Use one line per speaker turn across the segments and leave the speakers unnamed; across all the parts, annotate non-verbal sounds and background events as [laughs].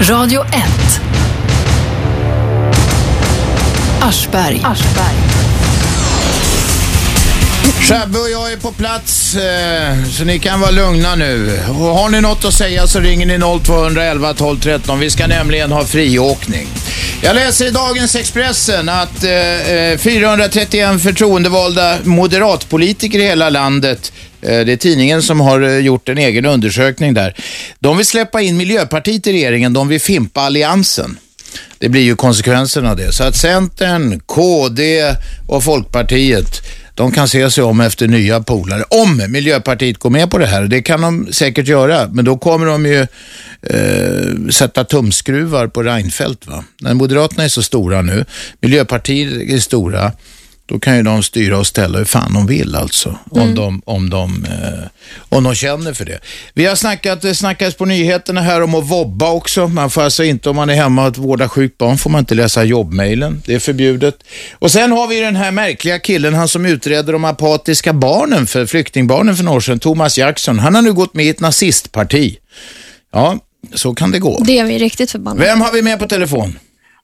Radio 1. Aschberg.
Shabbe och jag är på plats, eh, så ni kan vara lugna nu. Och har ni något att säga så ringer ni 0211 12 13. Vi ska nämligen ha friåkning. Jag läser i dagens Expressen att eh, eh, 431 förtroendevalda moderatpolitiker i hela landet eh, det är tidningen som har eh, gjort en egen undersökning där. De vill släppa in Miljöpartiet i regeringen, de vill fimpa alliansen. Det blir ju konsekvensen av det. Så att Centern, KD och Folkpartiet, de kan se sig om efter nya polare. Om Miljöpartiet går med på det här, det kan de säkert göra, men då kommer de ju eh, sätta tumskruvar på Reinfeldt. Va? När Moderaterna är så stora nu, Miljöpartiet är stora, då kan ju de styra och ställa hur fan de vill alltså. Om, de, om, de, eh, om de känner för det. Vi har snackat, det snackades på nyheterna här om att vobba också. Man får alltså inte, om man är hemma och vårdar sjukt barn, får man inte läsa jobbmailen. Det är förbjudet. Och sen har vi den här märkliga killen, han som utredde de apatiska barnen, för flyktingbarnen för några år sedan, Thomas Jackson. Han har nu gått med i ett nazistparti. Ja, så kan det gå.
Det är vi riktigt förbannade.
Vem har vi med på telefon?
Ja,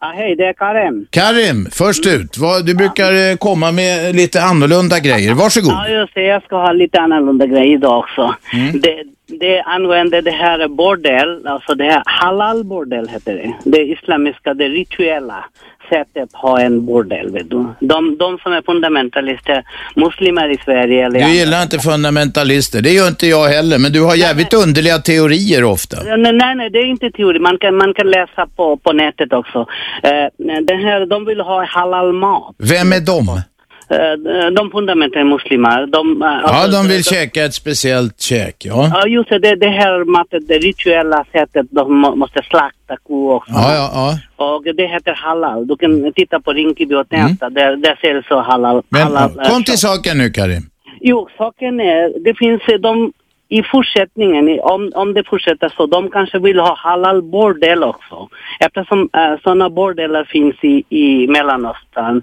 Ah, hej, det är Karim.
Karim, först ut. Vad- Du brukar eh, komma med lite annorlunda grejer. Varsågod.
Ja, just det. Jag ska ha lite annorlunda grej idag också.
Mm.
Det, det använder det här bordell, alltså det här halal bordell heter det. Det islamiska, det rituella sättet att ha en bordell, vet du. De, de som är fundamentalister, muslimer i Sverige eller
Du gillar inte fundamentalister, det gör inte jag heller, men du har jävligt underliga teorier ofta.
Ja, Nej, nej, nej, det är inte teori. Man kan, man kan läsa på, på nätet också. Eh, den här, de vill ha halal mat.
Vem är de?
Eh, de fundamentala muslimer. De, eh,
Ja,
alltså,
de vill käka ett speciellt käk, ja.
Ja, just det. Det, det här matet, det rituella sättet de må- måste slakta ko också.
Ja, ja, ja. Mm.
Och det heter halal. Du kan titta på Rinkeby och Tensta. Där, där ser det så halal. halal
Men
eh,
kom till
shop.
saken nu Karim.
Jo, saken är, det finns eh, de i fortsättningen, i- om, om det fortsätter så, de kanske vill ha halal bordell också. Eftersom äh, sådana bordeller finns i, i Mellanöstern.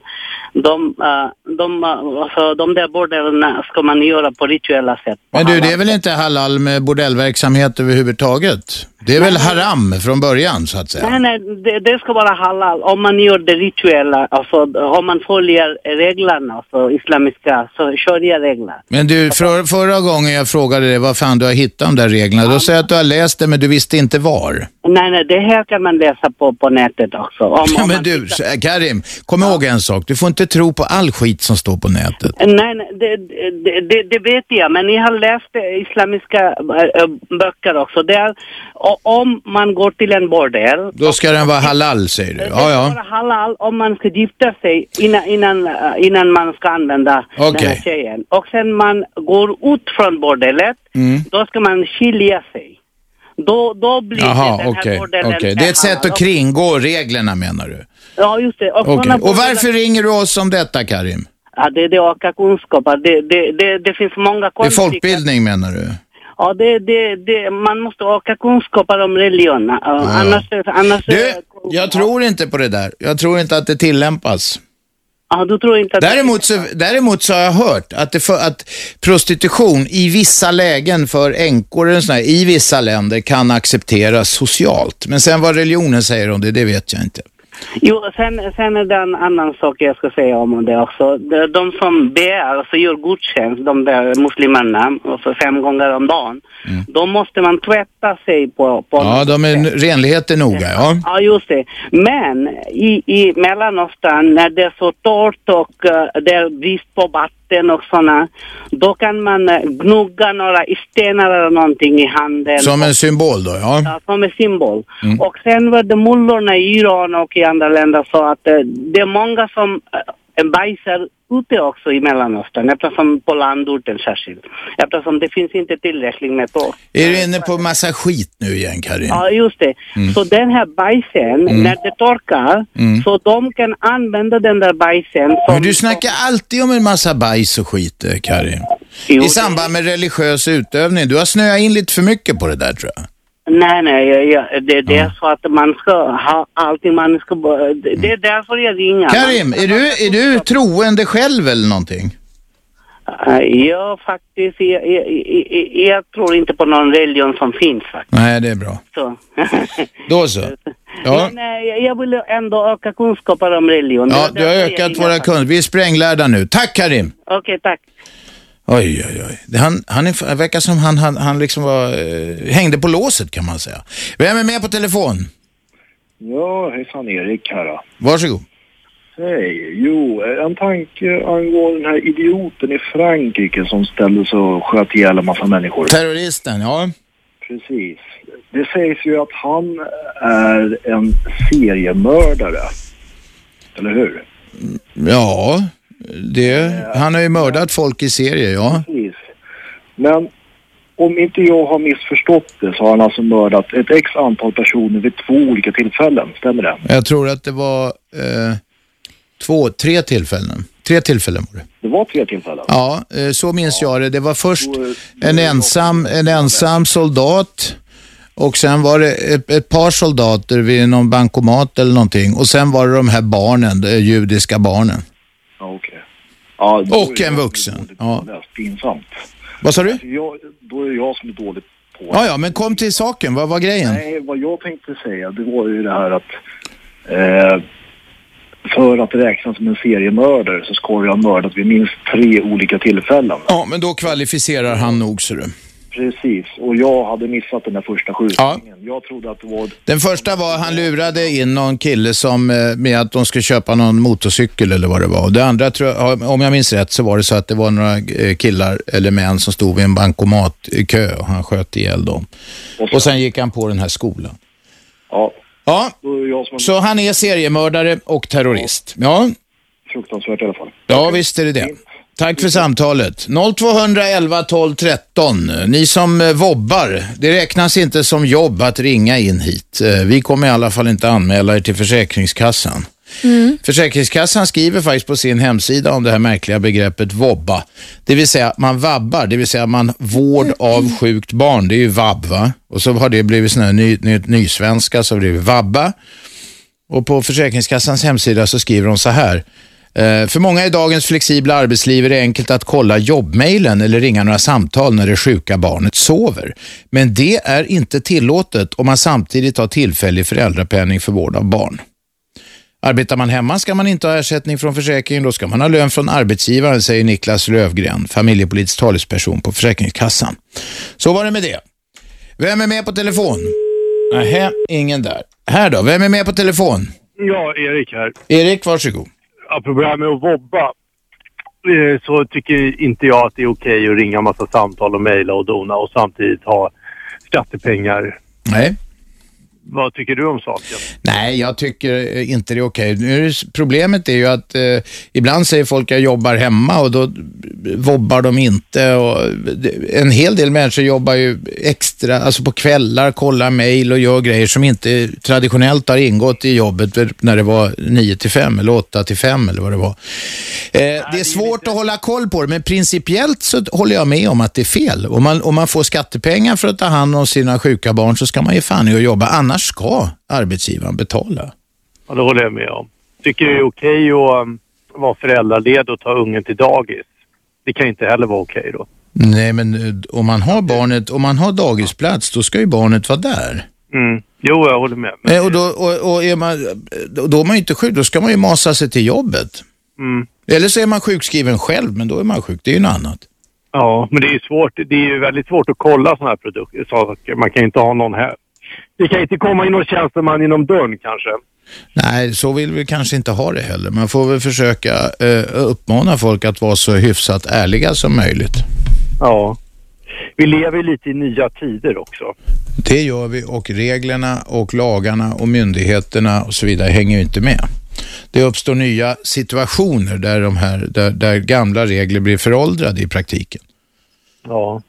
De, eh, de, eh, alltså, de där bordellerna ska man göra på rituella sätt.
Men du,
Halal.
det är väl inte halal med bordellverksamhet överhuvudtaget? Det är väl haram från början, så att säga?
Nej, nej, det, det ska vara halal om man gör det rituella, alltså om man följer reglerna, alltså islamiska, så sharia-regler.
Men du, för, förra gången jag frågade dig vad fan du har hittat de där reglerna, då säger jag att du har läst det men du visste inte var.
Nej, nej, det här kan man läsa på, på nätet också. Om,
Ja, [laughs]
om
men
man
du, eh,
tittar-
Karim, kom ihåg en sak. Du får inte tro på all skit som står på nätet.
Nej, nej det, det, det, det vet jag, men jag har läst eh, islamiska eh, eh, böcker också. Det är, o- om man går till en bordell,
Då ska den vara halal, säger du.
det
Ja,
ska
ja.
vara halal om man ska gifta sig innan, innan, eh, innan man ska använda den här
Okej.
tjejen. Och sen man går ut från bordellet,
Mm.
då ska man skilja sig. Då, då blir det
Jaha,
den här
okej.
bordellen
okej. Det är ett sätt
halal.
att kringgå reglerna, menar du?
Ja, just det. Och,
Okej.
såna
Och
bordeller-
varför ringer du oss om detta, Karim?
Ja, det, det ökar kunskaper. Det, det, det, det finns många
Det är
konflikter.
folkbildning, menar du?
Ja, det, det, det, man måste öka kunskaper om religion. Ja, Annars... annars
Du, jag tror inte på det där. Jag tror inte att det tillämpas.
Ja, du tror inte att...
Däremot så, däremot så har jag hört att, det för, att prostitution i vissa lägen för änkor eller sådär, i vissa länder kan accepteras socialt. Men sen vad religionen säger om det, det vet jag inte.
Jo, sen, sen är det en annan sak jag ska säga om det också. De, de som ber, alltså gör gudstjänst, de där muslimerna, alltså fem gånger om dagen, då måste man tvätta sig på... på
Mm. Ja, de är, renlighet är noga, ja.
Ja, just det. Men i, i Mellanöstern, när det är så torrt och eh, det är brist på vatten och sådana, då kan man eh, gnugga några stenar eller någonting i handen.
Som en symbol då, ja. Mm.
Ja, som en symbol. Och sen var det mullorna i Iran och i andra länder så att eh, det är många som eh, bajsar ute också i Mellanöstern, eftersom på landorten särskilt. Eftersom det finns inte tillräckligt med torrt.
Är du inne på massa skit nu igen, Karin?
Ja, just det.
Mm.
Så den här bajsen, när det torkar, så de kan använda den där bajsen som...
Men du snackar alltid om en massa bajs och skit, eh, Karin.
Jo,
I samband med religiös utövning. Du har snöat in lite för mycket på det där, tror jag.
Nej, nej, ja, ja, det, det är så att man ska ha allting man ska... bo- Det, det är därför jag ringer.
Karim,
Man-
är du, är du troende själv eller någonting?
Eh, Ja, faktiskt. Jag, jag, jag, jag tror inte på någon religion som finns faktiskt.
Nej, det är bra.
Så.
Då så. Ja,
Men eh, jag- jag vill ändå öka kunskaper om religion.
ja
Det-
du har
det- det-
ökat våra kunder. Vi är spränglärda nu. Tack Karim!
Okej, tack.
Oj, oj, oj. Det- Han, han är, det verkar som han, han, han liksom var, eh, hängde på låset kan man säga. Vem är med på telefon?
Ja, hejsan Erik här. då.
Varsågod.
Hej. Jo, en tanke angående den här idioten i Frankrike som ställde sig och sköt ihjäl en massa människor.
Terroristen, ja.
Precis. Det sägs ju att han är en seriemördare. Eller hur?
Ja, det, han har ju mördat folk i serier, ja.
Precis. Men om inte jag har missförstått det så har han alltså mördat ett x antal personer vid två olika tillfällen. Stämmer det?
Jag tror att det var eh, två, tre tillfällen. Tre tillfällen var det.
Det var tre tillfällen.
Ja, eh, så minns jag det. Det var först
Då-
en ensam, en ensam soldat och sen var det ett, ett par soldater vid någon bankomat eller någonting och sen var det de här barnen, de judiska barnen.
Ja, okej. Ja, då
Och
är
en
jag
vuxen.
dåligt
Ja.
påläst. Pinsamt.
Vad sa du?
Jag, då är det jag som är dåligt på
Ja, ja, men kom till saken. Vad var grejen?
Nej, vad jag tänkte säga det var ju det här att eh, för att räknas som en seriemördare så ska jag ha mördat vid minst tre olika tillfällen.
Ja, men då kvalificerar han nog, ser du.
Precis, och jag hade missat den här första skjutningen. Jag trodde att det var...
Den första var han lurade in någon kille som, eh, med att de skulle köpa någon motorcykel eller vad det var. Och det andra, tror jag, om jag minns rätt, så var det så att det var några eh, killar eller män som stod vid en bankomatkö och han sköt ihjäl dem. Och sen gick han på den här skolan.
Ja,
Ja,
då är det jag som är
så han är seriemördare och terrorist. Ja,
fruktansvärt i alla fall.
ja visst är det det. Tack för samtalet. 0211 12 13. Ni som eh, vobbar, det räknas inte som jobb att ringa in hit. Eh, Vi kommer i alla fall inte anmäla er till Försäkringskassan.
Mm.
Försäkringskassan skriver faktiskt på sin hemsida om det här märkliga begreppet vobba. Det vill säga att man vabbar, det vill säga man vård av sjukt barn. Det är ju vabb va? Och så har det blivit sån här ny, ny, nysvenska så har det blivit vabba. Och på Försäkringskassans hemsida så skriver de så här. Eh, För många i dagens flexibla arbetsliv är det enkelt att kolla jobbmailen eller ringa några samtal när det sjuka barnet sover. Men det är inte tillåtet om man samtidigt har tillfällig föräldrapenning för vård av barn. Arbetar man hemma ska man inte ha ersättning från försäkringen, då ska man ha lön från arbetsgivaren, säger Niklas Lövgren, familjepolitisk talesperson på Försäkringskassan. Så var det med det. Vem är med på telefon? Nähä, ingen där. Här då, vem är med på telefon?
Ja, Erik här.
Erik, varsågod.
Apropå det här med att vobba. eh, Så tycker inte jag att det är okej att ringa massa samtal och mejla och dona och samtidigt ha skattepengar.
Nej.
Vad tycker du om saken?
Nej, jag tycker eh, inte det är okej. Nu är det- Problemet är ju att eh, ibland säger folk jag jobbar hemma och då eh, vobbar de inte. Och det- en hel del människor jobbar ju extra, alltså på kvällar, kollar mejl och gör grejer som inte traditionellt har ingått i jobbet för- när det var 9 till 5 eller 8 till 5 eller vad det var. Eh, det är svårt att hålla koll på det, men principiellt så håller jag med om att det är fel. Om man, om man får skattepengar för att ta hand om sina sjuka barn så ska man ge fan i att jobba. Annars ska arbetsgivaren betala.
Ja, det håller jag med om. Tycker det är okej att um, vara föräldraledig och ta ungen till dagis. Det kan inte heller vara okej då.
Nej, men eh, om man har barnet, om man har dagisplats, då ska ju barnet vara där.
Mm. Jo, jag håller med.
Eh, Och då, och, och är man, då- då är man ju inte sjuk, då ska man ju masa sig till jobbet.
Mm.
Eller så är man sjukskriven själv, men då är man sjuk. Det är ju något annat.
Ja, men det är ju svårt. Det är ju väldigt svårt att kolla sådana här produkter. saker. Man kan ju inte ha någon här. Det kan inte komma in någon tjänsteman inom dörren kanske.
Nej, så vill vi kanske inte ha det heller. Man får väl försöka eh, uppmana folk att vara så hyfsat ärliga som möjligt.
Ja. Vi lever ju lite i nya tider också.
Det gör vi och reglerna och lagarna och myndigheterna och så vidare hänger ju inte med. Det uppstår nya situationer där, de här, där, där gamla regler blir föråldrade i praktiken.
Ja.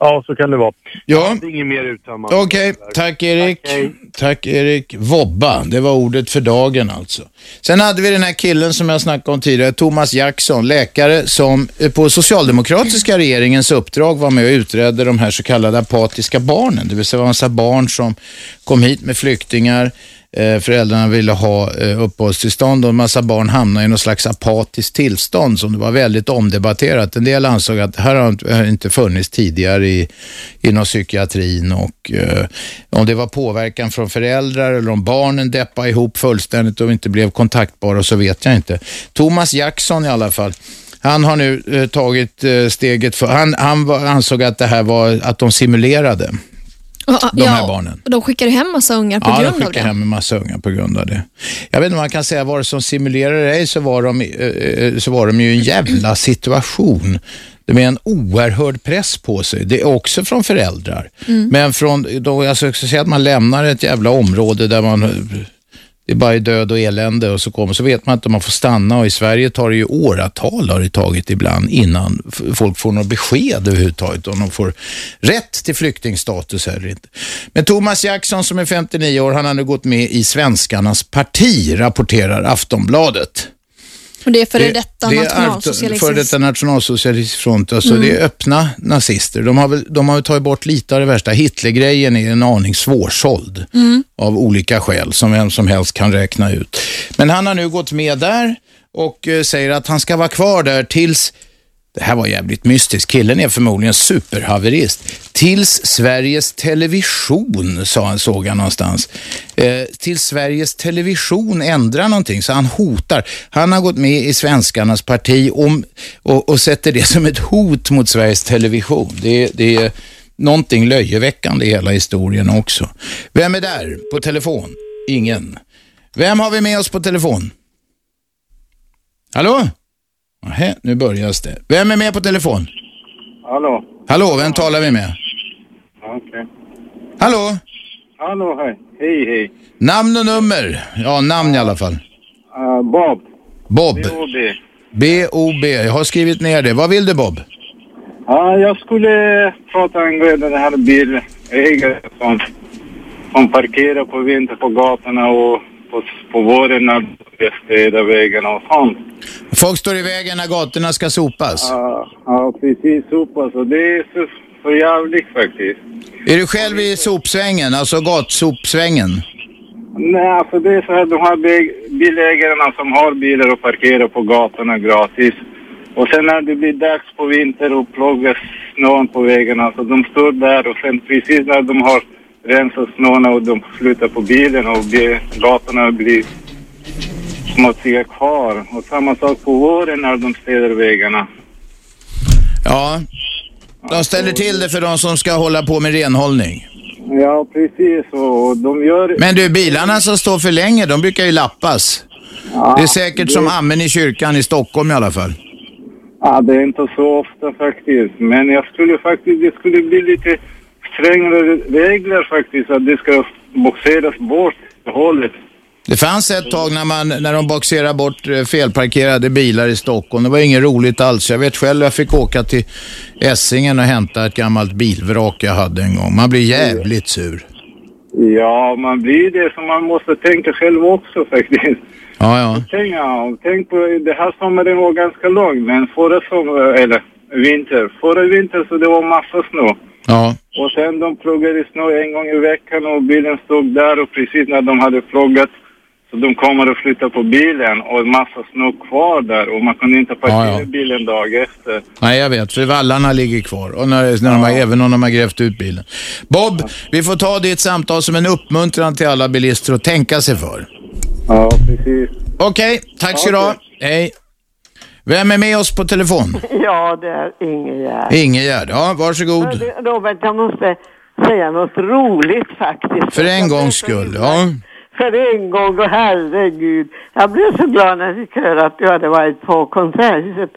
Ja, så kan det vara.
Ja,
Det är inget mer uttömmande.
okej. Tack Erik.
Tack, hej.
Tack Erik. Vobba, det var ordet för dagen alltså. Sen hade vi den här killen som jag snackade om tidigare, Thomas Jackson, läkare som eh, på socialdemokratiska regeringens uppdrag var med och utredde de här så kallade apatiska barnen. Det vill säga det var en massa barn som kom hit med flyktingar eh, föräldrarna ville ha eh, uppehållstillstånd och en massa barn hamnade i någon slags apatiskt tillstånd som det var väldigt omdebatterat. En del ansåg att det här har inte- har inte funnits tidigare i, inom psykiatrin och eh, om det var påverkan från föräldrar eller om barnen deppade ihop fullständigt och inte blev kontaktbara så vet jag inte. Thomas Jackson i alla fall. Han har nu eh, tagit eh, steget för, han, han var, ansåg att det här var, att de simulerade.
Ja,
de här
ja,
barnen.
och De skickar ju hem massa ungar på
ja, de
grund av
skickar
det.
hem en massa unga på grund av det. Jag vet inte om man kan säga, var det som simulerade dig så var de, eh, eh, så var de ju i en jävla situation med en oerhörd press på sig. Det är också från föräldrar.
Mm.
Men från, då, alltså, jag skulle säga att man lämnar ett jävla område där man eh, det är bara död och elände och så kommer, så vet man inte om man får stanna och i Sverige tar det ju åratal har det tagit ibland innan f- folk får något besked överhuvudtaget om de får rätt till flyktingstatus eller inte. Men Thomas Jackson som är 59 år, han har nu gått med i svenskarnas parti, rapporterar Aftonbladet.
Och det är före
Det-
detta
det är
nationalsocialism.
Före detta nationalsocialistisk front, alltså det
Mm.
är öppna nazister. De har, väl, de har väl tagit bort lite av det värsta. Hitlergrejen är en aning svårsåld av olika skäl som vem som helst kan räkna ut. Men han har nu gått med där och eh, säger att han ska vara kvar där tills det här var jävligt mystiskt. Killen är förmodligen superhaverist. Tills Sveriges Television, sa han, såg jag någonstans. Eh, tills Sveriges Television ändrar någonting, så han hotar. Han har gått med i svenskarnas parti om, och, och sätter det som ett hot mot Sveriges Television. Det, det är någonting löjeväckande i hela historien också. Vem är där på telefon? Ingen. Vem har vi med oss på telefon? Hallå? Nähä, nu börjas det. Vem är med på telefon?
Hallå.
Hallå, vem talar vi med?
Ja, Okej.
Hallå?
Hallå, hej. Hej, hej.
Namn och nummer. Ja, namn i alla fall.
Uh, Bob.
Bob.
B.O.B.
B-O-B. Jag har skrivit ner det. Vad vill du Bob?
Ja, jag skulle prata angående den här bilägaren som, som parkerar på vintern på gatorna och på, på våren när de städar vägarna och sånt.
Folk står i vägen när gatorna ska sopas.
Ja, ja, precis. Sopas och det är så, så jävligt faktiskt.
Är du själv i sopsvängen, alltså gatsopsvängen?
Nej, alltså det är så här, de här bi- bilägarna som har bilar och parkerar på gatorna gratis. Och sen när det blir dags på vinter och ploggar snön på vägarna, så de står där och sen precis när de har rensat snön och de slutar på bilen och bi- gatorna blir smutsiga kvar. Och samma sak på våren när de städar vägarna.
Ja. De ställer till det för de som ska hålla på med renhållning.
Ja, precis. Och de gör...
Men du, bilarna som står för länge, de brukar ju lappas. Det är säkert som amen i kyrkan i Stockholm i alla fall.
Ja, det är inte så ofta faktiskt. Men jag skulle faktiskt, det skulle bli lite strängare regler faktiskt. Att det ska boxeras bort hållet.
Det fanns ett tag när, man, när de boxerade bort eh, felparkerade bilar i Stockholm. Det var inget roligt alls. Jag vet själv, jag fick åka till Essingen och hämta ett gammalt bilvrak jag hade en gång. Man blir jävligt sur.
Ja, man blir det. Så man måste tänka själv också faktiskt.
Ja, ja.
Tänk, ja, tänk på, det här sommaren var ganska lång. Men förra sommaren, eller vinter. Förra vintern så det var massa snö.
ja.
Och sen de pluggade snö en gång i veckan och bilen stod där och precis när de hade pluggat så de kommer och flyttar på bilen och en massa snö kvar där och man kunde inte parkera
Ja, ja.
bilen dag efter.
Nej, jag vet. För vallarna ligger kvar. Och när, när de har, även om de har grävt ut bilen. Bob, vi får ta ditt samtal som en uppmuntran till alla bilister att tänka sig för.
Ja, precis.
Okej, tack ska du ha. Hej. Vem är med oss på telefon?
[laughs] Ja, det är Ingegärd.
Ingegärd. Ja,
Ja,
varsågod.
det- Robert, jag måste säga något roligt faktiskt.
För en
Jag blev
gångs
så
skull,
glad.
ja.
För en gång, och herregud. Jag blev så glad när jag fick höra att du hade varit på konserthuset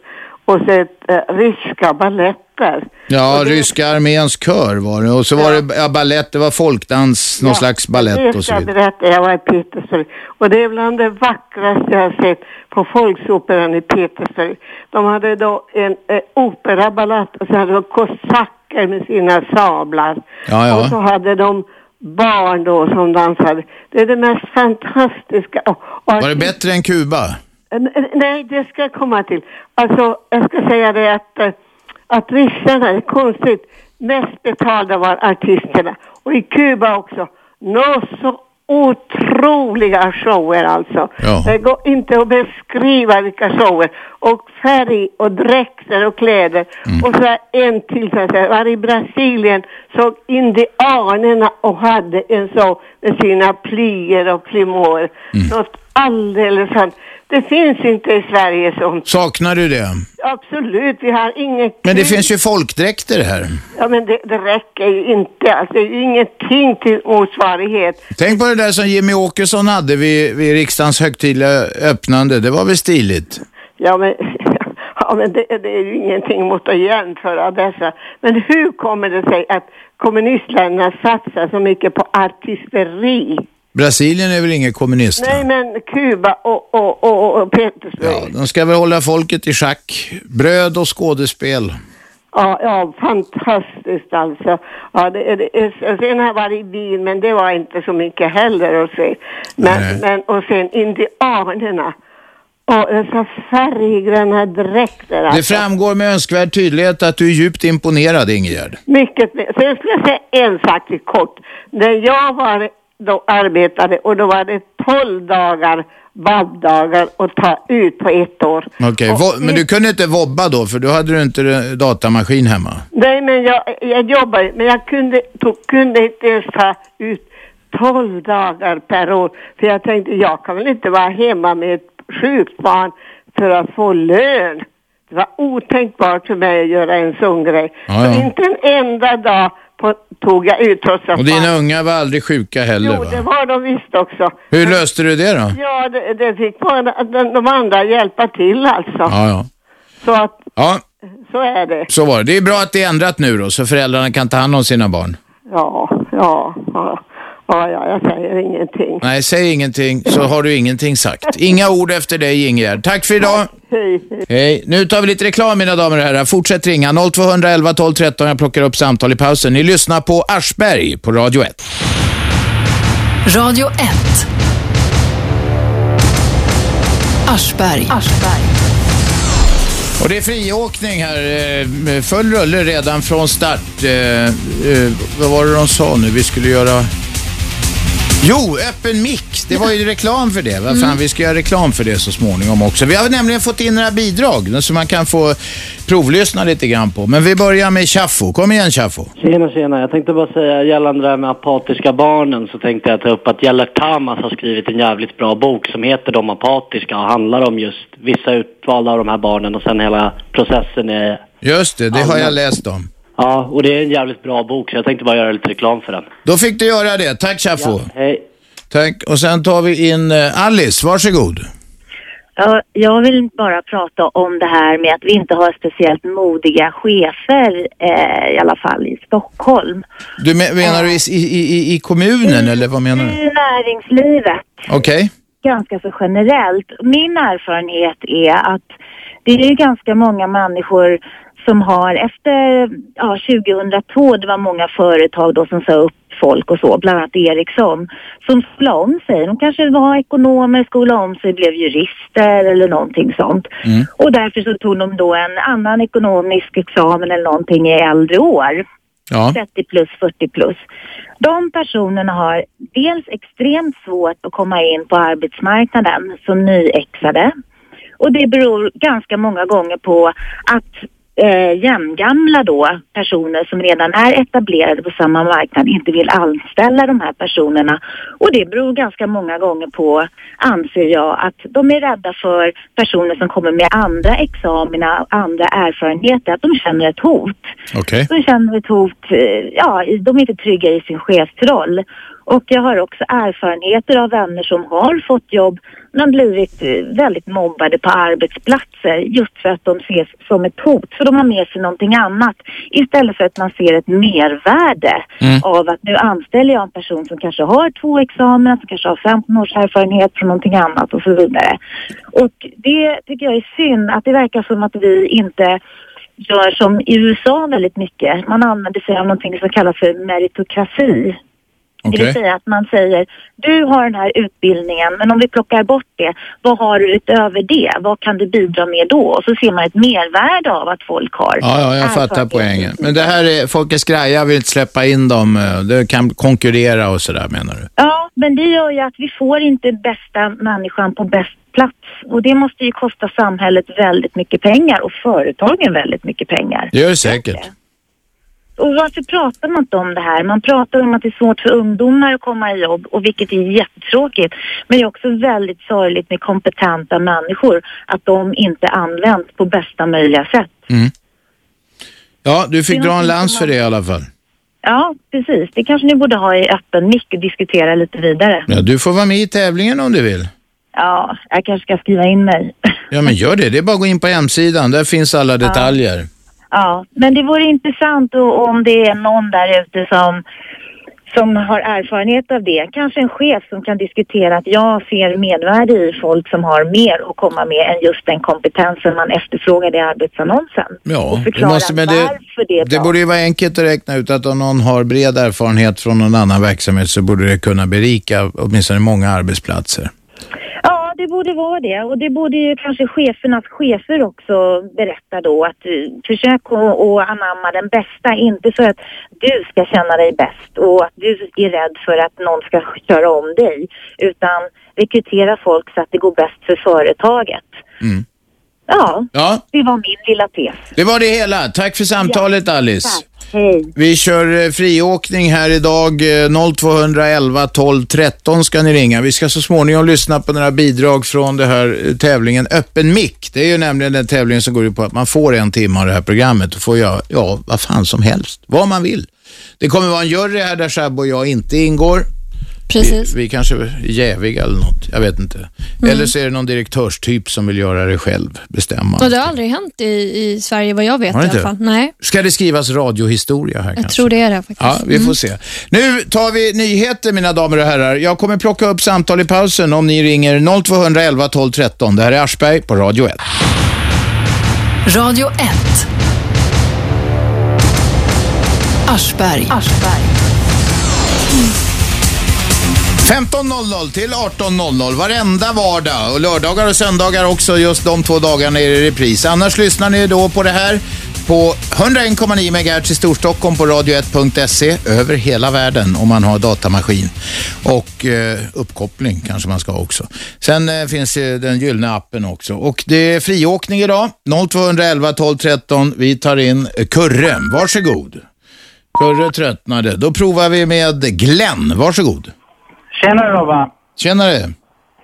och sett eh, ryska baletter.
Ja, ryska arméns kör var det. Och så var det ja, ballett, det var folkdans, någon slags ballett och så vidare.
Berätta, jag var i Petersburg. Och det är bland det vackraste jag har sett på Folksoperan i Petersburg. De hade då en eh, operaballett och så hade de kosacker med sina sablar.
Ja, ja.
Och så hade de barn då som dansade. Det är det mest fantastiska. Och, och
Var det bättre än Kuba?
N- n- Nej, det ska jag komma till. Alltså, jag ska säga det att, eh, att ryssarna, det är konstigt, mest betalda var artisterna. Och i Kuba också. Nå så otroliga shower alltså.
Ja.
Det går inte att beskriva vilka shower. Och färg och dräkter och kläder.
Mm.
Och så här en till så här, var i Brasilien såg indianerna och hade en så med sina plier och plymor.
Mm.
Något alldeles sant. Det finns inte i Sverige som,
Saknar du det?
absolut, vi har inget
Men det finns ju folkdräkter här.
Ja, men det, det räcker ju inte. Alltså, det är ju ingenting till motsvarighet.
Tänk på det där som Jimmy Åkesson hade vid, vid riksdagens högtidliga öppnande. Det var väl stiligt?
Ja, men, [laughs] ja, men det, det är ju ingenting mot att jämföra dessa. Men hur kommer det sig att kommunistländerna satsar så mycket på artisteri?
Brasilien är väl inget kommunist?
Nej, men Kuba och, och, och, och Petersburg.
Ja, de ska väl hålla folket i schack. Bröd och skådespel.
Ja, ja, fantastiskt alltså. Ja, det, är- det, är- och sen har jag varit i Wien, men det var inte så mycket heller att se.
Nej.
Men, men, och sen indianerna. Och dessa färggranna dräkter.
Det
Alltså.
framgår med önskvärd tydlighet att du är djupt imponerad, Ingegerd.
Mycket mer. Sen ska jag säga en sak till kort. När jag var, då arbetade och då var det 12 dagar vabbdagar att ta ut på ett år.
Okej,
Och
vo- men du kunde inte vobba då, för då hade du inte eh, datamaskin hemma.
Nej, men jag, jag jobbar men jag kunde, tog, kunde inte ens ta ut 12 dagar per år. För jag tänkte, jag kan väl inte vara hemma med ett sjukt barn för att få lön. Det var otänkbart för mig att göra en sån grej.
Ja, ja.
Så inte en enda dag på, tog jag ut trots att...
Och dina ungar var aldrig sjuka heller,
Jo, det
va?
var de visst också.
Hur löste du det då?
Ja, det, det fick bara de, de andra hjälpa till alltså.
Ja, ja.
Så att,
Ja,
så är det.
så var det. Det är bra att det är ändrat nu då, så föräldrarna kan ta hand om sina barn.
Ja, ja, ja. Ja, ja, jag säger ingenting.
Nej, säg ingenting så har du ingenting sagt. Inga ord efter dig, Ingegerd. Tack för idag.
Hej, hej.
Hej. Nu tar vi lite reklam, mina damer och herrar. Fortsätt ringa 0211 12 13. Jag plockar upp samtal i pausen. Ni lyssnar på Aschberg på Radio 1.
Radio 1. Aschberg.
Och det är friåkning här. eh, med Full rulle redan från start. Eh, eh, vad var det de sa nu? Vi skulle göra... Jo, öppen mick. Det var ju reklam för det. Vad fan, vi ska göra reklam för det så småningom också. Vi har nämligen fått in några bidrag som man kan få provlyssna lite grann på. Men vi börjar med Chaffo. Kom igen Chaffo.
Tjena, tjena. Jag tänkte bara säga gällande det här med apatiska barnen så tänkte jag ta upp att Gellert Tamas har skrivit en jävligt bra bok som heter De apatiska och handlar om just vissa utvalda av de här barnen och sen hela processen är...
Just det, det har jag läst om.
Ja, och det är en jävligt bra bok så jag tänkte bara göra lite reklam för den.
Då fick du göra det. Tack Chaffo.
Hej.
Tack. Och sen tar vi in eh, Alice. Varsågod.
Ja, jag vill bara prata om det här med att vi inte har speciellt modiga chefer, eh, i alla fall i Stockholm.
Du men- menar du i, i, i, i kommunen eller vad menar du?
I näringslivet,
Okej.
ganska så generellt. Min erfarenhet är att det är ganska många människor som har efter ja, 2002, det var många företag då som sa upp folk och så, bland annat Ericsson, som skolade om sig. De kanske var ekonomer, skolade om sig, blev jurister eller någonting sånt.
Mm.
Och därför så tog de då en annan ekonomisk examen eller någonting i äldre år.
Ja.
30 plus, 40 plus. De personerna har dels extremt svårt att komma in på arbetsmarknaden som nyexade. Och det beror ganska många gånger på att eh, jämngamla då personer som redan är etablerade på samma marknad inte vill anställa de här personerna. Och det beror ganska många gånger på, anser jag, att de är rädda för personer som kommer med andra examina, andra erfarenheter, att de känner ett hot.
Okej.
De känner ett hot, eh, ja, i- de är inte trygga i sin chefsroll. Och jag har också erfarenheter av vänner som har fått jobb men har blivit eh, väldigt mobbade på arbetsplatser just för att de ses som ett hot. För de har med sig någonting annat istället för att man ser ett mervärde av att nu anställer jag en person som kanske har två examina, som kanske har 15 års erfarenhet från någonting annat och så vidare. Och det tycker jag är synd att det verkar som att vi inte gör som i USA väldigt mycket. Man använder sig av någonting som kallas för meritokrati. Det vill
Okej.
säga att man säger, du har den här utbildningen, men om vi plockar bort det, vad har du utöver det? Vad kan du bidra med då? Och så ser man ett mervärde av att folk har
Ja, ja, jag fattar poängen. Men det här är, folk är skraja, jag vill inte släppa in dem. eh, De kan konkurrera och sådär menar du?
Ja, men det gör ju att vi får inte bästa människan på bäst plats. Och det måste ju kosta samhället väldigt mycket pengar och företagen väldigt mycket pengar.
Det gör det säkert.
Och varför pratar man inte om det här? Man pratar om att det är svårt för ungdomar att komma i jobb och vilket är jättetråkigt. Men det är också väldigt sorgligt med kompetenta människor att de inte används på bästa möjliga sätt.
Mm. Ja, du fick dra en lans för det i alla fall.
Ja, precis. Det kanske ni borde ha i öppen mick och diskutera lite vidare.
Ja, du får vara med i tävlingen om du vill.
Ja, jag kanske ska skriva in mig.
Ja, men gör det. Det är bara att gå in på hemsidan. Där finns alla detaljer.
Ja, men det vore intressant och, om det är någon där ute som, som har erfarenhet av det. Kanske en chef som kan diskutera att jag ser medvärde i folk som har mer att komma med än just den kompetensen man efterfrågar i arbetsannonsen.
Ja,
och
du
förklara
måste, men det,
varför det är
det
bra.
borde ju vara enkelt att räkna ut att om någon har bred erfarenhet från någon annan verksamhet så borde det kunna berika åtminstone många arbetsplatser.
Ja, det borde vara det. Och det borde ju kanske chefernas chefer också berätta då. Att eh, försök att att anamma den bästa. Inte för att du ska känna dig bäst och att du är rädd för att någon ska köra om dig. Utan rekrytera folk så att det går bäst för företaget.
Mm.
Ja,
Ja,
det var min lilla tes.
det var det hela. Tack för samtalet Alice.
Hej.
Vi kör eh, friåkning här idag. eh, 0211 12 13 ska ni ringa. Vi ska så småningom lyssna på några bidrag från det här eh, tävlingen Öppen mick. Det är ju nämligen den tävlingen som går ut på att man får en timme av det här programmet och får göra, ja, vad fan som helst. Vad man vill. Det kommer vara en jury här där Shabbo och jag inte ingår.
Precis.
Vi, vi kanske är jäviga eller något. Jag vet inte.
Mm.
Eller så är det någon direktörstyp som vill göra det själv. Bestämma.
Och det har aldrig hänt i, i Sverige vad jag vet i
Har det
alla
inte?
fall. Nej,
Ska det skrivas radiohistoria här
jag
kanske?
tror det är det faktiskt.
Ja, vi får se. Nu tar vi nyheter mina damer och herrar. Jag kommer plocka upp samtal i pausen om ni ringer 0211 12 13. Det här är Aschberg på Radio 1.
Radio 1. Aschberg.
15.00 till 18.00 varenda vardag och lördagar och söndagar också. Just de två dagarna är det repris. Annars lyssnar ni då på det här på 101,9 MHz i Storstockholm på radio1.se över hela världen om man har datamaskin. Och eh, uppkoppling kanske man ska ha också. Sen eh, finns ju den gyllene appen också. Och det är friåkning idag. 0211 12 13. Vi tar in eh, Kurre. Varsågod. Kurre tröttnade. Då provar vi med Glenn. Varsågod.
Tjena Robban!
Tjenare!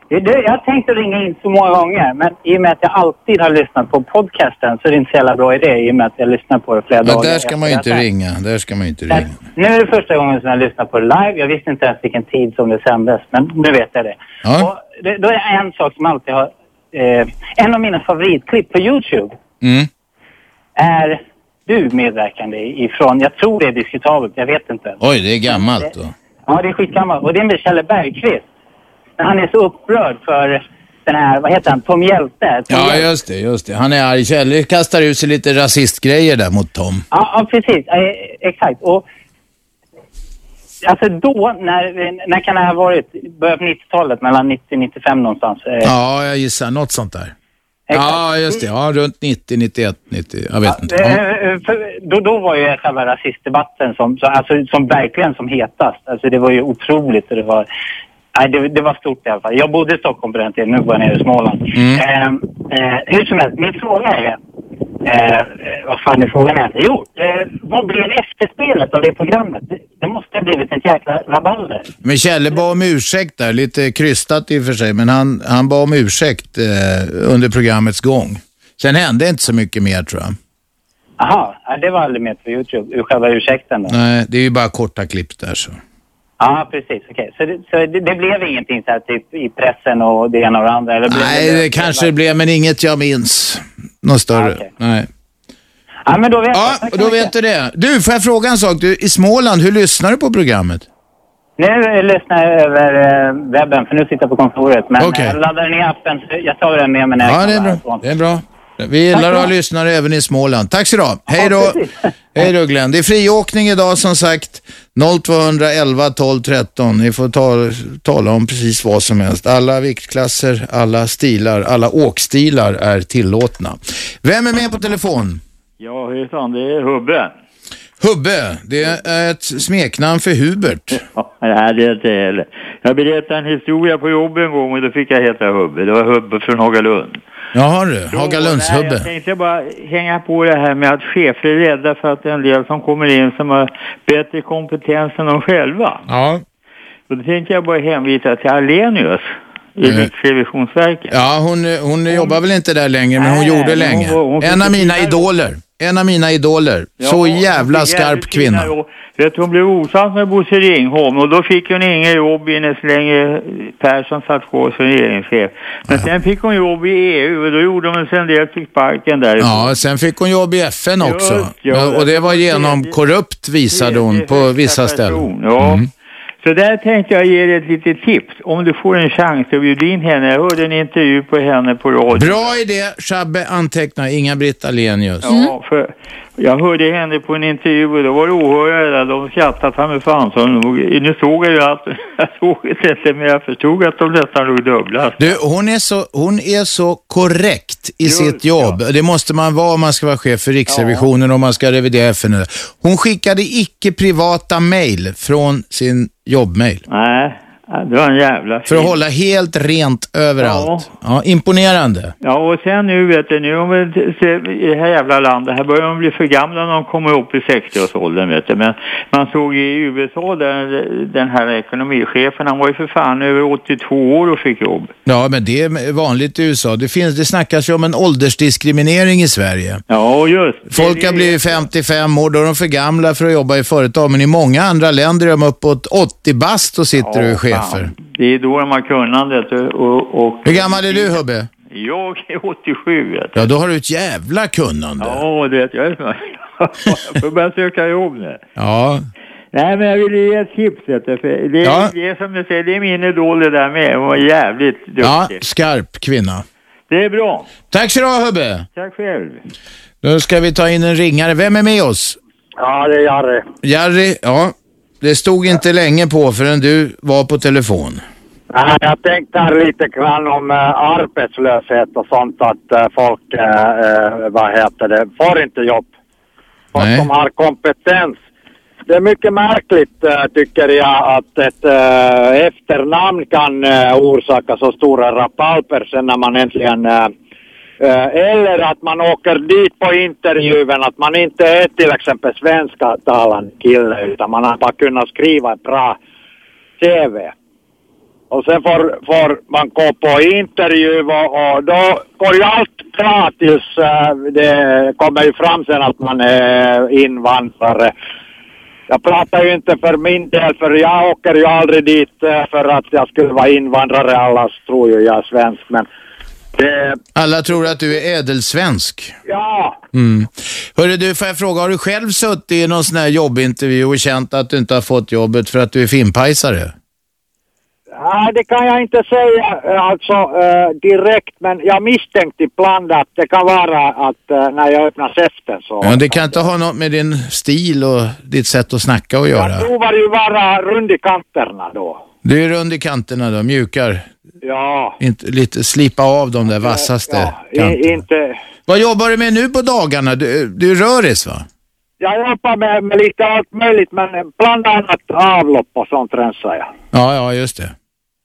Du, jag tänkte ringa in så många gånger, men i och med att jag alltid har lyssnat på podcasten så är det inte så jävla bra idé i och med att jag lyssnar på det flera
Men
dagar.
där ska man ju inte ringa. Där ska man ju inte ringa.
Nu är det första gången som jag lyssnar på det live. Jag visste inte ens vilken tid som det sändes, men nu vet jag det.
Ja.
det då är det en sak som alltid har... Eh, en av mina favoritklipp på YouTube
Mm.
är du medverkande ifrån, jag tror det är diskutabelt, jag vet inte.
Oj, det är gammalt då.
Ja, det är skitgammalt. Och det är med Kjelle Bergqvist. När han är så upprörd för den här, vad heter han, Tom Hjälte. Tom
Ja,
Hjälte.
just det. Just det. Han är arg. Kjell kastar ut sig lite rasistgrejer där mot Tom.
Ja, ja, precis. Ja, eh, exakt. Och, alltså då, när, när kan det här ha varit? Början på 90-talet, mellan 90 och 95 någonstans. Eh,
Ja, jag gissar. Något sånt där. Ja, just det. Ja, runt 90, 91, 90. Jag vet inte.
eh,
Ja.
eh, för Då, då var ju själva rasistdebatten som, så- alltså, som verkligen som hetast. Alltså det var ju otroligt och det var, nej, det, det var stort i alla fall. Jag bodde i Stockholm på den tiden, nu bor jag nere i Småland. Eh, eh, hur som helst, min fråga är... Eh, eh, vad fan är frågan? Är? Jo, eh, vad blev efterspelet av det programmet? Det, det måste ha blivit ett jäkla rabalder.
Men Kjelle bad om ursäkt där. Lite krystat i och för sig, men han, han bad om ursäkt eh, under programmets gång. Sen hände inte så mycket mer tror jag.
Aha, ja, det var aldrig med på Youtube, ur själva ursäkten då.
Nej, det är ju bara korta klipp där så.
Ja, precis. Okej. Så, det, så det, det blev ingenting så här typ i pressen och det ena och det andra? Eller blev
Nej, det kanske det blev, men inget jag minns. Något större. Nej.
Ja, men då vet,
ja, då vet du det. Du, får jag fråga en sak? Du, I Småland, hur lyssnar du på programmet?
Nu lyssnar jag över eh, webben, för nu sitter jag på kontoret. Men
Okej.
eh, jag laddar ner appen, så jag tar den med mig när jag
Ja,
kommer
det är bra.
härifrån.
Det är bra. Vi gillar att ha
Tack.
lyssnare även i Småland. Tack så du ha. Hej då.
Ja, precis.
[laughs] Hej då Glenn. Det är friåkning idag som sagt. 0211 12 13. Ni får ta, tala om precis vad som helst. Alla viktklasser, alla stilar, alla åkstilar är tillåtna. Vem är med på telefon?
Ja, hejsan, det är Hubbe.
Hubbe, det är ett smeknamn för Hubert.
Nej, det är inte jag heller. Jag berättade en historia på jobbet en gång och då fick jag heta Hubbe. Det var Hubbe från Hagalund.
Jaha du,
Nej, Jag
Hagalundshubbe.
tänkte bara hänga på det här med att chefer är rädda för att det är en del som kommer in som har bättre kompetens än de själva.
Ja.
Och då tänkte jag bara hänvisa till Alenius i
Eh.
Riksrevisionsverket.
Ja, hon, hon jobbar väl inte där längre, men hon
Nej,
gjorde
men
länge.
hon var- hon
en av
fick
mina
fina jobb.
idoler. En av mina idoler.
Ja,
Så
hon fick
jävla
jävligt
skarp
fina
kvinna.
jobb. Vet, du, hon blev osams med Bosse Ringholm och då fick hon inget jobb inne så länge eh, Persson satt kvar som regeringschef. Men sen fick hon jobb i EU och då gjorde hon en del fick sparken där.
Ja, sen fick hon jobb i FN också.
ja.
och det var genom korrupt visade hon på vissa ställen.
ja.
Mm.
Så där tänkte jag ge dig ett litet tips. Om du får en chans så bjud in henne. Jag hörde en intervju på henne på radio.
Bra idé, Shabbe antecknar Inga-Britt Ahlenius.
Ja, för jag hörde henne på en intervju och då var det åhörare där. De skrattade fram med fansen. Nu såg jag ju allt. [laughs] Jag såg det inte, men jag förstod att de nästan låg dubbla.
Du, hon är så, hon är så korrekt i sitt jobb. Det måste man vara om man ska vara chef för Riksrevisionen och om man ska revidera FN. Hon skickade icke privata mejl från sin jobbmejl.
Nej, det var en jävla
För att hålla helt rent överallt. Ja. imponerande.
Ja, och sen nu vet du, nu om vi ser i det här jävla landet, här börjar de bli för gamla när de kommer upp i 60-årsåldern vet du. Men man såg i USA där den här ekonomichefen, han var ju för fan över 82 år och fick jobb.
Ja, men det är vanligt i USA. Det, finns, det snackas ju om en åldersdiskriminering i Sverige.
Ja, just.
Folk har blivit 55 år, då är de för gamla för att jobba i företag. Men i många andra länder är de uppåt 80 bast och sitter och är chefer.
Det är då de har kunnandet och, och...
Hur gammal är du, Hubbe?
Jag är 87 vet du.
Ja, då har du ett jävla kunnande.
Ja, du vet, jag är Jag [laughs] får börja söka jobb nu.
Ja.
Nej, men jag ville ge ett tips. Vet du, för det är
Ja.
det är som du säger, det är min idol det där med. Hon var jävligt duktig.
Ja, skarp kvinna.
Det är bra.
Tack så du ha, Hubbe.
Tack själv.
Nu ska vi ta in en ringare. Vem är med oss?
Ja, det är Jari.
Jerry, ja. Det stod inte länge på förrän du var på telefon.
Nej, Jag tänkte här lite grann om eh, arbetslöshet och sånt att eh, folk, eh, eh, vad heter det, får inte jobb. Folk som har kompetens. Det är mycket märkligt eh, tycker jag att ett eh, efternamn kan eh, orsaka så stora rapalper sen när man äntligen eh, eh, eller att man åker dit på intervjun att man inte är till exempel svensktalande kille utan man har bara kunnat skriva ett bra CV. Och sen får, får man gå på intervju och, och då går ju allt bra tills äh, det kommer ju fram sen att man är invandrare. Jag pratar ju inte för min del för jag åker ju aldrig dit äh, för att jag skulle vara invandrare. Alla tror ju jag är svensk men det,
Alla tror att du är ädelsvensk.
ja,
Mm. Hörru du, får jag fråga, har du själv suttit i någon sån här jobbintervju och känt att du inte har fått jobbet för att du är finpajsare?
Nej, det kan jag inte säga eh, alltså eh, direkt men jag misstänkte ibland att det kan vara att eh, när jag öppnar käften så
Ja, det kan inte ha något med din stil och ditt sätt att snacka att göra.
provar ju vara rund i kanterna då.
Du är rund i kanterna då, mjukar.
Ja,
Inte, lite, slipa av de där vassaste kanterna.
i, inte...
Vad jobbar du med nu på dagarna? Du, du är röris va?
Jag jobbar med, med lite allt möjligt men bland annat avlopp och sånt rensar jag.
Ja, ja, just det.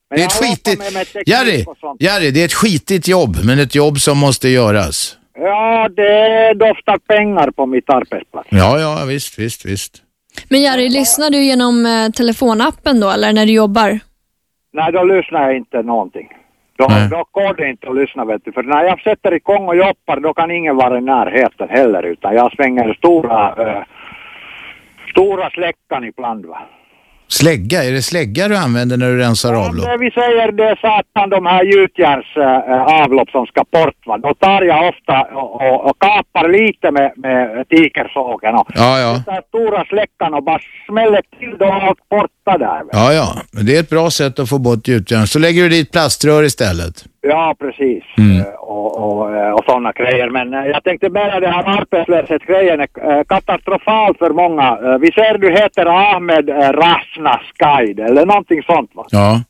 Men det är ett skitigt... Med, med teknik
Jerry,
och sånt.
Jerry, det är ett skitigt jobb, men ett jobb som måste göras.
Ja, det doftar pengar på mitt arbetsplats.
Ja, ja, visst, visst, visst.
Men Jerry, lyssnar du genom eh, telefonappen då eller när du jobbar?
Nej, då lyssnar jag inte någonting. Då, då går det inte att lyssna vet du. För när jag sätter igång och jobbar då kan ingen vara i närheten heller utan jag svänger stora, eh, stora släckan ibland va.
Slägga, är det slägga du använder när du rensar avlopp?
Det vi säger det är satan de här gjutjärns äh, avlopp som ska bort va. Då tar jag ofta och, och, och kapar lite med, med tigersågen och
Ja, ja.
tar stora släckan och bara smäller till dem och borta där. va.
Ja, ja, men det är ett bra sätt att få bort gjutjärn. Så lägger du dit plaströr istället. Mm.
Ja, precis. Eh, Och, och, eh, och sådana grejer. Men eh, jag tänkte bara det här arbetslöshetsgrejen är eh, katastrofal för många. Eh, Vi ser du heter Ahmed eh, Rasnaskaid eller någonting sånt va?
Ja.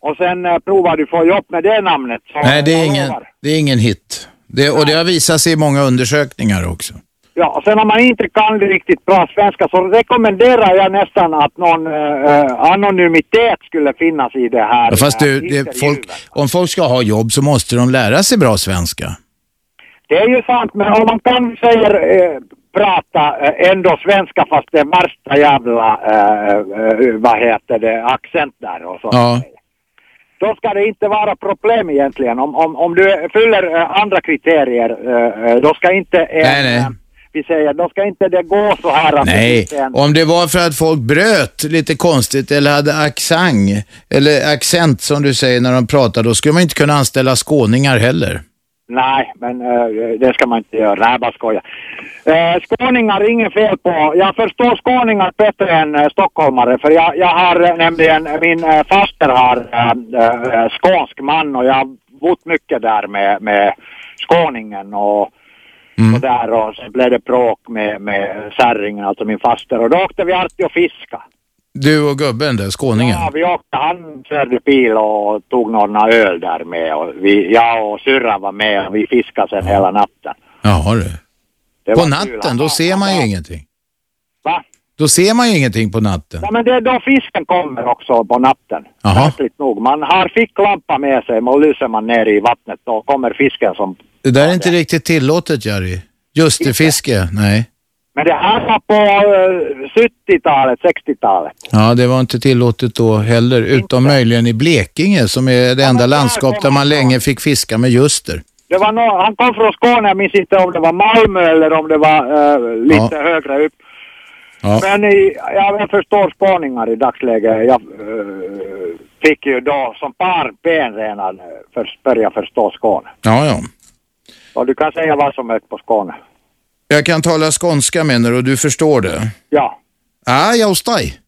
Och sen eh, provar du få jobb med det namnet. Så
Nej, det är
jag
ingen,
lovar.
det är ingen hit. Det, och det har visat sig i många undersökningar också.
Ja, och sen om man inte kan riktigt bra svenska så rekommenderar jag nästan att någon eh, anonymitet skulle finnas i det här.
Ja, fast
eh,
du, det, folk, om folk ska ha jobb så måste de lära sig bra svenska.
Det är ju sant, men om man kan säga, eh, prata eh, ändå svenska fast det är värsta jävla, eh, eh, vad heter det, accent där och så.
Ja.
Då ska det inte vara problem egentligen. Om, om, om du fyller eh, andra kriterier, eh, eh, då ska inte... eh,
Nej, nej.
eh, Vi säger, då ska inte det gå så här att...
Nej,
det är en-
om det var för att folk bröt lite konstigt eller hade accent, eller accent som du säger när de pratar, då skulle man inte kunna anställa skåningar heller.
Nej, men eh, det ska man inte göra. Nej, bara skoja. Eh, skåningar, inget fel på. Jag förstår skåningar bättre än eh, stockholmare. För jag, jag har eh, nämligen, min eh, faster har eh, eh, skånsk man och jag har bott mycket där med, med skåningen och, och där. Och så blev det bråk med, med särringen, alltså min faster. Och då åkte vi alltid och fiska.
Du och gubben där, skåningen.
Ja, vi åkte, han körde bil och tog några öl där med. Och vi, jag och syrran var med och vi fiskade sen hela natten.
Jaha du.
Det
På
var
natten, då ser man ju ingenting.
Va?
Då ser man ju ingenting på natten.
Ja, men det är då fisken kommer också på natten.
Jaha.
Märkligt nog. Man har ficklampa med sig och lyser man ner i vattnet då kommer fisken som...
Det där är inte riktigt tillåtet, Jari. Just det, fiske. Nej.
Men det här var på eh, 70-talet, 60-talet.
Ja, det var inte tillåtet då heller, utom möjligen i Blekinge som är det enda landskap där man länge fick fiska med ljuster.
Det var nå han kom från Skåne, jag minns inte om det var Malmö eller om det var eh, lite högre upp.
Ja.
Men i, ja, jag förstår skåningar i dagsläget. Jag eh, fick ju då som barnben redan eh, för, börja förstå Skåne.
Ja, ja.
Och du kan säga vad som helst på Skåne.
Jag kan tala skånska menar du och du förstår det?
Ja.
Ja, jag hos dig. [laughs]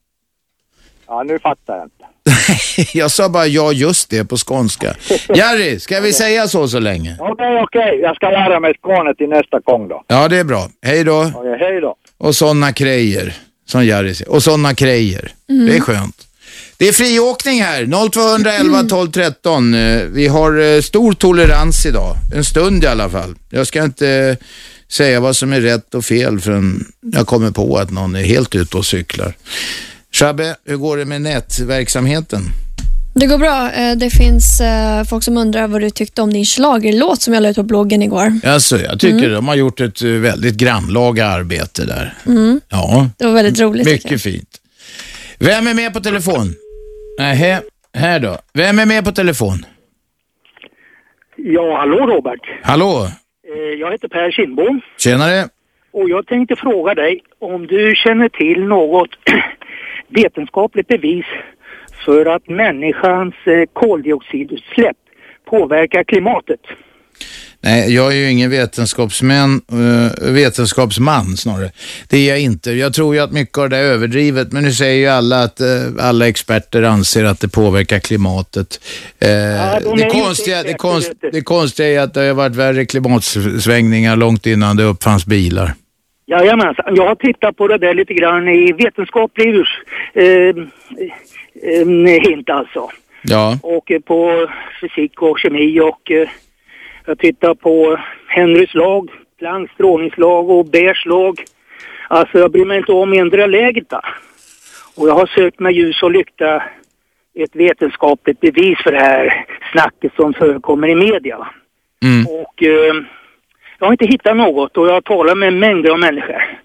Ja, nu fattar jag inte.
Jag sa bara ja just det på skånska. Jari, ska vi säga så så länge?
Okej, okej. Jag ska lära mig Skåne till nästa gång då.
Ja, det är bra. Hej då.
Okej, hej då.
Och sådana krejer, som Jari säger. Och sådana krejer.
Mm.
Det är skönt. Det är friåkning här, 0211 12 13. Eh, Vi har eh, stor tolerans idag, en stund i alla fall. Jag ska inte eh, säga vad som är rätt och fel förrän jag kommer på att någon är helt ute och cyklar. Shabbe, hur går det med nätverksamheten?
Det går bra. Eh, Det finns eh, folk som undrar vad du tyckte om din schlagerlåt som jag la ut på bloggen igår.
Alltså, jag tycker
Mm.
de har gjort ett eh, väldigt grannlaga arbete där.
Mm.
Ja,
Det var väldigt roligt. tycker jag.
mycket fint. Vem är med på telefon? Nähä, här då. Vem är med på telefon?
Ja, hallå Robert.
Hallå,
Eh, Jag heter Per Kindbom
tjenare.
och jag tänkte fråga dig om du känner till något [clears throat] vetenskapligt bevis för att människans eh, koldioxidutsläpp påverkar klimatet.
Nej, jag är ju ingen vetenskapsmän, eh, vetenskapsman snarare. Det är jag inte. Jag tror ju att mycket av det är överdrivet, men nu säger ju alla att eh, alla experter anser att det påverkar klimatet. Eh, det, konstiga, det, konst, det konstiga är att det har varit värre klimatsvängningar långt innan det uppfanns bilar.
Jajamensan, jag har tittat på det där lite grann i vetenskaplig urs, eh, eh, hint alltså.
Ja,
och eh, på fysik och kemi och eh, jag tittar på Henrys lag, Plancks strålningslag och Beers lag. Alltså jag bryr mig inte om endera läget. va. Och jag har sökt med ljus och lykta ett vetenskapligt bevis för det här snacket som förekommer i media. va.
Mm.
Och eh, jag har inte hittat något och jag har talat med mängder av människor.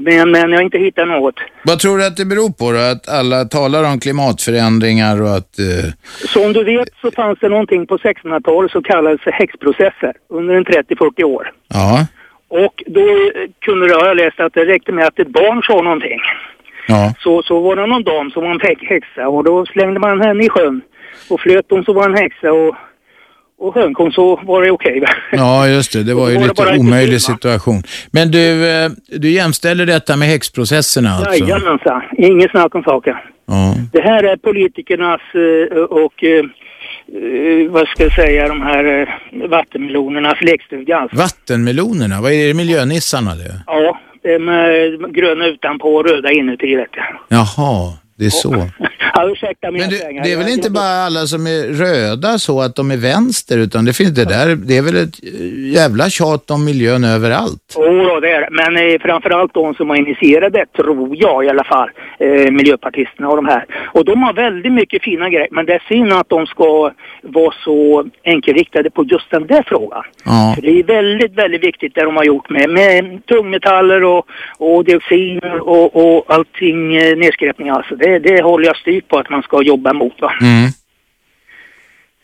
Men, men jag har inte hittat något.
Vad tror du att det beror på då? Att alla talar om klimatförändringar och att... Eh,
Som du vet så fanns det någonting på 1600-talet som kallades för häxprocesser under en 30-40 år.
ja,
Och då eh, kunde jag ha läst att det räckte med att ett barn sa någonting.
ja.
Så, så var det någon dam som var en hä- häxa och då slängde man henne i sjön. Och flöt hon så var en häxa och, och sjönk hon så var det okej. va?
Ja, just det. Det var ju
Då var det bara
lite
lite
omöjlig situation. Men du, eh, du jämställer detta med häxprocesserna alltså?
Jajamensan, inget snack om saken.
Ja.
Det här är politikernas eh, och eh, eh, vad ska jag säga, de här eh, vattenmelonernas lekstuga. alltså.
Vattenmelonerna, vad är det? Miljönissarna det?
Ja, eh, med gröna utanpå och röda inuti vet jag. [laughs]
Jaha, det är så.
Ja, ursäkta mina pengar.
Det är väl inte bara alla som är röda så att de är vänster, utan det finns det där, det är väl ett eh, jävla tjat om miljön överallt.
Jo, då, det är det. Men eh, framförallt de som har initierat det, tror jag i alla fall, eh, miljöpartisterna och de här. Och de har väldigt mycket fina grejer, men det är synd att de ska vara så enkelriktade på just den där frågan.
Ja.
För det är väldigt, väldigt viktigt det de har gjort med, med tungmetaller och, och dioxiner och, och allting, eh, nedskräpning alltså. Det, det håller jag styrt på att man ska jobba mot va.
Mm.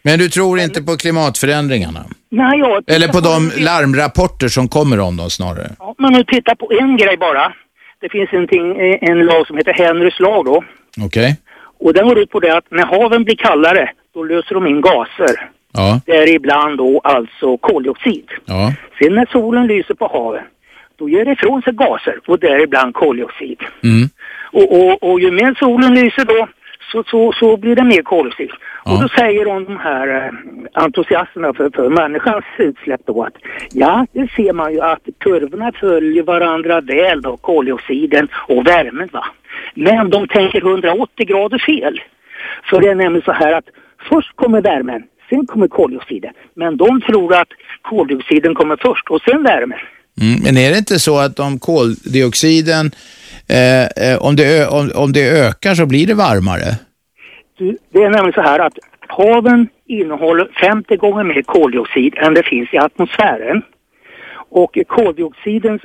Men du tror inte på klimatförändringarna?
Nej, jag
Eller på de larmrapporter som kommer om dem snarare?
Ja, men nu titta på en grej bara. Det finns en, ting, eh, en lag som heter Henrys lag då.
Okej.
Och den går ut på det att när haven blir kallare, då löser de in gaser.
Ja.
Däribland då alltså koldioxid.
Ja.
Sen när solen lyser på haven, då ger det ifrån sig gaser och däribland koldioxid.
Mm.
Och, och, och ju mer solen lyser då, så, så, så blir det mer koldioxid. Och då säger de, de här eh, entusiasterna för, för människans utsläpp då att ja, det ser man ju att kurvorna följer varandra väl då, koldioxiden och värmen va. Men de tänker 180 grader fel. För det är nämligen så här att först kommer värmen, sen kommer koldioxiden. Men de tror att koldioxiden kommer först och sen värmen.
Mm. Men är det inte så att om koldioxiden, eh, eh, om, det ö- om, om det ökar så blir det varmare?
Du, Det är nämligen så här att haven innehåller 50 gånger mer koldioxid än det finns i atmosfären. Och koldioxidens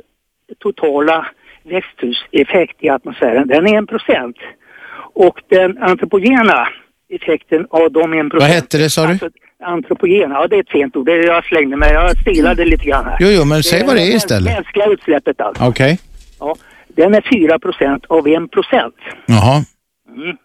totala växthuseffekt i atmosfären, den är 1 procent. Och den antropogena effekten av de 1
Vad hette det sa du?
antropogena, ja det är ett fint ord, det är- jag slängde mig, jag stilade lite grann här.
Mm. Jo, jo, men säg vad det är
mäns-
istället.
Mänskliga utsläppet alltså.
Okej.
Ja, den är 4 procent av 1 procent.
Jaha.
Mm.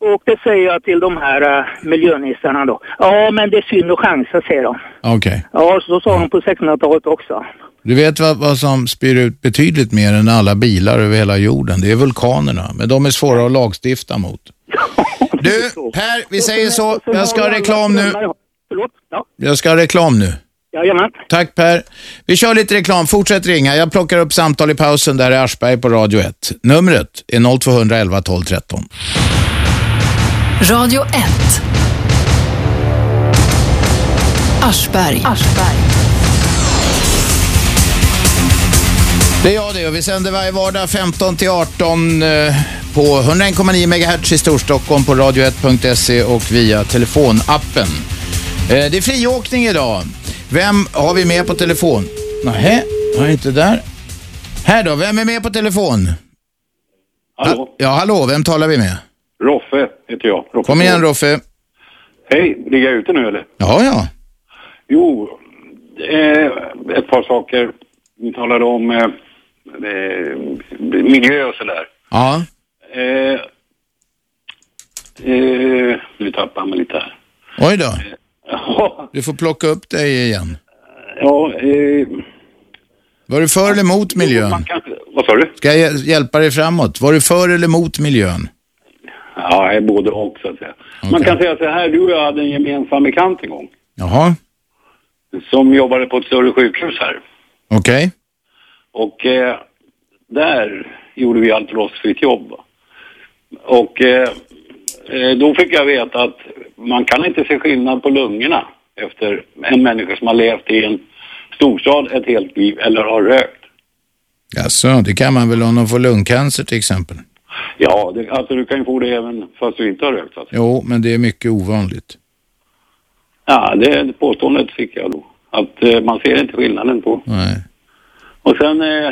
Och det säger jag till de här äh, miljönissarna då. Ja, men det är synd att chansa, säger de.
Okej.
Ja, så sa de på 1600-talet också.
Du vet vad, vad som spyr ut betydligt mer än alla bilar över hela jorden? Det är vulkanerna, men de är svåra att lagstifta mot. Du, Per, vi säger så. Jag ska ha reklam nu.
Förlåt? Ja,
Jag ska ha reklam nu.
jajamän.
Tack Per. Vi kör lite reklam. Fortsätt ringa. Jag plockar upp samtal i pausen. Där är Aschberg på Radio 1. Numret är 0211 12 13.
Radio 1. Aschberg.
Det är jag det och vi sänder varje vardag 15 till 18 eh, på 101,9 MHz i Storstockholm på radio1.se och via telefonappen. Eh, Det är friåkning idag. Vem har vi med på telefon? Nähä, han är inte där. Här då, vem är med på telefon?
Hallå?
Ja, hallå, vem talar vi med?
Roffe heter jag. Roffe.
Kom igen Roffe.
Hej, ligger jag ute nu eller?
Ja, ja.
Jo, eh, ett par saker. Ni talade om eh, eh, miljö och sådär.
Ja.
Eh, eh, nu tappade jag mig lite här.
Oj
[laughs]
då. Du får plocka upp dig igen.
Ja, eh,
Var du för eller emot miljön?
vad sa du?
Ska jag hjäl- hjälpa dig framåt? Var du för eller emot miljön?
Ja, jag är både och så att säga. Man kan säga så här, du och jag hade en gemensam bekant en gång.
Jaha,
Som jobbade på ett större sjukhus här.
okej.
Och eh, där gjorde vi allt rostfritt jobb. Och eh, eh, då fick jag veta att man kan inte se skillnad på lungorna efter en människa som har levt i en storstad ett helt liv eller har rökt.
Jaså, det kan man väl om de får lungcancer till exempel?
Ja, det, alltså du kan ju få det även fast du inte har rökt. Alltså.
Jo, men det är mycket ovanligt.
Ja, det påståendet fick jag då. Att eh, man ser inte skillnaden på.
Nej.
Och sen... Eh,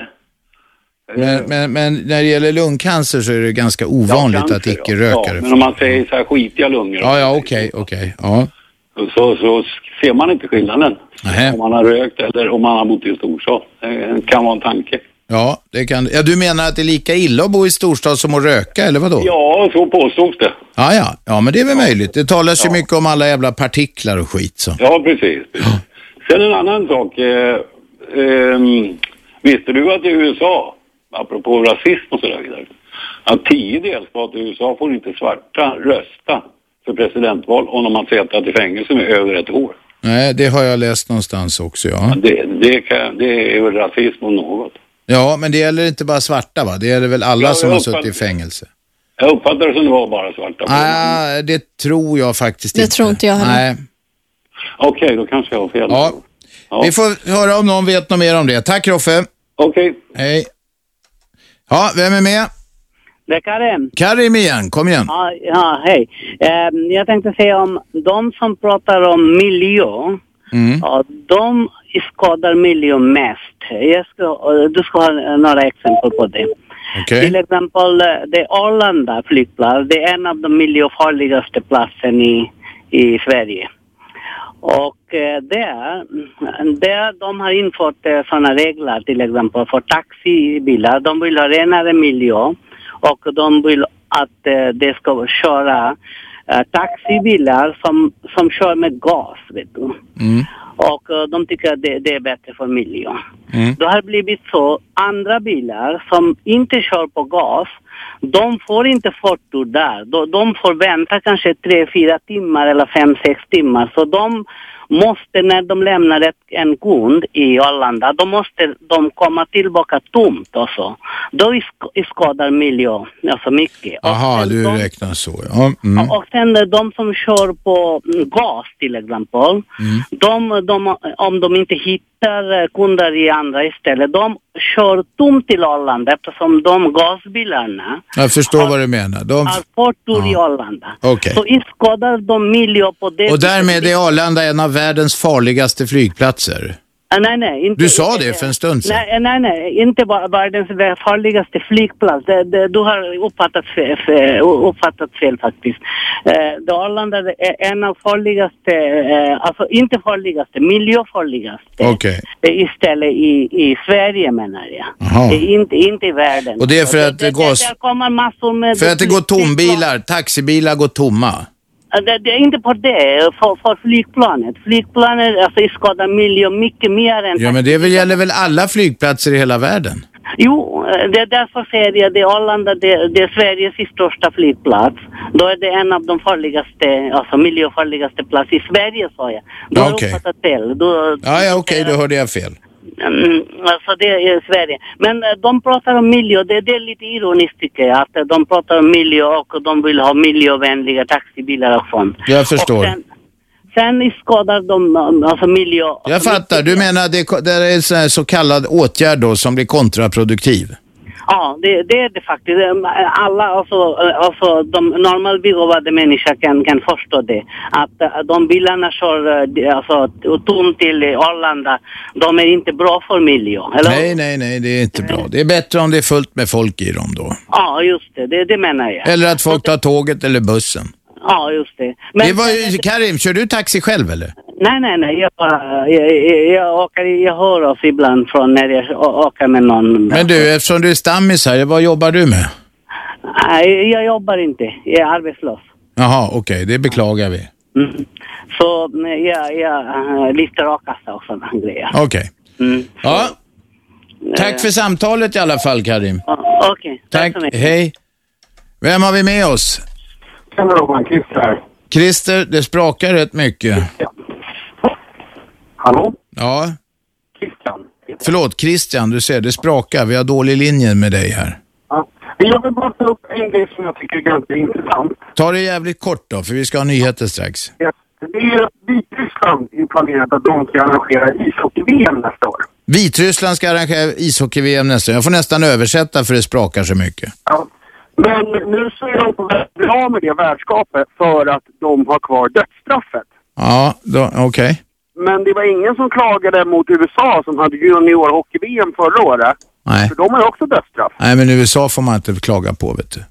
Men, men, men när det gäller lungcancer så är det ganska ovanligt att
ja,
icke-rökare
men om man säger så här skitiga lungor.
Ja, ja, okej, okej. Ja.
så, så ser man inte skillnaden. Om man har rökt eller om man har bott i en storstad. Det kan vara en tanke.
Ja, det kan... ja, du menar att det är lika illa att bo i storstad som att röka, eller vadå?
Ja, så påstods det.
Ja, ja. ja men det är väl möjligt. Det talas ju mycket om alla jävla partiklar och skit så.
Ja, precis. Sen en annan sak. Eh, ehm, visste du att i USA, apropå rasism och sådär vidare, att tio delstater i USA får inte svarta rösta
för presidentval om de har suttit i fängelse med över ett år.
Nej, det har jag läst någonstans också, ja.
Det, det, kan, det är väl rasism om något.
Ja, men det gäller inte bara svarta va? Det gäller väl alla
Ja,
som
jag
har
uppfattar-
suttit i fängelse?
Jag uppfattar det som det var bara svarta.
Ah. Nej, det tror jag faktiskt
Det
inte.
tror inte jag heller.
Nej.
Okej, då kanske jag har fel.
Ja. Vi får höra om någon vet något mer om det. Tack Roffe.
Okej.
Hej. Ja, vem är med?
Det är Karim.
Karim igen, kom igen.
Ja, ja hej. Ehm, jag tänkte säga om de som pratar om miljö,
Mm.
ja, de skadar miljön mest. Jag ska, eh, du ska ha eh, några exempel på det.
Okej.
Till exempel eh, det är Arlanda flygplats. Det är en av de miljöfarligaste platsen i, i Sverige. Och eh, där, där de har infört sådana regler till exempel för taxibilar. De vill ha renare miljö och de vill att eh, de ska köra eh, taxibilar som, som kör med gas. Vet du.
Mm,
Och eh, de tycker att det, det är bättre för miljön.
mm.
Mm.
Det har blivit så andra bilar som inte kör på gas, de får inte förtur där. De, de får vänta kanske tre fyra timmar eller fem sex timmar. Så de måste, när de lämnar ett, en kund i Arlanda, då måste de komma tillbaka tomt och så. Då sk- skadar miljön så mycket.
Aha, du räknar så ja. Mm.
Och sen eh, de som kör på mm, gas till exempel,
Mm.
de, de, om de inte hittar eh, kunder i andra ställen, de kör tomt till Arlanda eftersom de gasbilarna
Jag förstår vad du menar. De...
har förtur i Arlanda.
Okej.
Så skadar de miljö på det
Och därmed är Arlanda en av världens farligaste flygplatser.
Ah, Nej, nej, inte,
Du sa det för en stund sedan.
Nej, eh, nej, nej, inte va- världens farligaste flygplats. Det, det, du har uppfattat fel, fel, uppfattat fel faktiskt. Eh, det Arlanda är en av farligaste, eh, alltså inte farligaste, miljöfarligaste
Okej.
eh, istället i, i Sverige menar jag.
Aha.
Det är inte, inte i världen.
Och det är för
Så
att det går-
Där kommer massor med...
För att det går tombilar, taxibilar går tomma.
Eh, Det, det är inte på det, för, för flygplanet. Flygplanet alltså, skadar miljön mycket mer än
Ja, men det väl- gäller väl alla flygplatser i hela världen?
Jo, eh, det är därför säger jag det är Arlanda, det, det är Sveriges största flygplats. Då är det en av de farligaste, alltså miljöfarligaste plats i Sverige sa jag. Du har
Okej.
uppfattat fel. Du,
Ja, ja okej, då hörde jag fel.
mm, alltså det är Sverige. Men eh, de pratar om miljö, det, det är lite ironiskt tycker jag. Att eh, de pratar om miljö och de vill ha miljövänliga taxibilar och sånt.
Jag förstår.
Sen skadar de eh, alltså miljö.
Jag fattar, du menar det, det är en sån här så kallad åtgärd då som blir kontraproduktiv?
Ja, det, det är det faktiskt. Eh, Alla, alltså, alltså de normalbegåvade människor kan, kan förstå det. Att eh, de bilarna kör eh, de- alltså, tomt till eh, Arlanda, de är inte bra för miljön. Eller?
Nej, nej, nej, det är inte bra. Det är bättre om det är fullt med folk i dem då.
Ja, just det, det, det menar jag.
Eller att folk tar tåget eller bussen.
Ja, just det.
det var ju, Karim, kör du taxi själv eller?
Nej, nej, nej. Jag, bara- jag, jag, jag, åker, jag hör oss ibland från när jag å- åker med någon.
Men du, eftersom du är stammis här, vad jobbar du med?
Nej, jag jobbar inte. Jag är arbetslös. Mm.
Jaha, okej, det beklagar vi.
Så nej, jag, jag eh, lyfter a-kassa och sådana grejer.
Okej.
Mm.
Ja. Tack för samtalet i alla fall, Karim.
Okej,
Tack, hej. Vem har vi med oss?
Tjena Robban, Christer.
Christer, det sprakar rätt mycket.
Hallå?
Ja. Christian. Förlåt, Christian, du ser, det sprakar. Vi har dålig linje med dig här.
Ja. Men Jag vill bara ta upp en grej som jag tycker är ganska intressant.
Ta det jävligt kort då, för vi ska ha nyheter strax.
Det är att Vitryssland är planerat att de ska arrangera ishockey-VM nästa år.
Vitryssland ska arrangera ishockey-VM nästa år. Jag får nästan översätta för det sprakar så mycket.
Men nu så är de på väg att bli av med det värdskapet för att de har kvar dödsstraffet.
Ja, då- okej.
Men det var ingen som klagade mot USA som hade junior-hockey-VM förra året.
Nej.
För de har ju också dödsstraff.
Nej, men USA får man inte klaga på, vet du.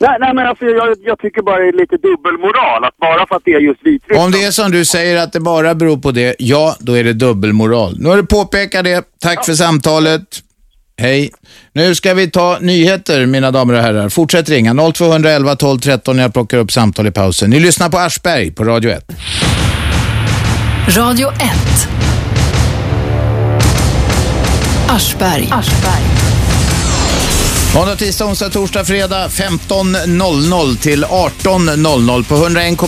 Nej, nej men alltså jag, jag tycker bara det är lite dubbelmoral att bara för att det är just Vitryssland.
Om det är som du säger att det bara beror på det, ja, då är det dubbelmoral. Nu har du påpekat det. Tack för samtalet. Hej. Nu ska vi ta nyheter, mina damer och herrar. Fortsätt ringa 0211 12 13 när jag plockar upp samtal i pausen. Ni lyssnar på Aschberg på Radio 1.
Radio 1. Aschberg.
Måndag, tisdag, onsdag, torsdag, fredag 15.00 till 18.00 på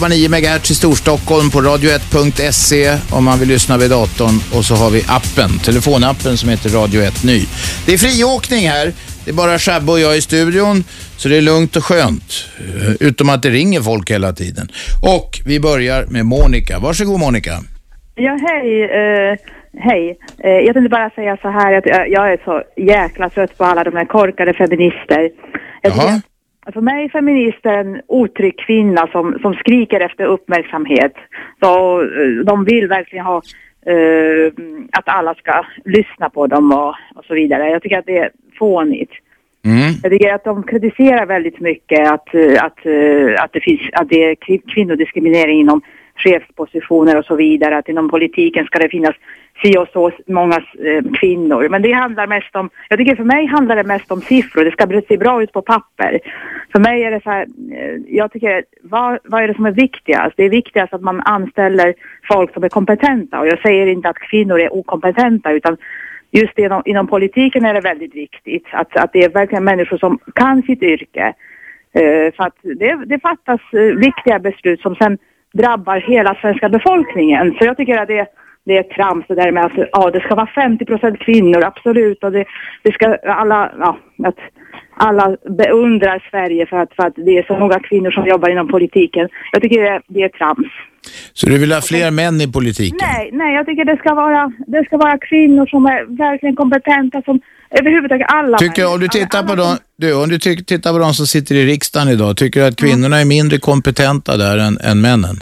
101,9 MHz i Storstockholm på radio1.se om man vill lyssna vid datorn. Och så har vi appen, telefonappen som heter Radio 1 Ny. Det är friåkning här. Det är bara Shabbe och jag i studion, så det är lugnt och skönt. Eh, Utom att det ringer folk hela tiden. Och vi börjar med Monica. Varsågod Monica.
Ja, hej. eh, hej. Eh, jag tänkte bara säga så här att jag, jag är så jäkla trött på alla de här korkade feminister. Jag tycker att- För mig är feminister en otrygg kvinna som, som skriker efter uppmärksamhet. Så, eh, de vill verkligen ha eh, att alla ska lyssna på dem och, och så vidare. Jag tycker att det är fånigt.
Mm.
Mm.
Jag tycker att de kritiserar väldigt mycket att, eh, att, eh, att, det, finns, att det är kvin- kvinnodiskriminering inom chefspositioner och så vidare. Att inom politiken ska det finnas si och så många eh, kvinnor. Men det handlar mest om, jag tycker för mig handlar det mest om siffror. Det ska bli- se bra ut på papper. För mig är det så här, eh, jag tycker, vad, vad är det som är viktigast? Det är viktigast att man anställer folk som är kompetenta. Och jag säger inte att kvinnor är okompetenta utan just inom, inom politiken är det väldigt viktigt att, att det är verkligen människor som kan sitt yrke. Eh, för att det, det fattas eh, viktiga beslut som sen drabbar hela svenska befolkningen. Så jag tycker att det, det är trams det där med att ja, det ska vara 50 procent kvinnor, absolut. Och det, det ska alla, ja, att alla beundrar Sverige för att, för att det är så många kvinnor som jobbar inom politiken. Jag tycker det, det är trams.
Så du vill ha fler män i politiken?
Nej, nej, jag tycker det ska vara, det ska vara kvinnor som är verkligen kompetenta som överhuvudtaget alla
Tycker, om du tittar på dem, du, om du ty- tittar på de som sitter i riksdagen idag, tycker du att
Mm.
kvinnorna är mindre kompetenta där än, än männen?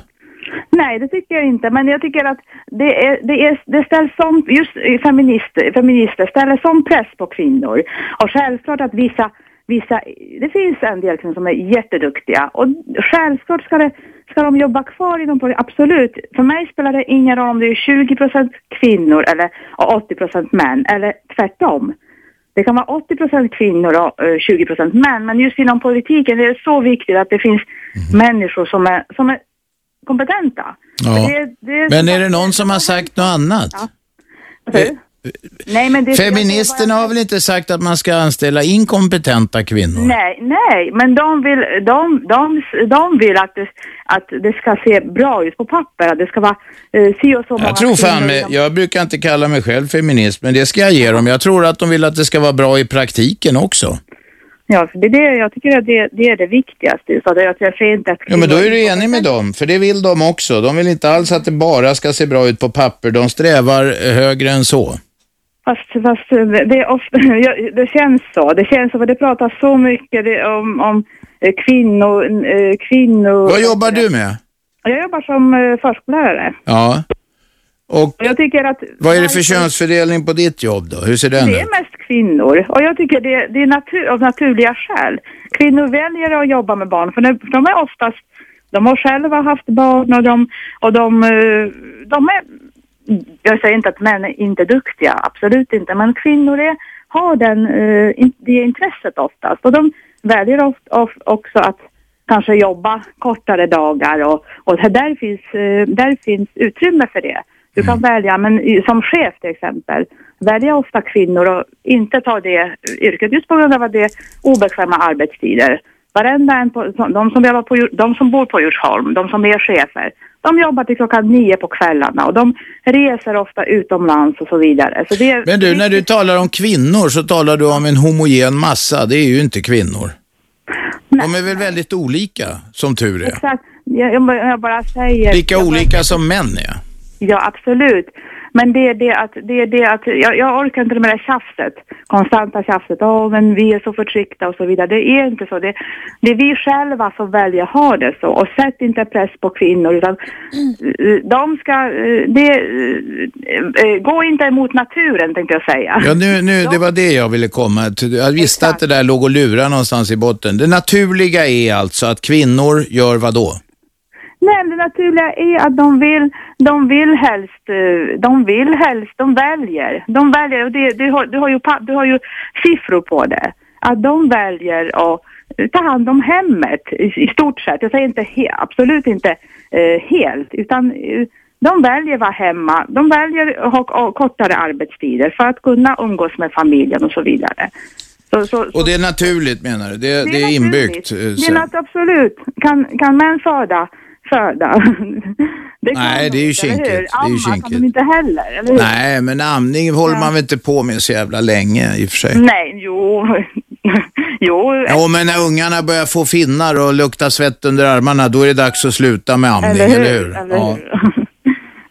Nej, det tycker jag inte. Men jag tycker att det, är, det, är, det ställs som, just eh, feminister, feminister ställer som press på kvinnor. Och självklart att vissa, vissa, det finns en del kvinnor som är jätteduktiga. Och självklart ska, det, ska de jobba kvar inom poli- absolut. För mig spelar det ingen roll om det är 20 kvinnor eller och 80 män, eller tvärtom. Det kan vara 80 kvinnor och eh, 20 män, men just inom politiken är det så viktigt att det finns människor som är, som är kompetenta.
Ja.
Det- det-
Men är det någon som har sagt något annat?
nej, men det,
Feministerna har väl inte sagt att man ska anställa inkompetenta kvinnor?
Nej, nej, men de vill, de, de, de vill att, det, att det ska se bra ut på papper, att det ska vara eh, si och så många
Jag tror fan
kvinnor
med,
inom-
jag brukar inte kalla mig själv feminist, men det ska jag ge dem. Jag tror att de vill att det ska vara bra i praktiken också.
Ja, för det är det, jag tycker att det, det är det viktigaste. Så att jag, jag säger inte att
Ja, men då är du enig med dem, för det vill de också. De vill inte alls att det bara ska se bra ut på papper. De strävar eh, högre än så.
Fast, fast eh, det, är ofta, [laughs] jag- det känns så. Det känns som att det pratas så mycket det- om, om eh, kvinnor, eh, kvinnor...
Vad jobbar du med?
Jag jobbar som eh, förskollärare.
Ja. Och
Och jag tycker att...
vad är det för könsfördelning på ditt jobb då? Hur ser den
Det
ut?
är mest kvinnor. Och jag tycker det, det är natur, av naturliga skäl. Kvinnor väljer att jobba med barn för de, de är oftast... De har själva haft barn och de... Och de, eh, de är, jag säger inte att män är inte duktiga, absolut inte. Men kvinnor är, har den, eh, in, det intresset oftast. Och de väljer oft, of, också att kanske jobba kortare dagar och, och här- där, finns, eh, där finns utrymme för det. Du kan välja, men i- som chef till exempel, välja ofta kvinnor och inte ta det yrket just på grund av att det är obekväma arbetstider. Varenda en, på, som- de, som jobbar på, Djur- de som bor på Djursholm, de som är chefer, de jobbar till klockan nio på kvällarna och de reser ofta utomlands och så vidare. Så det är,
Men du, när du talar om kvinnor så talar du om en homogen massa. Det är ju inte kvinnor. De är väl väldigt olika, som tur är.
exakt, jag, jag bara- jag bara säger...
Lika olika som män är.
Ja, absolut. Men det är det att, det är det att jag, jag orkar inte med det där tjafset, konstanta tjafset. Åh, men vi är så förtryckta och så vidare. Det är inte så. Det, det är vi själva som väljer att ha det så. Och sätt inte press på kvinnor, utan eh, de ska... eh, Det, eh, eh, gå inte emot naturen, tänkte jag säga.
Ja, nu, nu, det var det jag ville komma till. Jag visste att det där låg och lurade någonstans i botten. Det naturliga är alltså att kvinnor gör vad då?
Nej, men det naturliga är att de vill, de vill helst, eh, de vill helst, de väljer. De väljer och det, du, har, du, har ju, pa- du har ju siffror på det. Att de väljer att eh, ta hand om hemmet i, i stort sett. Jag säger inte he, absolut inte eh, helt, utan eh, de väljer att vara hemma. De väljer att ha, ha kortare arbetstider för att kunna umgås med familjen och så vidare. Så, så,
Och det är naturligt menar du? Det, det är inbyggt? eh,
Men
sen.
att absolut, kan, kan män föda, föda. Det kan
Nej,
de
det är ju
inte, eller hur?
kinkigt. Det är ju
Amma kan
kinkigt.
de inte heller, eller hur?
Nej, men amning håller
Mm. Ja.
man väl inte på med så jävla länge i och för sig?
Nej, jo. [laughs] jo.
Ja, men när ungarna börjar få finnar och lukta svett under armarna, då är det dags att sluta med amning, eller
Eller
hur?
hur? Eller
Ja.
[laughs]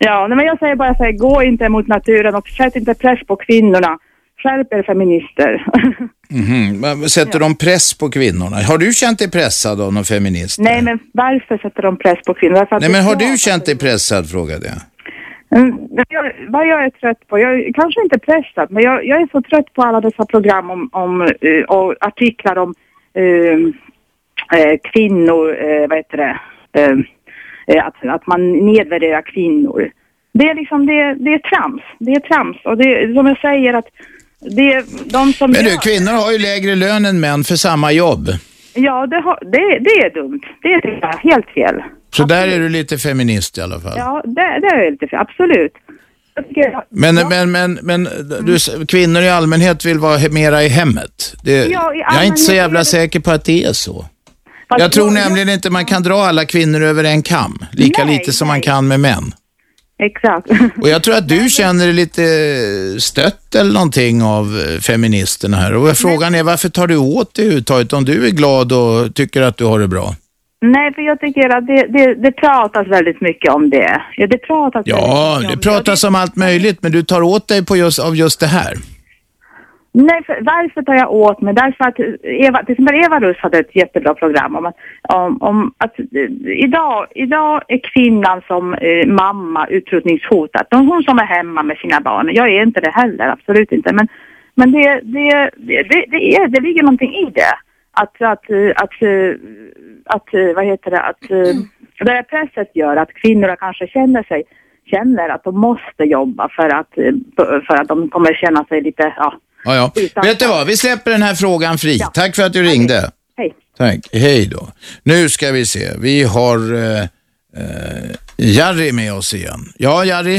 Ja, nej, men jag säger bara så här, gå inte emot naturen och sätt inte press på kvinnorna. Skärp er feminister. [laughs]
Mhm. Men Sätter de press på kvinnorna? Har du känt dig pressad av någon feminist?
nej, men varför sätter de press på kvinnor? Varför att
Nej,
det
men har
är så?
du känt dig pressad, frågade jag.
Mm, men jag- Vad jag är trött på, jag är kanske inte pressad, men jag, jag är så trött på alla dessa program om, om, eh, och artiklar om eh, eh, kvinnor, eh, vad heter det, Eh, eh, att, att man nedvärderar kvinnor. Det är liksom, det, det är trams, det är trams och det, som jag säger att det är de som
Men
gör,
du, kvinnor har ju lägre lön än män för samma jobb.
ja det, har, det, det är dumt, det är tycker jag, helt fel.
Så där är du lite feminist i alla fall.
Ja, det, det är lite fel, absolut. Jag tycker-
Men, men, men, men
Mm.
du, s- kvinnor i allmänhet vill vara he- mera i hemmet. Det,
Ja, i
jag är inte
allmänhet
så
är
jävla säker på att det är så.
Fast
jag tror
jag-
nämligen inte man kan dra alla kvinnor över en kam, lika lite som man kan med män.
Exakt.
Och jag tror att du känner dig lite stött eller någonting av eh, feministerna här. Och frågan är varför tar du åt dig överhuvudtaget om du är glad och tycker att du har det bra?
Nej, för jag tycker att det, det, det pratas väldigt mycket om det. Ja, det pratas väldigt
Ja,
mycket
det
om
pratas om allt möjligt, men du tar åt dig på just, av just det här.
Nej, för, varför tar jag åt mig? Därför att Eva, till exempel Eva Russ hade ett jättebra program om att, om, om att eh, idag, idag är kvinnan som eh, mamma utrotningshotad. De- Hon som är hemma med sina barn. Jag är inte det heller, absolut inte. Men, men det, det, det, det, det, är, det ligger någonting i det. Att, att, eh, att, eh, att eh, vad heter det, att eh, det här presset gör att kvinnorna kanske känner sig känner att de måste jobba för att, eh, för att de kommer känna sig lite, ja,
Ja, ja. Vet du vad, vi släpper den här frågan fri. Tack för att du ringde.
Hej.
Tack, hej då. Nu ska vi se, vi har eh, eh, Jari med oss igen. Ja, Jari?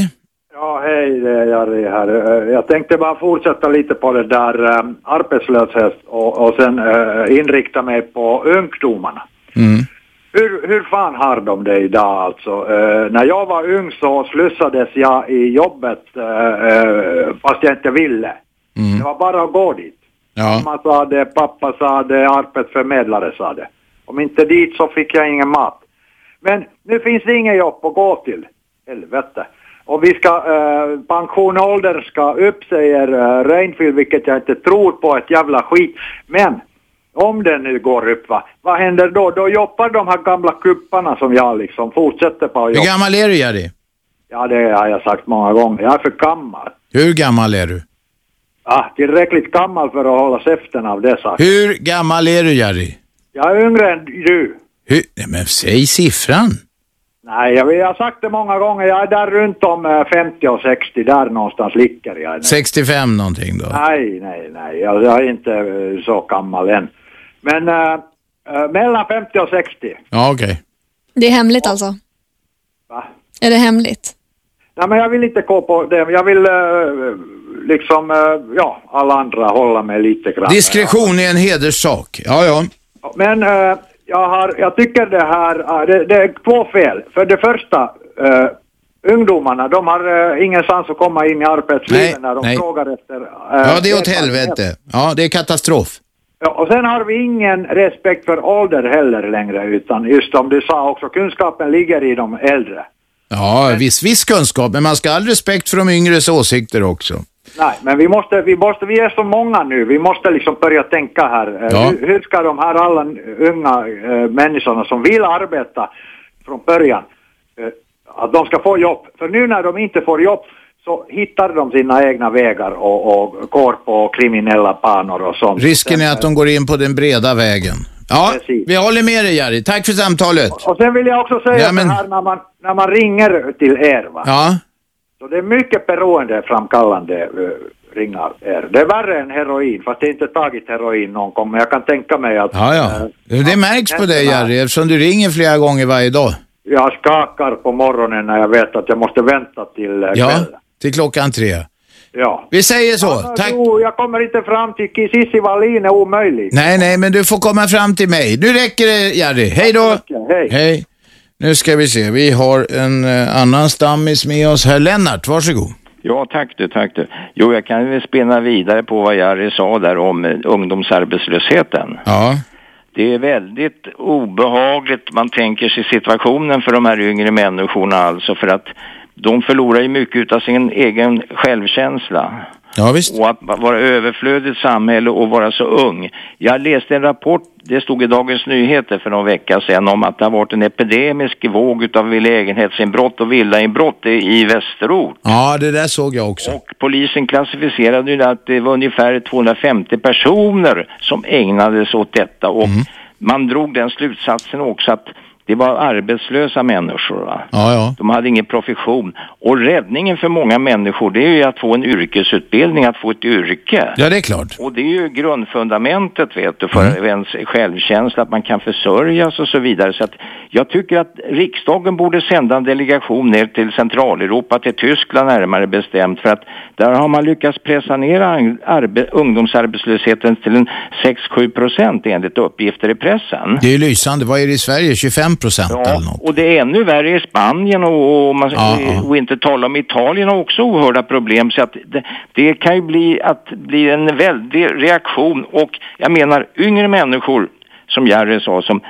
Ja, hej, det är Jari här. Eh, Jag tänkte bara fortsätta lite på det där eh, arbetslöshet och, och sen eh, inrikta mig på ungdomarna. Hur, hur fan har de det idag alltså? Eh, när jag var ung så slussades jag i jobbet eh, eh, fast jag inte ville. Det var bara att gå dit.
Mm. Ja.
Mamma sa det, pappa sa det, arbetsförmedlare sa det. Om inte dit så fick jag ingen mat. Men nu finns det ingen jobb att gå till. Helvete. Och vi ska, eh, pensionsåldern ska upp säger eh, Reinfeldt, vilket jag inte tror på ett jävla skit. Men om den nu går upp va, vad händer då? Då jobbar de här gamla kupparna som jag liksom fortsätter på att
Hur
jobba.
gammal är du, Jari?
Ja det har jag sagt många gånger, jag är för gammal.
Hur gammal är du?
Ah, tillräckligt gammal för att hålla käften av det sagt.
Hur gammal är du, Jari?
Jag är yngre än du.
Hur? Nej, men säg siffran.
Nej, jag, jag har sagt det många gånger, jag är där runt om eh, 50 och 60, där någonstans ligger jag.
65 någonting då.
Nej, nej, nej. Jag, jag är inte eh, så gammal än. Men eh, eh, mellan 50 och 60.
Ja, okej.
Det är hemligt alltså?
Va?
Är det hemligt?
Nej, men jag vill inte gå på det. Jag vill eh, liksom, eh, ja, alla andra hålla mig lite grann.
Diskretion är en hederssak. Ja, ja.
Men eh, jag, har, jag tycker det här, eh, det, det är två fel. För det första, eh, ungdomarna, de har eh, ingenstans att komma in i arbetslivet
Nej,
när de
nej.
frågar efter... eh,
Ja, det är åt
erfarenhet.
helvete. Ja, det är katastrof.
Ja, och sen har vi ingen respekt för ålder heller längre, utan just som du sa också, kunskapen ligger i de äldre.
Ja, viss, viss kunskap, men man ska ha all respekt för de yngres åsikter också.
Nej, men vi måste, vi måste, vi är så många nu, vi måste liksom börja tänka här. Eh,
Ja.
Hur, hur ska de här alla unga eh, människorna som vill arbeta från början, eh, att de ska få jobb? För nu när de inte får jobb så hittar de sina egna vägar och, och går på kriminella banor och sånt.
Risken är att de går in på den breda vägen. Ja, vi håller med dig Jari. Tack för samtalet.
Och sen vill jag också säga
Ja, men-
så här när man, när man ringer till er va.
Ja,
Så det är mycket beroendeframkallande eh, ringar er. Det är värre än heroin, fast jag har inte tagit heroin någon gång, men jag kan tänka mig att eh,
ja, ja. Det märks på dig Jari eftersom du ringer flera gånger varje dag.
jag skakar på morgonen när jag vet att jag måste vänta till eh,
Ja,
kvällen.
till klockan tre.
Ja.
Vi säger så. Tack.
Jo, jag kommer inte fram till Kiss Wallin är omöjlig.
Nej, nej, men du får komma fram till mig. Nu räcker det, Jerry. Hej då! Hej. Nu ska vi se. Vi har en eh, annan stammis med oss här. Lennart, varsågod.
Ja, tack du, tack du. Jo, jag kan väl spinna vidare på vad Jari sa där om eh, ungdomsarbetslösheten.
Ja.
Det är väldigt obehagligt man tänker sig situationen för de här yngre människorna alltså för att de förlorar ju mycket av sin egen självkänsla.
Ja, visst. [laughs]
Och att vara överflödigt samhälle och vara så ung. Jag läste en rapport, det stod i Dagens Nyheter för någon vecka sedan, om att det har varit en epidemisk våg utav lägenhetsinbrott och villainbrott i i Västerort.
Ja, det där såg jag också.
Polisen klassificerade ju att det var ungefär 250 personer som ägnade sig åt detta och man drog den slutsatsen också att det var arbetslösa människor. Va?
Ja,
Mm.
ja.
De hade ingen profession. Och räddningen för många människor det är ju att få en yrkesutbildning, att få ett yrke.
Ja, det är klart. Mm.
Och det är ju grundfundamentet vet du för ens självkänsla, att man kan försörjas och så vidare. Så att jag tycker att riksdagen borde sända en delegation ner till Centraleuropa, till Tyskland närmare bestämt, för att där har man lyckats pressa ner ang- arbe- ungdomsarbetslösheten till en 6-7 procent enligt uppgifter i pressen.
Det är ju lysande. Vad är det i Sverige? 25 procent eller något?
Och det är ännu värre i Spanien och, och, man,
Ja, ja.
och inte tala om Italien har också oerhörda problem. Så att det, det kan ju bli, att bli en väldig reaktion och jag menar yngre människor som Jerry sa som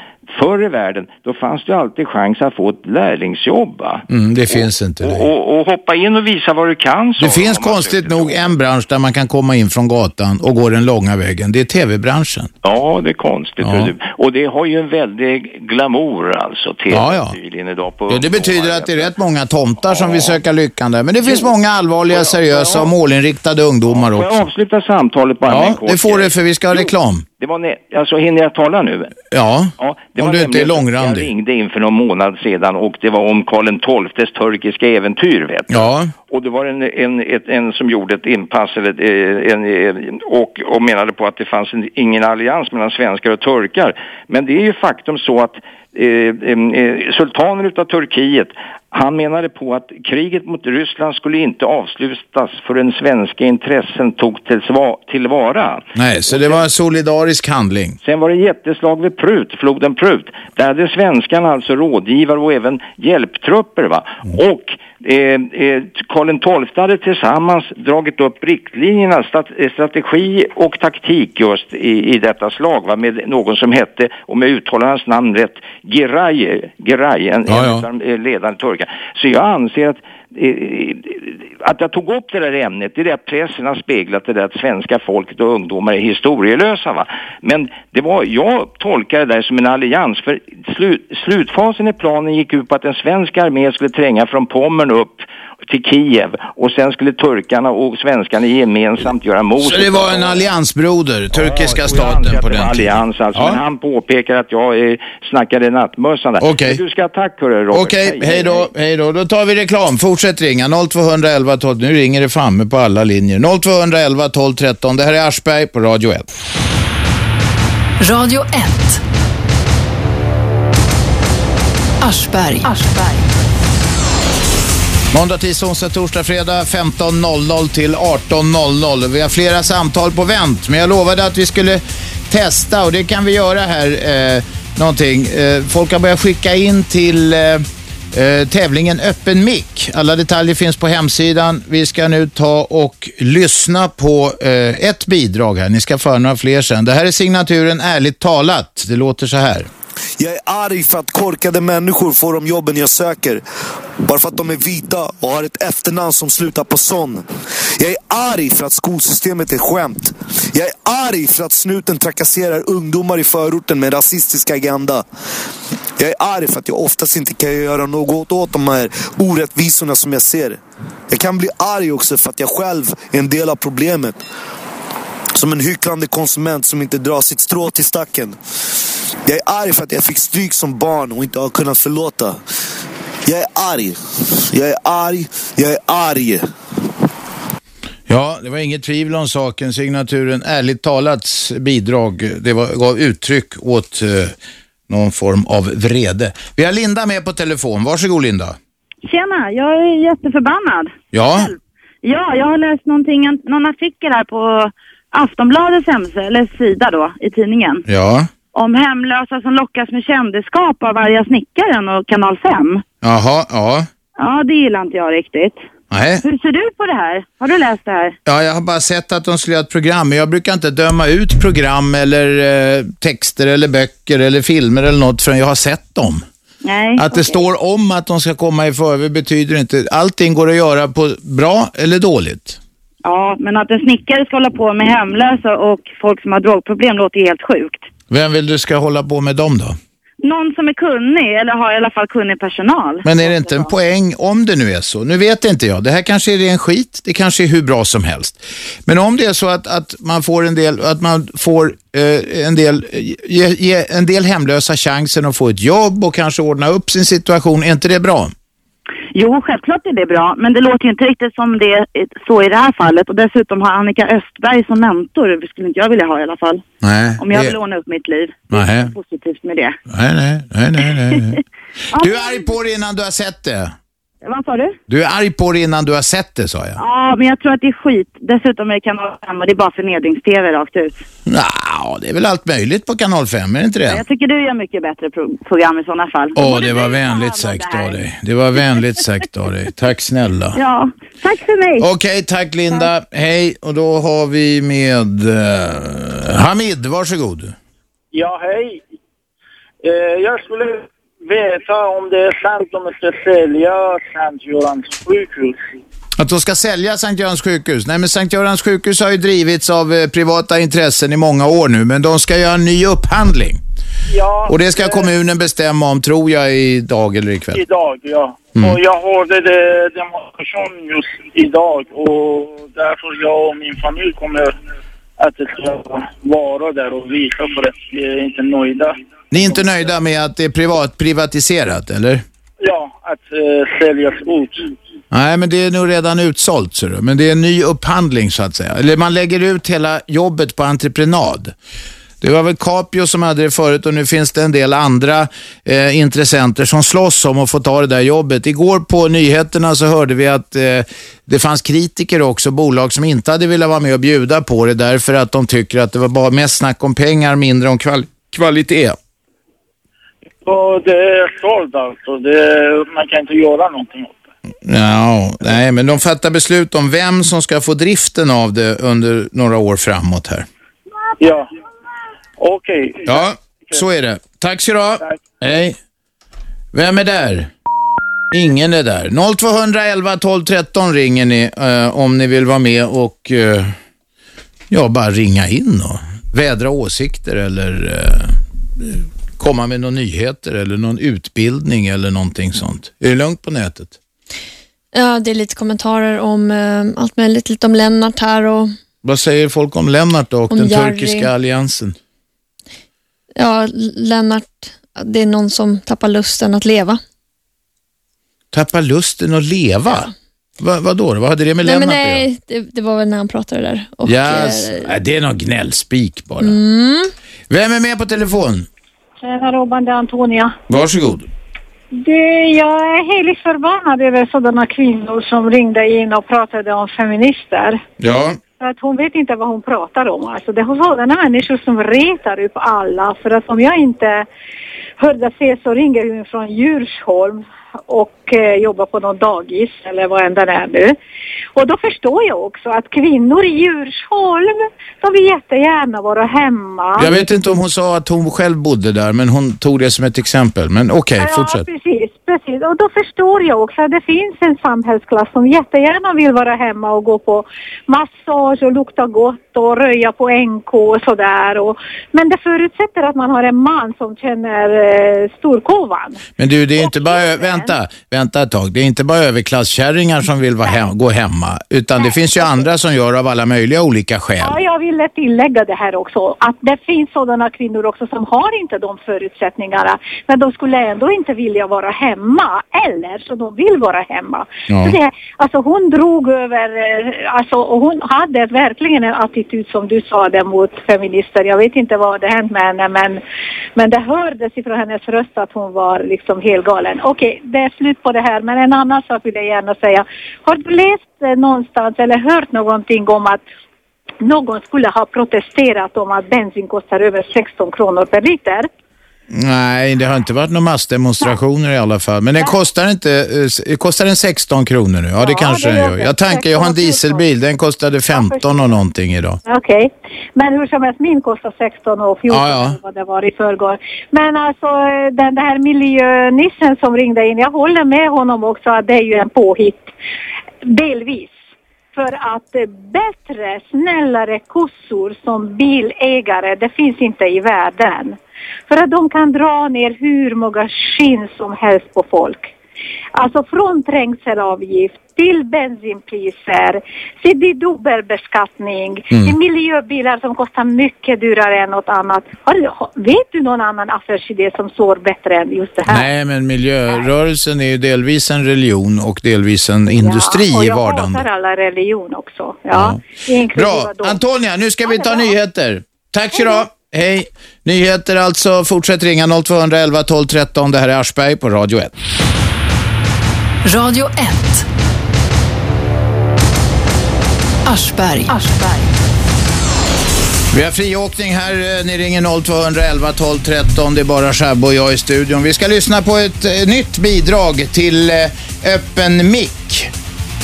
förr i världen då fanns det ju alltid chans att få ett lärlingsjobb va?
Mm, det finns inte. Det,
Och, och hoppa in och visa vad du kan sa
det
de,
finns
om man
konstigt nog en bransch där man kan komma in från gatan och gå den långa vägen. Det är tv-branschen.
Ja, det är konstigt.
Ja.
du. Och det har ju en väldig glamour alltså, tv
Ja, ja.
tydligen idag på
Ja, det betyder att det är rätt många tomtar som vill söka lyckan där. Men det finns många allvarliga, seriösa och målinriktade ungdomar
Får jag
också.
avsluta samtalet bara med en
Ja,
kort
det får
grej?
du för vi ska ha
Jo,
reklam.
Det var ne- alltså, hinner jag tala nu?
Ja,
det
Om
var
du inte är
nämligen-
långrandig.
Jag ringde in för någon månad sedan och det var om Karl XIIs turkiska äventyr, vet du.
ja.
Och det var en, en, ett, en som gjorde ett inpass eller ett, eh, en, eh, och, och menade på att det fanns en, ingen allians mellan svenskar och turkar. Men det är ju faktum så att eh, em, eh, sultanen utav Turkiet, han menade på att kriget mot Ryssland skulle inte avslutas förrän svenska intressen tog tillsva- tillvara.
Nej, så det var en solidarisk handling.
Sen var det jätteslag vid Prut, floden Prut. Där hade svenskarna alltså rådgivare och även hjälptrupper. Va?
Mm.
Och eh, eh, Karl XII hade tillsammans dragit upp riktlinjerna, stat- eh, strategi och taktik just i, i detta slag va? med någon som hette, om jag uttalar hans namn rätt, Geray, Geray en,
Ja, ja.
en av de eh, ledande turkarna. Så jag anser att eh, att jag tog upp det där ämnet, det är det att pressen har speglat det där att svenska folket och ungdomar är historielösa. Va? Men det var, jag tolkar det där som en allians, för slu, slutfasen i planen gick ut på att den svenska armén skulle tränga från Pommern upp till Kiev och sen skulle turkarna och svenskarna gemensamt göra mot.
Så det var en alliansbroder, turkiska staten på den tiden.
allians alltså,
Ja.
men han påpekar att jag eh, snackade nattmössan där.
Okej.
Du ska ha tack hörru Robert.
Okej, hej då, hej då. Då tar vi reklam. Fortsätt ringa 0211 12. Nu ringer det framme på alla linjer. 0211 12 13. Det här är Aschberg på Radio 1.
Radio 1. Aschberg.
Måndag, tisdag, onsdag, torsdag, fredag 15.00 till 18.00. Vi har flera samtal på vänt, men jag lovade att vi skulle testa och det kan vi göra här. Eh, någonting. Eh, folk har börjat skicka in till eh, eh, tävlingen Öppen mick. Alla detaljer finns på hemsidan. Vi ska nu ta och lyssna på eh, ett bidrag här. Ni ska få höra några fler sen. Det här är signaturen Ärligt talat. Det låter så här.
Jag är arg för att korkade människor får de jobben jag söker. Bara för att de är vita och har ett efternamn som slutar på son. Jag är arg för att skolsystemet är skämt. Jag är arg för att snuten trakasserar ungdomar i förorten med rasistisk agenda. Jag är arg för att jag oftast inte kan göra något åt de här orättvisorna som jag ser. Jag kan bli arg också för att jag själv är en del av problemet. Som en hycklande konsument som inte drar sitt strå till stacken. Jag är arg för att jag fick stryk som barn och inte har kunnat förlåta. Jag är arg. Jag är arg. Jag är arg.
Ja, det var inget tvivel om saken. Signaturen Ärligt talats bidrag, det var, gav uttryck åt eh, någon form av vrede. Vi har Linda med på telefon. Varsågod Linda.
Tjena, jag är jätteförbannad.
Ja,
Ja, jag har läst någonting, en- någon artikel här på Aftonbladets hemsida, eller sida då, i tidningen.
Ja.
Om hemlösa som lockas med kändisskap av Arga snickaren och Kanal 5.
Jaha, ja.
Ja, det gillar inte jag riktigt.
Nej.
Hur ser du på det här? Har du läst det här?
Ja, jag har bara sett att de skulle göra ett program, men jag brukar inte döma ut program eller eh, texter eller böcker eller filmer eller något förrän jag har sett dem.
Nej.
Att det står om att de ska komma i förväg betyder inte, allting går att göra på bra eller dåligt.
Ja, men att en snickare ska hålla på med hemlösa och folk som har drogproblem låter ju helt sjukt.
Vem vill du ska hålla på med dem då?
Någon som är kunnig, eller har i alla fall kunnig personal.
Men är det inte en poäng, om det nu är så, nu vet inte jag, det här kanske är ren skit, det kanske är hur bra som helst. Men om det är så att, att man får en del, att man får eh, en del, ge, ge en del hemlösa chansen att få ett jobb och kanske ordna upp sin situation, är inte det bra?
Jo, självklart är det bra, men det låter ju inte riktigt som det är så i det här fallet. Och dessutom har Annika Östberg som mentor, det skulle inte jag vilja ha i alla fall.
Nej.
Om jag
det-
vill låna upp mitt liv.
Nej.
Positivt med det.
Nej, nej, nej, nej, nej,
[laughs]
nej. Du är arg på det innan du har sett det.
Vad sa du?
Du är arg på det innan du har sett det, sa jag.
Ja, men jag tror att det är skit. Dessutom är det kanal 5 och det är bara förnedrings-tv rakt ut.
Nja, det är väl allt möjligt på kanal 5, är det inte det?
Jag tycker du gör mycket bättre pro- program i sådana fall.
Åh, det var vänligt sagt av dig. Det var vänligt sagt av dig. Tack snälla.
Ja, tack för mig.
Okej, tack Linda. Hej, och då har vi med eh, Hamid, varsågod.
Ja, hej. Eh, jag skulle veta om det är sant om jag ska sälja Sankt Görans sjukhus.
Att de ska sälja Sankt Görans sjukhus? Nej, men Sankt Görans sjukhus har ju drivits av eh, privata intressen i många år nu, men de ska göra en ny upphandling.
Ja,
Och det ska kommunen bestämma om, tror jag, idag eller ikväll.
idag, ja.
Mm.
Och jag hörde det demonstration just idag och därför jag och min familj kommer att vara där och visa för att vi är inte nöjda.
Ni är inte nöjda med att det är privat privatiserat, eller?
Ja, att eh, säljas ut.
Nej, men det är nog redan utsålt, ser du. Men det är en ny upphandling, så att säga. Eller man lägger ut hela jobbet på entreprenad. Det var väl Capio som hade det förut och nu finns det en del andra eh, intressenter som slåss om att få ta det där jobbet. Igår på nyheterna så hörde vi att eh, det fanns kritiker också, bolag som inte hade velat vara med och bjuda på det därför att de tycker att det var bara mest snack om pengar, mindre om kval- kvalitet.
Så det är såld alltså. Det, man kan inte göra någonting.
Ja, nej, men de fattar beslut om vem som ska få driften av det under några år framåt här.
Ja. Okej.
Ja, så är det. Tack så du ha. Hej. Vem är där? Ingen är där. 0211 12 13 ringer ni eh, om ni vill vara med och eh, ja, bara ringa in och vädra åsikter eller eh, komma med några nyheter eller någon utbildning eller någonting sånt. Är det lugnt på nätet?
Ja, det är lite kommentarer om eh, allt möjligt, lite om Lennart här och
Vad säger folk om Lennart då och
Om
den
Jerry.
turkiska alliansen?
ja, Lennart, det är någon som tappar lusten att leva.
Tappar lusten att leva? Va, vad då? Vad hade det med
nej, men
Lennart att göra?
nej, det, det var väl när han pratade där. Och,
Yes.
eh,
Nej, det är någon gnällspik bara.
mm.
Vem är med på telefon?
Tjena Robban, det är Antonia.
Varsågod.
Du, jag är heligt förbannad över sådana kvinnor som ringde in och pratade om feminister.
Ja.
För att hon vet inte vad hon pratar om. Alltså, det är sådana människor som retar upp alla. För att om jag inte hörde fel så ringer hon från Djursholm och eh, jobbar på någon dagis eller vad än den är nu. Och då förstår jag också att kvinnor i Djursholm, de vill jättegärna vara hemma.
Jag vet inte om hon sa att hon själv bodde där, men hon tog det som ett exempel. Men okej, fortsätt.
Ja, precis, precis. Och då förstår jag också att det finns en samhällsklass som jättegärna vill vara hemma och gå på massage och lukta gott och röja på NK och sådär. Och, men det förutsätter att man har en man som känner eh, storkovan.
Men du, det är inte bara... ö- Vänta, vänta ett tag. Det är inte bara överklasskärringar som vill vara hem, gå hemma, utan det finns ju andra som gör av alla möjliga olika skäl.
Ja, jag ville tillägga det här också, att det finns sådana kvinnor också som har inte de förutsättningarna, men de skulle ändå inte vilja vara hemma, eller så de vill vara hemma.
Ja.
Så det, alltså hon drog över, eh, alltså och hon hade verkligen en attityd som du sa där mot feminister, jag vet inte vad det hänt med henne, men, men det hördes ifrån hennes röst att hon var liksom helt galen. Okej, det är slut på det här. Men en annan sak vill jag gärna säga. Har du läst eh, någonstans eller hört någonting om att någon skulle ha protesterat om att bensin kostar över 16 kronor per liter?
Nej, det har inte varit några massdemonstrationer i alla fall. Men den kostar inte, eh, kostar den 16 kronor nu? Ja, det kanske
det
den gör.
gör den.
Jag tankar, jag har en dieselbil, den kostade 15 och någonting idag.
Okej. Men hur som helst, min kostar 16 och 14
Ja, ja.
eller vad det var i förrgår. Men alltså eh, den, den här miljönissen som ringde in, jag håller med honom också att det är ju en påhitt. Delvis. För att eh, bättre, snällare kossor som bilägare, det finns inte i världen. För att de kan dra ner hur många skinn som helst på folk. Alltså från trängselavgift till bensinpriser, till dubbelbeskattning,
Mm.
till miljöbilar som kostar mycket dyrare än något annat. Har, du- har- vet du någon annan affärsidé som sår bättre än just det här?
Nej, men miljörörelsen är ju delvis en religion och delvis en industri
och
i
jag
vardande.
hatar alla religion också. Ja, inklusive
Bra. Antonia, nu ska vi ta nyheter. Tack så du Hej. Nyheter alltså. Fortsätt ringa 0211 12 13. Det här är Aschberg på Radio 1.
Radio 1. Aschberg.
Vi har friåkning här. Eh, Ni ringer 0211 12 13. Det är bara Shabbo och jag i studion. Vi ska lyssna på ett eh, nytt bidrag till eh, Öppen mick.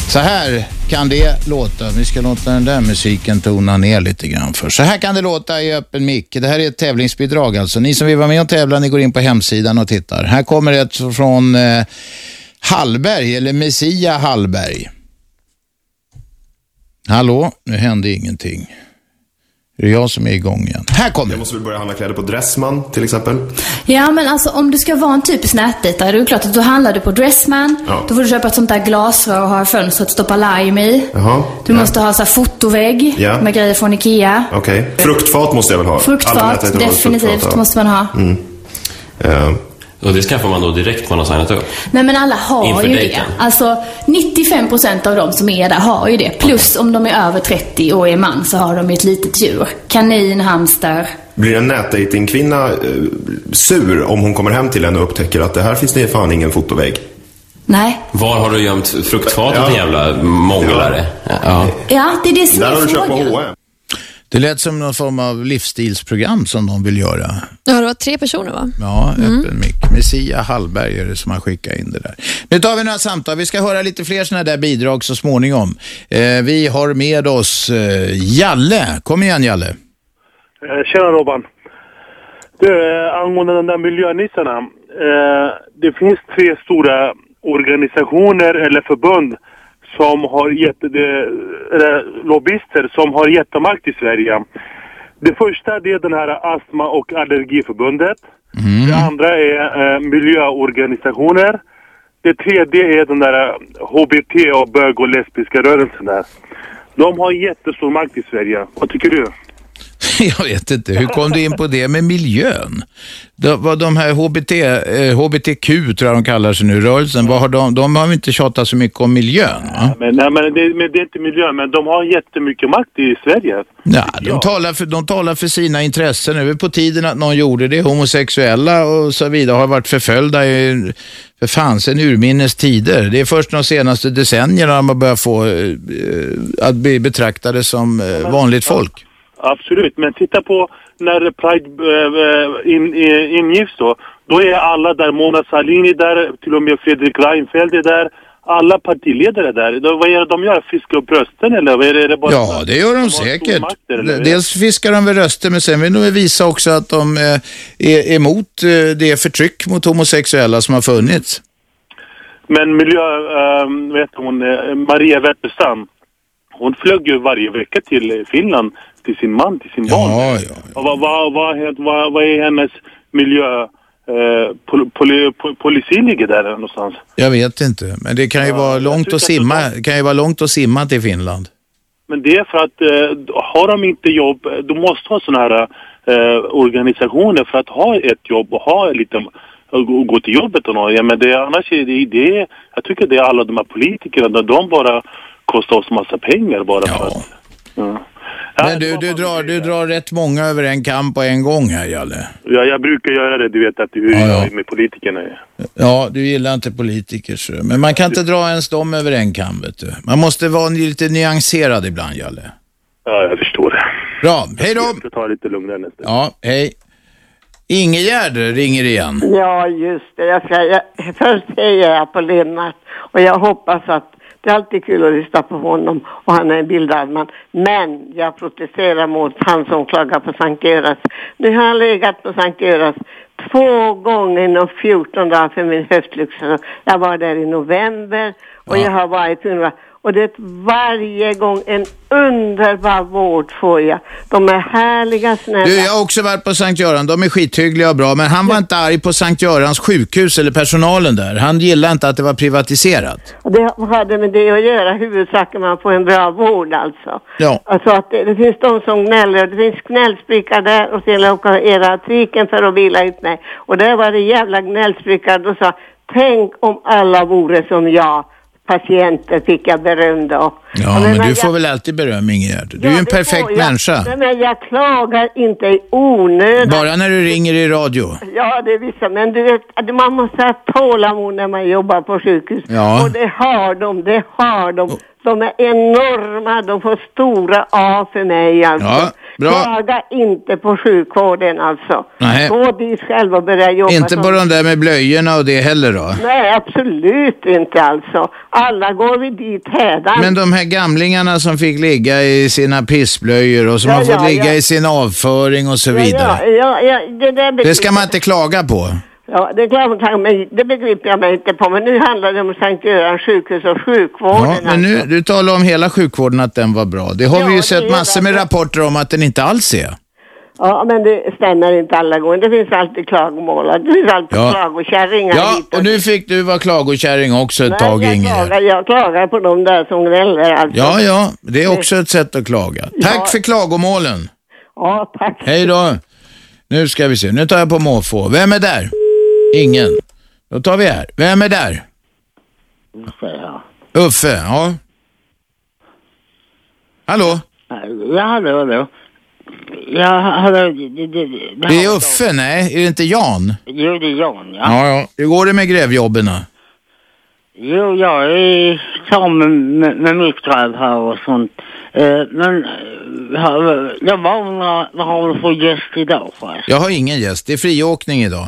Så här kan det låta. Vi ska låta den där musiken tona ner lite grann för. Så här kan det låta i öppen mick. Det här är ett tävlingsbidrag alltså. Ni som vill vara med och tävla, ni går in på hemsidan och tittar. Här kommer ett från eh, Hallberg, eller Messia Hallberg. Hallå, nu hände ingenting. Är det jag som är igång igen? Här kommer Jag
måste väl börja handla kläder på Dressman till exempel.
Ja, men alltså om du ska vara en typisk nätbitare, då är det klart att då handlar du på Dressman.
Ja.
Då får du köpa ett sånt där glasrör och ha i fönstret och stoppa lime i.
Jaha.
Du måste ha så här fotovägg
Ja.
med grejer från IKEA.
Okej. Fruktfat måste jag väl ha? Alla
Fruktfat,
vet inte vad
definitivt,
fruktfat är.
måste man ha.
Mm. Eh.
Och det skaffar man då direkt man har signat upp?
Nej men alla har
Inför
ju
dejten.
det. Alltså 95% av de som är där har ju det. Plus om de är över 30 och är man så har de ju ett litet djur. Kanin, hamster.
Blir en nätdejtingkvinna eh, sur om hon kommer hem till en och upptäcker att det här finns det fan ingen fotovägg?
Nej.
Var har du gömt fruktfatet din jävla månglare? Ja.
Ja, det är det som är frågan.
H&M.
Det lät som någon form av livsstilsprogram som de vill göra.
Ja, det var tre personer va?
Ja,
Mm.
öppen mick. Messia Hallberg är det som har skickat in det där. Nu tar vi några samtal. Vi ska höra lite fler sådana där bidrag så småningom. Eh, vi har med oss eh, Jalle. Kom igen Jalle.
Eh, Tjena Robban. Du, eh, angående den där miljönissarna. Eh, det finns tre stora organisationer eller förbund som har jätte, de, eller lobbyister som har jättemakt i Sverige. Det första det är den här Astma och allergiförbundet. Det andra är eh, miljöorganisationer. Det tredje är den där eh, HBT och bög och lesbiska rörelsen där. De har jättestor makt i Sverige. Vad tycker du?
[laughs] Jag vet inte, hur kom du in på det med miljön? De, vad de här HBT, eh, HBTQ tror jag de kallar sig nu, rörelsen, vad har de, de har ju inte tjatat så mycket om miljön. Va?
Men, nej, men, det, men det är inte miljö, men de har jättemycket makt i Sverige.
Ja, de, Talar för, de talar för sina intressen. Nu är det på tiden att någon gjorde det. Homosexuella och så vidare har varit förföljda i, för fan, sen urminnes tider. Det är först de senaste decennierna man börjar få eh, att bli betraktade som eh, vanligt folk.
Absolut, men titta på när Pride äh, in, eh, ingifts då. Då är alla där, Mona Sahlin är där, till och med Fredrik Reinfeldt är där. Alla partiledare är där. Då, vad är det de gör? Fiska upp rösten eller? Vad är det, är det bara
Ja, det gör de säkert.
eller?
Dels fiskar de väl röster, men sen vill de väl visa också att de eh, är emot eh, det förtryck mot homosexuella som har funnits.
Men miljö, ehm, vet hon, eh, Maria Wetterstam. Hon flög ju varje vecka till Finland, till sin man, till sin barn. Och vad, vad, vad, het- vad, vad är hennes miljö... Eh, pol, pol, pol, policy ligger där någonstans.
Jag vet inte, men det kan ju vara långt att simma. Det kan ju vara långt att simma till Finland.
Men det är för att eh, har de inte jobb, eh, de måste ha sådana här eh, organisationer för att ha ett jobb och ha lite och gå- gå till jobbet och något. Ja, men det, annars är det, det, jag tycker det är alla de här politikerna, de- de bara kostar oss massa pengar bara för att. Ja.
Men du, du drar, du drar rätt många över en kam på en gång här, Jalle.
Ja, jag brukar göra det, du vet att du
Ja, ja.
med politikerna. är.
Ja, du gillar inte politiker, så. men man kan inte dra ens dem över en kam, vet du. Man måste vara lite nyanserad ibland, Jalle.
Ja, jag förstår det.
Bra, hej då!
Jag ska ta det lite lugnare nästa
Ja, hej. Ingegärd ringer igen.
Ja, just det. Jag ska, jag, först hejar jag på Lennart och jag hoppas att det är alltid kul att lyssna på honom och han är en bildad man. Men jag protesterar mot han som klagar på Sankt Görans. Nu har han legat på Sankt Görans två gånger inom 14 dagar för min höftlyxa. Jag var där i november och jag har varit under och det är varje gång en underbar vård får jag. De är härliga, snälla.
Du, jag har också varit på Sankt Göran. De är skithyggliga och bra, men han var inte arg på Sankt Görans sjukhus eller personalen där. Han gillade inte att det var privatiserat.
Och Det hade med det att göra, huvudsaken man får en bra vård alltså.
Ja.
Alltså att det, det finns de som gnäller och det finns gnällspricka där och sen åker eratriken för att vila ut mig. Och där var det jävla gnällspricka och sa tänk om alla vore som jag. Patienter fick jag beröm då.
Ja, men du får väl alltid beröm, Ingegärd. Du är ju en perfekt människa.
Nej, men jag klagar inte i onödan.
Bara när du ringer i radio.
Ja, det är vissa, men du vet, att man måste ha tålamod när man jobbar på sjukhus.
Ja.
Och det har de, det har de. De är enorma, de får stora A för mig alltså.
Ja, bra.
Klaga inte på sjukvården alltså.
Nej.
Gå dit själv och börja jobba.
Inte
som-
på de där med blöjorna och det heller då.
Nej, absolut inte alltså. Alla går vi dit hädan.
Men de här gamlingarna som fick ligga i sina pissblöjor och som
Ja,
har fått
ja,
ligga
ja.
i sin avföring och så
Ja,
vidare.
ja, ja, det, där
Det
begriper
ska man inte klaga på.
Ja, det är klart man kan, men det begriper jag mig inte på. Men nu handlar det om Sankt Görans sjukhus och sjukvården. alltså.
Ja, men nu, du talar om hela sjukvården att den var bra. Det har vi ju alltså- sett massor med rapporter om att den inte alls är.
Ja, men det stämmer inte alla gånger. Det finns alltid klagomål. Det finns alltid
Ja.
klagokärringar.
Ja, och nu fick du vara klagokärring också ett tag,
jag,
Inger.
klagar, jag klagar på de där som gnäller alltså.
Ja, ja, det är också ett sätt att klaga.
Dạ.
Tack för klagomålen.
Ja, tack.
Hej då. Nu ska vi se, nu tar jag på måfå. Vem är där? Ingen. Då tar vi här. Vem är där?
Ja,
Uffe, ja. Hallå?
hallå, hallå. Ja, hallå. Det, det, det,
Det är Uffe, nej. Är det inte Jan?
Jo, det är Jan, ja.
Ja, ja. Hur går det med grävjobben?
Jo, jag är klar med, med, med mitt gräv här och sånt. Eh, men eh, har- jag bara undrar, vad har du för gäst idag förresten?
Jag har ingen gäst. Det är friåkning idag.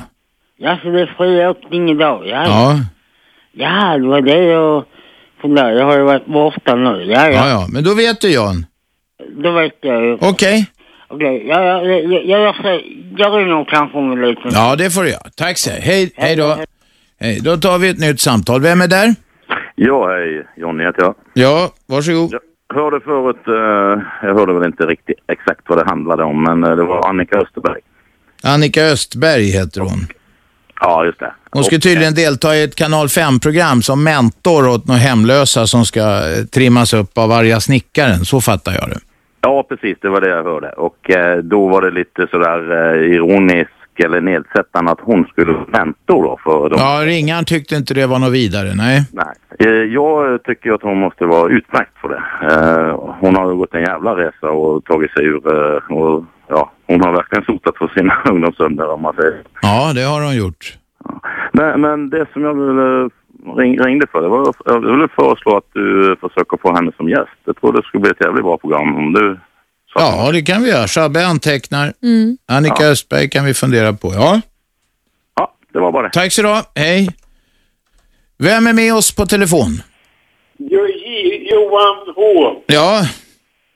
Ja, så det är friåkning idag, ja.
Ja,
Ja, det var det jag funderade. Jag har ju varit borta nu, ja,
ja,
ja.
ja. Men då vet du Jan.
Då vet jag ju.
Okej.
Okej, ja, ja, ja, ja, jag, jag, jag ringer kanske om en liten
Ja, det får du göra. Tack så Hej, hej då. Hej, då tar vi ett nytt samtal. Vem är där?
Ja, hej. Johnny heter jag.
Ja, varsågod.
Jag hörde förut, eh, jag hörde väl inte riktigt exakt vad det handlade om, men eh, det var Annika Österberg.
Annika Östberg heter hon.
Ja, just det.
Hon ska tydligen delta i ett kanal 5-program som mentor åt några hemlösa som ska eh, trimmas upp av arga snickaren. Så fattar jag det.
Ja, precis. Det var det jag hörde. Och eh, då var det lite sådär eh, ironisk eller nedsättande att hon skulle vara mentor då för dem.
Ja, ringaren tyckte inte det var något vidare, nej.
Nej. Eh, Jag tycker att hon måste vara utmärkt för det. Eh, Hon har ju gått en jävla resa och tagit sig ur eh, och ja, hon har verkligen sotat för sina [laughs] ungdomssönder om man säger.
Ja, det har hon gjort.
Men, men det som jag ville ring, ringde för, det var, jag ville föreslå att du eh, försöker få henne som gäst. Jag tror det skulle bli ett jävligt bra program om du...
Ja, det kan vi göra. Shabbe antecknar.
Mm.
Annika
Ja.
Östberg kan vi fundera på, ja.
Ja, det var bara det.
Tack så du ha. Hej. Vem är med oss på telefon?
Jo, J- Johan H.
Ja,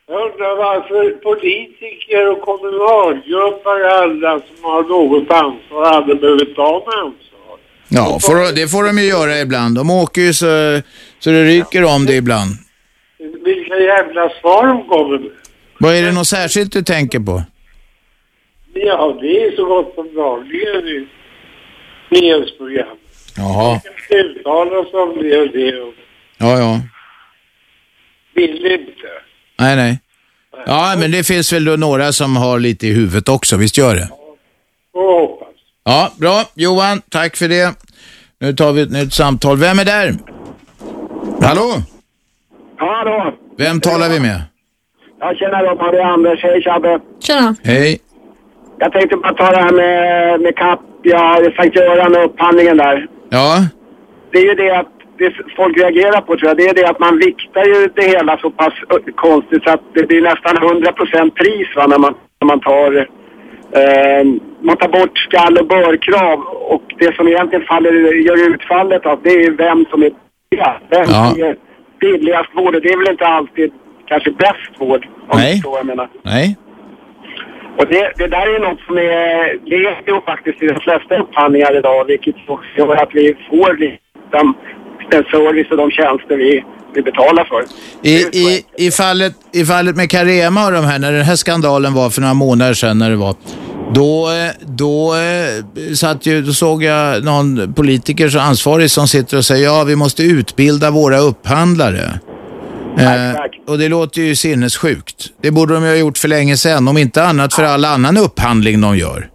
Jag undrar varför politiker och kommunalgrupper alla som har något ansvar hade behövt ta med ansvar.
ja får, det får de ju göra ibland. De åker ju så, så det ryker om det ibland.
Vilka jävla svar de kommer med.
Vad är det något särskilt du tänker på?
Ja, det är så gott som dagligen i nyhetsprogram.
Jaha.
Det uttalas om det och det och
Ja, ja.
vill inte.
Nej, nej. Ja, men det finns väl då några som har lite i huvudet också, visst gör det?
Och hoppas.
Ja, bra. Johan, tack för det. Nu tar vi ett nytt samtal. Vem är där? Hallå?
Hallå!
Vem talar vi med?
Ja, tjena Robban, det är Anders. Hej tjabbe.
Tjena.
Hej.
Jag tänkte bara ta det här med, med CAP, ja, Sankt Göran och upphandlingen där.
Ja.
Det är ju det att det folk reagerar på tror jag, det är det att man viktar ju det hela så pass ö, konstigt så att det blir nästan 100% pris va, när, man, när man tar eh, man tar bort skall och bör-krav och det som egentligen faller, gör utfallet av det är ju vem som är billigast. Vem som är billigast vård och det är väl inte alltid kanske bäst vård om
Nej.
du förstår vad jag menar.
Nej.
Och det, det där är något som är, det är ju faktiskt i de flesta upphandlingar idag, vilket också gör att vi får liksom den service och de tjänster vi, vi betalar för.
I, i, i, fallet, I fallet med Carema och de här, när den här skandalen var för några månader sedan när det var, då, eh, då, eh, satt ju, då såg jag någon politiker så ansvarig som sitter och säger ja, vi måste utbilda våra upphandlare. Eh, och det låter ju sinnessjukt. Det borde de ju ha gjort för länge sedan, om inte annat för all annan upphandling de gör.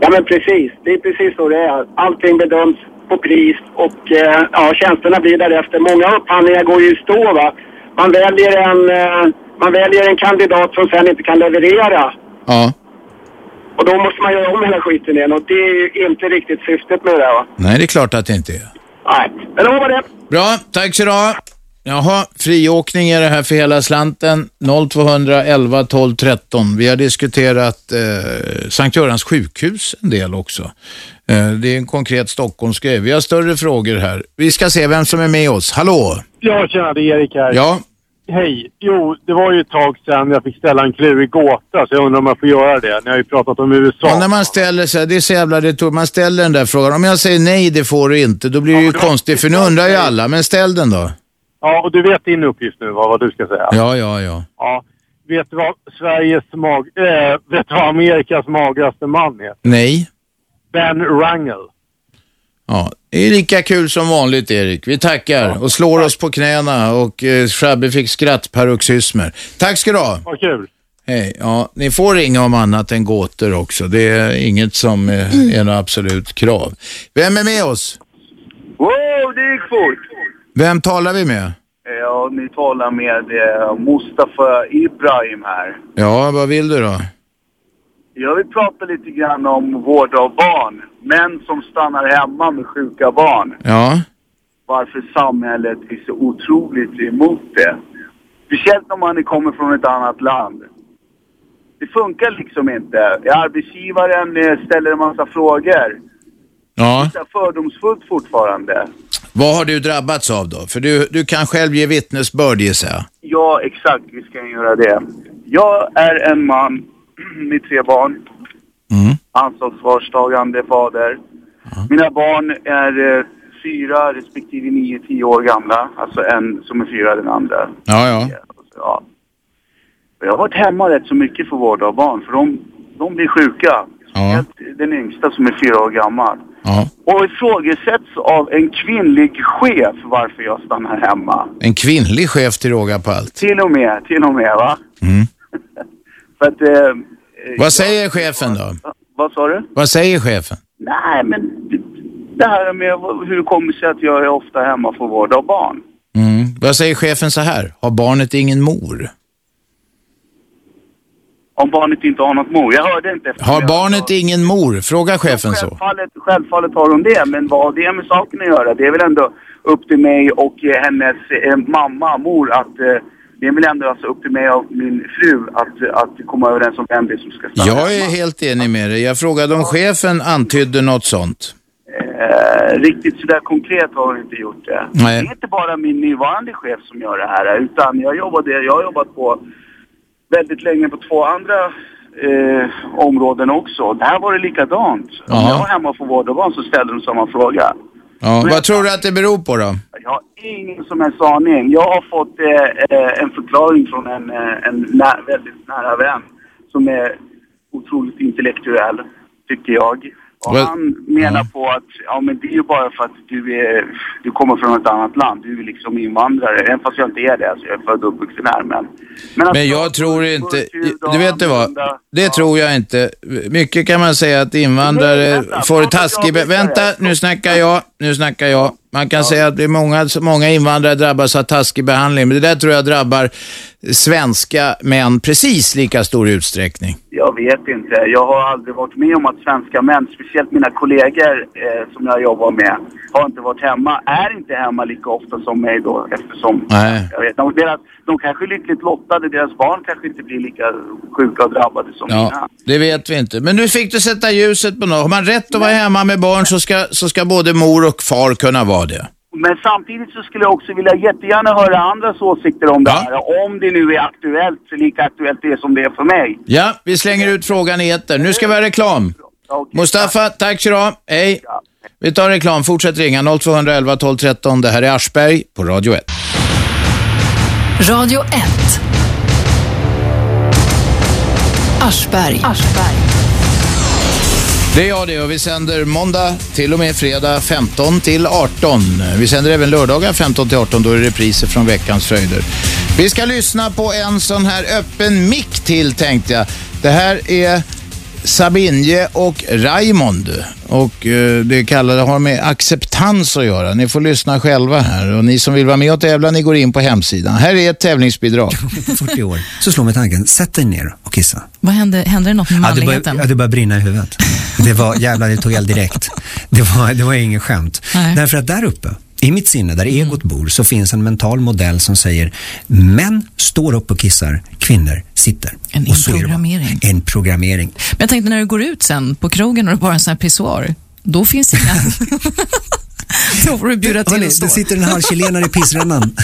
Ja men precis, det är precis så det är. Allting bedöms på pris och eh, ja, tjänsterna blir därefter. Många upphandlingar går ju i stå va. Man väljer en, eh, man väljer en kandidat som sen inte kan leverera.
Ja.
Och då måste man göra om hela skiten igen och det är ju inte riktigt syftet med det där va.
Nej, det är klart att det inte är.
Nej, men då var det.
Bra, tack så du ha. Jaha, friåkning är det här för hela slanten. 0211 12 13. Vi har diskuterat eh, Sankt Görans sjukhus en del också. Eh, det är en konkret Stockholmsgrej. Vi har större frågor här. Vi ska se vem som är med oss. Hallå?
Ja, tjena, det är Erik här.
Ja.
Hej. Jo, det var ju ett tag sedan jag fick ställa en klurig gåta, så jag undrar om jag får göra det. Ni har ju pratat om USA.
Och när man ställer sig, det är så jävla retoriskt, man ställer den där frågan. Om jag säger nej, det får du inte, då blir det ju konstigt, för nu undrar ju alla. Men ställ den då.
Ja, och du vet din uppgift nu, vad, vad du ska säga.
Ja, ja, ja.
Ja. Vet du vad Sveriges mag... Äh, vet du vad Amerikas magraste man är?
Nej.
Ben Rangel.
Ja, det är lika kul som vanligt Erik. Vi tackar och slår oss på knäna och eh, Shabbe fick skrattparoxysmer. Tack ska du ha.
Vad kul.
Hej. Ja, ni får ringa om annat än gåtor också. Det är inget som eh, är något absolut krav. Vem är med oss?
Wow, det gick fort!
Vem talar vi med?
Ja, ni talar med eh, Mustafa Ibrahim här.
Ja, vad vill du då?
Jag vill prata lite grann om vård av barn. Män som stannar hemma med sjuka barn.
Ja,
Varför samhället är så otroligt emot det. Speciellt om man kommer från ett annat land. Det funkar liksom inte. Arbetsgivaren eh, ställer en massa frågor.
ja.
Det är fördomsfullt fortfarande.
Vad har du drabbats av då? För du, du kan själv ge vittnesbörd gissar jag.
Ja, exakt. Vi ska göra det. Jag är en man [clears throat] med tre barn.
Mm.
Ansvarstagande fader. Mina barn är eh, fyra respektive nio, tio år gamla. Alltså en som är fyra, den andra.
Ja, ja.
Ja. Och Jag har varit hemma rätt så mycket för vård av barn, för de, de blir sjuka.
Ja.
Den yngsta som är fyra år gammal.
Ja.
Och ifrågasätts av en kvinnlig chef varför jag stannar hemma.
En kvinnlig chef till råga på allt.
Till och med, till och med va? [laughs] För att, eh, eh,
Mm. Vad säger chefen då?
vad sa du?
Vad säger chefen?
Nej men det- det här med v- hur det kommer sig att jag är ofta hemma för vård av barn.
Mm. Vad säger chefen så här? Har barnet ingen mor?
Om barnet inte har något mor. Jag hörde inte efter
Har barnet ingen mor? Fråga chefen så.
Självfallet, självfallet har hon det, men vad har det med saken att göra? Det är väl ändå upp till mig och eh, hennes eh, mamma, mor, att eh, det är väl ändå alltså upp till mig och min fru att, att komma överens om vem det är som ska stanna.
Jag är helt enig med dig. Jag frågade om chefen antydde något sånt.
Eh, riktigt sådär konkret har hon inte gjort det.
Nej.
Det är inte bara min nuvarande chef som gör det här, utan jag, jobbade, jag har jobbat på väldigt länge på två andra eh, områden också. Där var det likadant. Om
Jaha.
jag var hemma för vård och barn så ställde de samma fråga.
Ja, vad tror du att det beror på då?
Jag har ingen som helst aning. Jag har fått eh, eh, en förklaring från en, eh, en nä- väldigt nära vän som är otroligt intellektuell, tycker jag. Och
Well,
han menar på att ja, men det är ju bara för att du, är, du kommer från ett annat land. Du är liksom invandrare, även fast jag inte är det. Alltså, jag är född och uppvuxen här. Men, men
Men jag tror inte... Du vet det vad? Det tror jag inte. Mycket kan man säga att invandrare får taskig... be- Vänta, nu snackar jag. Nu snackar jag. Man kan säga att det är många, många invandrare drabbas av taskig behandling, men det där tror jag drabbar svenska män precis lika stor utsträckning.
Jag vet inte. Jag har aldrig varit med om att svenska män, speciellt mina kollegor eh, som jag jobbar med, har inte varit hemma. Är inte hemma lika ofta som mig då eftersom...
Nej.
Jag vet, de, deras, de kanske är lyckligt lottade. Deras barn kanske inte blir lika sjuka och drabbade som mina.
Ja, det vet vi inte. Men nu fick du sätta ljuset på något. Har man rätt att vara hemma med barn så ska, så ska både mor och far kunna vara det.
Men samtidigt så skulle jag också vilja jättegärna höra andras åsikter om det här. Om det nu är aktuellt, så lika aktuellt det är som det är för mig.
Ja, vi slänger ut frågan i etern. Nu ska vi ha reklam. Mustafa, tack så du ha. Hej. Vi tar reklam. Fortsätt ringa 0211 12 13. Det här är Aschberg på Radio 1.
Radio 1. Aschberg. Aschberg.
Det är jag det och vi sänder måndag till och med fredag 15 till 18. Vi sänder även lördagar 15 till 18, då är det repriser från veckans fröjder. Vi ska lyssna på en sån här öppen mick till tänkte jag. Det här är Sabinje och Raimond och eh, det kallade har med acceptans att göra. Ni får lyssna själva här och ni som vill vara med och tävla ni går in på hemsidan. Här är ett tävlingsbidrag.
på 40 år, så slår mig tanken, sätt dig ner och kissa.
Vad hände, hände det något med
Ja, det
manligheten?
började, ja, det började brinna i huvudet. Det var, jävlar, det tog eld direkt. Det var, det var inget skämt.
Nej. Mm.
Därför att där uppe, i mitt sinne, där egot bor, så finns en mental modell som säger män står upp och kissar, kvinnor sitter.
En
Och så är det bara.
inprogrammering.
En programmering.
Men jag tänkte när du går ut sen på krogen och det bara är en sån här pissoar, då finns inga... då får du bjuda till
Hörrni,
och stå.
det sitter en halv chilenare i
[laughs]
pissrännan.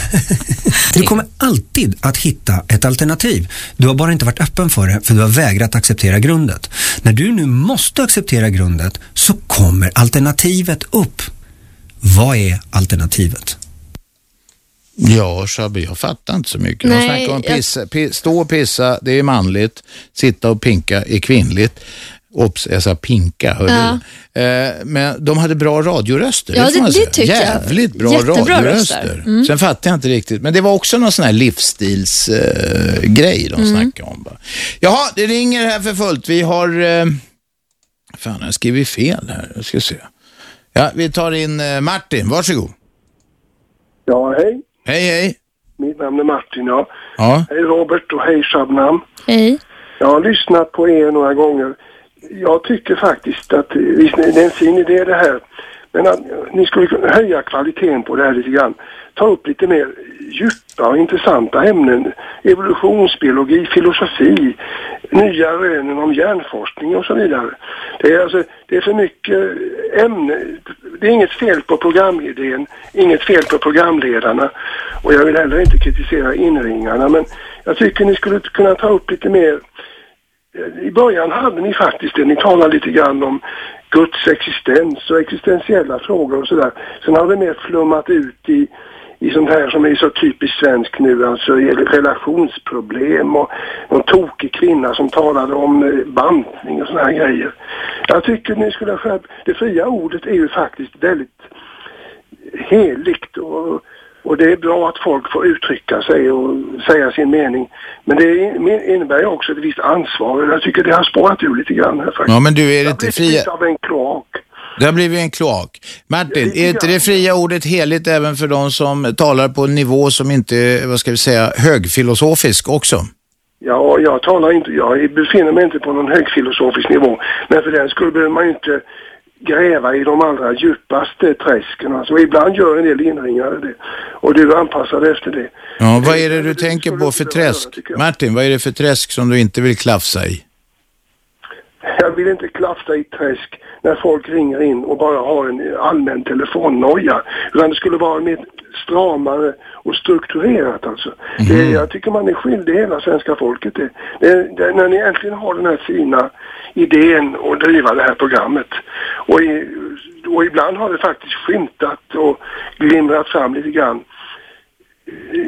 Du kommer alltid att hitta ett alternativ. Du har bara inte varit öppen för det, för du har vägrat acceptera grundet. När du nu måste acceptera grundet så kommer alternativet upp. Vad är alternativet?
Ja, Shabby, jag fattar inte så mycket. De
Nej,
snackar om
jag-
pissa, pi, stå och pissa, det är manligt. Sitta och pinka är kvinnligt. Obs, jag sa pinka, hörde
Ja.
du? eh, Men de hade bra radioröster.
Ja,
får
det-
man
det
säga.
tycker jag.
Jävligt bra
Jättebra
radioröster.
röster. Mm.
Sen fattar jag inte riktigt. Men det var också någon sån här livsstilsgrej eh, grej de
Mm.
snackade om. Va? Jaha, det ringer här för fullt. Vi har... Eh, fan, jag har skrivit fel här. Jag ska se. Ja, vi tar in eh, Martin. Varsågod.
Ja, hej.
Hej, hej.
Mitt namn är Martin, ja.
Ja.
Hej Robert och hej Shabnam.
Hej.
Jag har lyssnat på er några gånger. Jag tycker faktiskt att, visst det är en fin idé det här, men att ni skulle kunna höja kvaliteten på det här lite grann. Ta upp lite mer djupa och intressanta ämnen. Evolutionsbiologi, filosofi, nya rönen om hjärnforskning och så vidare. Det är, alltså, det är för mycket ämne. Det är inget fel på programidén, inget fel på programledarna och jag vill heller inte kritisera inringarna men jag tycker ni skulle kunna ta upp lite mer Eh, i början hade ni faktiskt det. Ni talade lite grann om Guds existens och existentiella frågor och sådär. Sen har det mer flummat ut i, i sånt här som är så typiskt svensk nu, alltså i relationsproblem och någon tokig kvinna som talade om eh, bantning och såna här grejer. Jag tycker ni skulle ha skärpt, det fria ordet är ju faktiskt väldigt heligt och och det är bra att folk får uttrycka sig och säga sin mening. Men det in- innebär ju också ett visst ansvar. och Jag tycker det har spårat ur lite grann här faktiskt.
Ja, men du är
Jag
inte
blir
fria-
lite av en kloak.
Det har blivit en kloak. Martin, är inte det fria ordet heligt även för de som talar på en nivå som inte är, vad ska vi säga, högfilosofisk också?
Ja, och jag talar inte, jag befinner mig inte på någon högfilosofisk nivå. Men för den skulle behöver man ju inte gräva i de allra djupaste träsken. Alltså ibland gör en del inringare det. Och du är anpassad efter det.
Ja, vad är det du tänker på för träsk? Martin, vad är det för träsk som du inte vill klafsa i?
Jag vill inte klafsa i träsk när folk ringer in och bara har en allmän telefonnoja. Utan det skulle vara mer stramare och strukturerat alltså. Det,
Mhm.
jag tycker man är skyldig hela svenska folket det. det, det. När ni äntligen har den här fina idén och driva det här programmet. Och, i, och ibland har det faktiskt skymtat och glimrat fram lite grann i,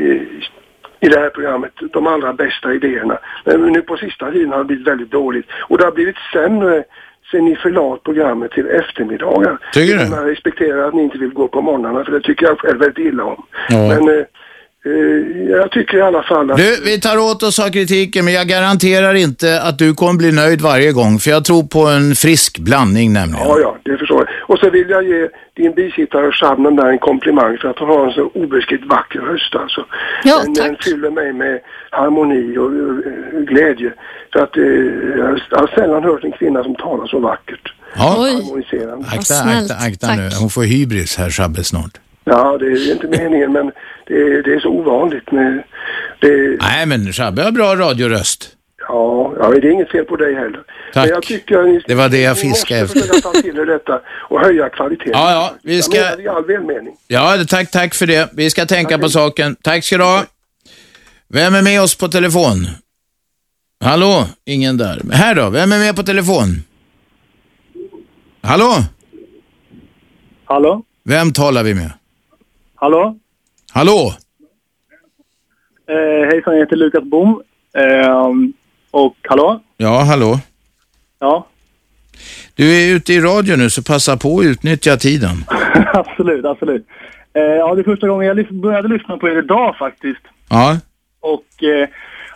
i det här programmet, de allra bästa idéerna. Men nu på sista tiden har det blivit väldigt dåligt. Och det har blivit sämre sen ni förlade programmet till eftermiddagar.
Tycker du?
Jag respekterar att ni inte vill gå på morgnarna, för det tycker jag själv väldigt illa om.
Ja.
Men eh, eh, jag tycker i alla fall att...
Du, vi tar åt oss av kritiken, men jag garanterar inte att du kommer bli nöjd varje gång, för jag tror på en frisk blandning nämligen.
Ja, ja, det förstår jag. Och så vill jag ge din bisittare Shabnam där en komplimang för att hon har en så obeskrivligt vacker röst alltså.
Ja,
den, den fyller mig med harmoni och eh, glädje. För att eh, jag jag har sällan hört en kvinna som talar så vackert.
Ja.
Harmoniserande.
Akta, akta, akta nu. Hon får hybris här, Shabbe, snart.
Ja, det är inte meningen men det är, det är så ovanligt med... Det,
Nej, men Shabbe har bra radioröst.
ja, ja, det är inget fel på dig heller.
Tack.
Men jag tycker att ni
Det var det jag fiskade efter.
ska ta till er detta och höja kvaliteten.
Ja, ja, vi ska-
Jag menar det i all välmening.
Ja, tack, tack för det. Vi ska tänka på saken. Tack ska du ha. Vem är med oss på telefon? Hallå? Ingen där. Men Här då, vem är med på telefon? Hallå?
Hallå?
Vem talar vi med?
Hallå?
Hallå?
Eh, hejsan, jag heter Lukas Bom. Ehm, och hallå?
Ja, hallå?
Ja, [laughs]
Du är ute i radio nu, så passa på att utnyttja tiden.
absolut, absolut. Eh, ja, det är första gången jag lys- började lyssna på er idag faktiskt.
Ja,
Och eh,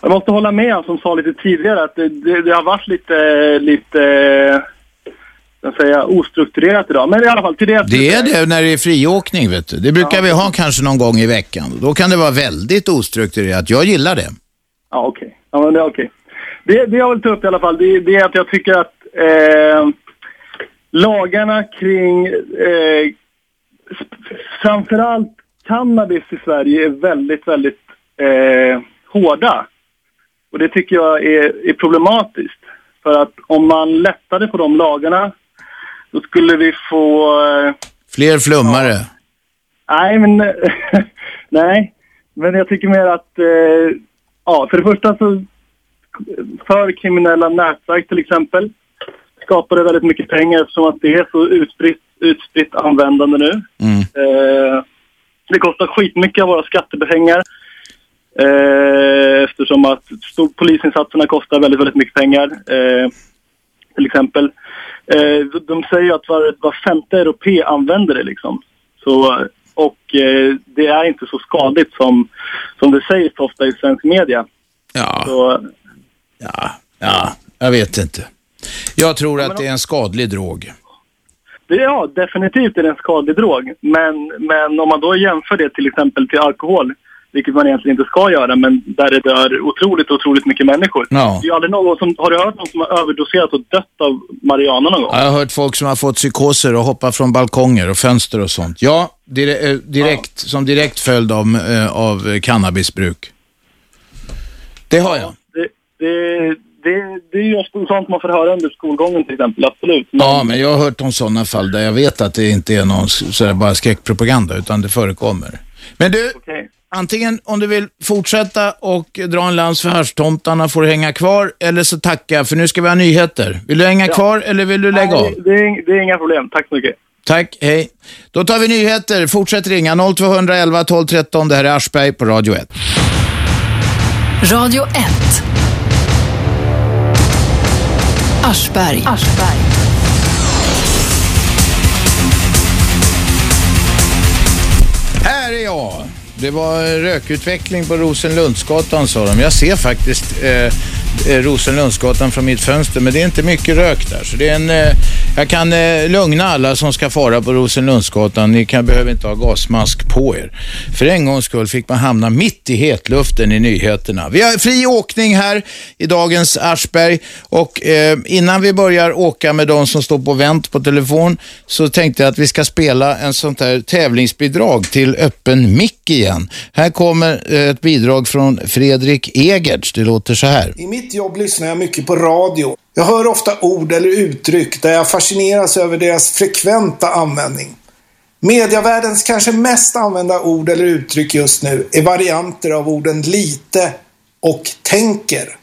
jag måste hålla med han som sa lite tidigare att det, det, det har varit lite, lite, eh, vad säger jag, ostrukturerat idag. Men i alla fall, till det
det är det när det är friåkning, vet du. Det brukar vi ha kanske någon gång i veckan. Då kan det vara väldigt ostrukturerat. Jag gillar det.
Ja, okej. Ja, men det är okej. Det, det jag vill ta upp i alla fall, det, det är att jag tycker att eh, lagarna kring eh, sp- framförallt cannabis i Sverige är väldigt, väldigt eh, hårda. Och det tycker jag är, är problematiskt. För att om man lättade på de lagarna, då skulle vi få eh,
Fler flummare.
Nej, men... [laughs] nej. Men jag tycker mer att... Eh, ja, för det första så... För kriminella nätverk till exempel skapar det väldigt mycket pengar eftersom att det är så utspritt, utspritt användande nu. Eh, det kostar skitmycket av våra skattepengar eh, eftersom att stor, polisinsatserna kostar väldigt, väldigt mycket pengar. Eh, till exempel. Eh, de- de säger ju att var, var femte europé använder det liksom. Så, och eh, det är inte så skadligt som, som det sägs ofta i svensk media.
Ja.
Så,
Ja, jag vet inte. Jag tror att det är en skadlig drog.
det, ja, definitivt är det en skadlig drog. Men, men om man då jämför det till exempel till alkohol, vilket man egentligen inte ska göra, men där det dör otroligt, otroligt mycket människor.
Ja.
Det är ju aldrig någon som, har du hört någon som har överdoserat och dött av marijuana någon gång?
Jag har hört folk som har fått psykoser och hoppar från balkonger och fönster och sånt. Ja, dire- eh, direkt, som direkt följd av, eh, av eh, cannabisbruk. Det har jag.
Det, det, det, det är ju ofta sånt man får höra under skolgången till exempel, absolut.
Ja, men jag har hört om sådana fall där jag vet att det inte är någon s- sådär bara skräckpropaganda, utan det förekommer. Men du, antingen om du vill fortsätta och dra en lans för haschtomtarna får du hänga kvar, eller så tacka, för nu ska vi ha nyheter. Vill du hänga
Ja.
kvar eller vill du lägga
Nej,
av?
Det, det, är, ing- det är inga problem, tack så mycket.
Tack, hej. Då tar vi nyheter. Fortsätt ringa 0211 12 13. Det här är Aschberg på Radio 1.
Radio 1. Aschberg. Aschberg.
Här är jag. Det var rökutveckling på Rosenlundsgatan sa de. Jag ser faktiskt eh, eh, Rosenlundsgatan från mitt fönster, men det är inte mycket rök där. Så det är en, eh, jag kan eh, lugna alla som ska fara på Rosenlundsgatan. Ni kan, behöver inte ha gasmask på er. För en gångs skull fick man hamna mitt i hetluften i nyheterna. Vi har fri åkning här i dagens Aschberg och eh, innan vi börjar åka med de som står på vänt på telefon så tänkte jag att vi ska spela en sånt här tävlingsbidrag till öppen mick igen. Här kommer eh, ett bidrag från Fredrik Egerts. Det låter så här.
I mitt jobb lyssnar jag mycket på radio. Jag hör ofta ord eller uttryck där jag fascineras över deras frekventa användning. Mediavärldens kanske mest använda ord eller uttryck just nu är varianter av orden lite och tänker.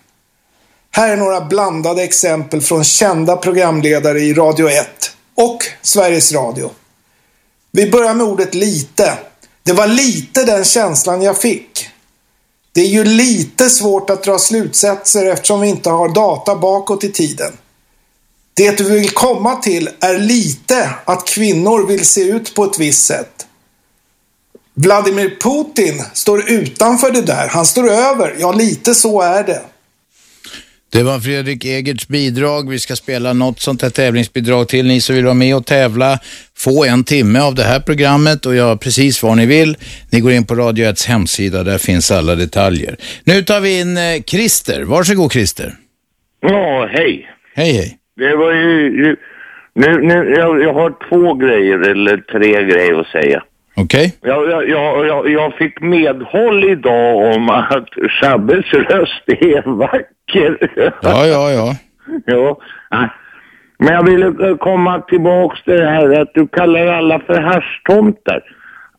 Här är några blandade exempel från kända programledare i Radio 1 och Sveriges Radio. Vi börjar med ordet lite. Det var lite den känslan jag fick. Det är ju lite svårt att dra slutsatser eftersom vi inte har data bakåt i tiden. Det vi vill komma till är lite att kvinnor vill se ut på ett visst sätt. Vladimir Putin står utanför det där. Han står över. Ja, lite så är det.
Det var Fredrik Egerts bidrag. Vi ska spela något sånt här tävlingsbidrag till. Ni som vill vara med och tävla, få en timme av det här programmet och göra precis vad ni vill. Ni går in på Radio 1 hemsida, där finns alla detaljer. Nu tar vi in eh, Christer. Varsågod Christer.
Ja, hej.
Hej, hej.
Det var ju... Nu, nu, jag, jag har två grejer, eller tre grejer att säga.
Okej?
Jag, jag, jag, jag, jag fick medhåll idag om att Chabbes röst är vacker.
Ja, ja, ja.
[laughs] ja. nej. Men jag ville eh, komma tillbaks till det här att du kallar alla för haschtomtar.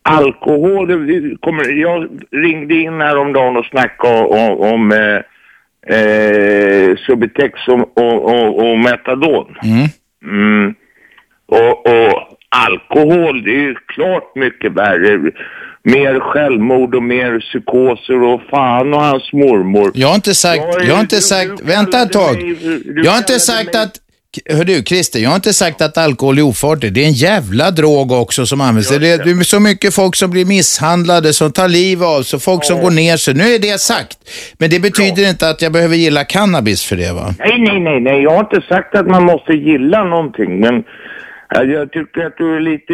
Alkohol, det- det kommer, jag ringde in häromdagen och snackade om, om eh, eh, Subutex och, och, och, och Metadon.
Mm.
Mm. Och, och alkohol, det är ju klart mycket värre. Mer självmord och mer psykoser och fan och hans mormor.
Jag har inte sagt, jag har inte sagt, vänta ett tag. Jag har inte sagt att, hör du Christer, jag har inte sagt att alkohol är ofarligt. Det är en jävla drog också som används. Det är, det är så mycket folk som blir misshandlade, som tar liv av sig, folk som går ner sig. Nu är det sagt. Men det betyder inte att jag behöver gilla cannabis för det va?
Nej, nej, nej, nej. Jag har inte sagt att man måste gilla någonting, men eh, jag tycker att du är lite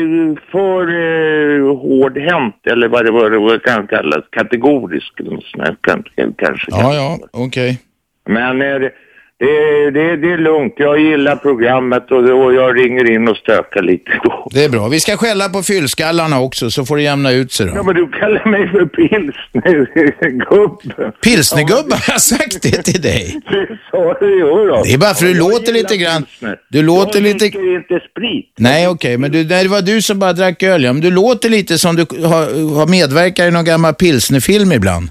för eh, hårdhänt, eller vad det, vad det, vad det kan kallas, kategorisk. eller något sånt här, kan- Kanske.
Ja, ja, okej.
Men eh, det, det, det, det är lugnt. Jag gillar programmet och, och jag ringer in och stökar lite då.
Det är bra. Vi ska skälla på fyllskallarna också, så får det jämna ut sig
Ja,
då.
men du kallar mig för pilsnergubbe.
Pilsnergubbe, har jag sagt det till dig?
[laughs] Det sa du, jodå.
Det är bara för du
Ja, jag
låter lite
gillar
grann-
pilsner.
du låter
jag
lite-
dricker inte sprit. [laughs]
Nej, okej, men du, nej, det var du som bara drack öl, ja. Men du låter lite som du har, har medverkat i någon gammal pilsnerfilm ibland.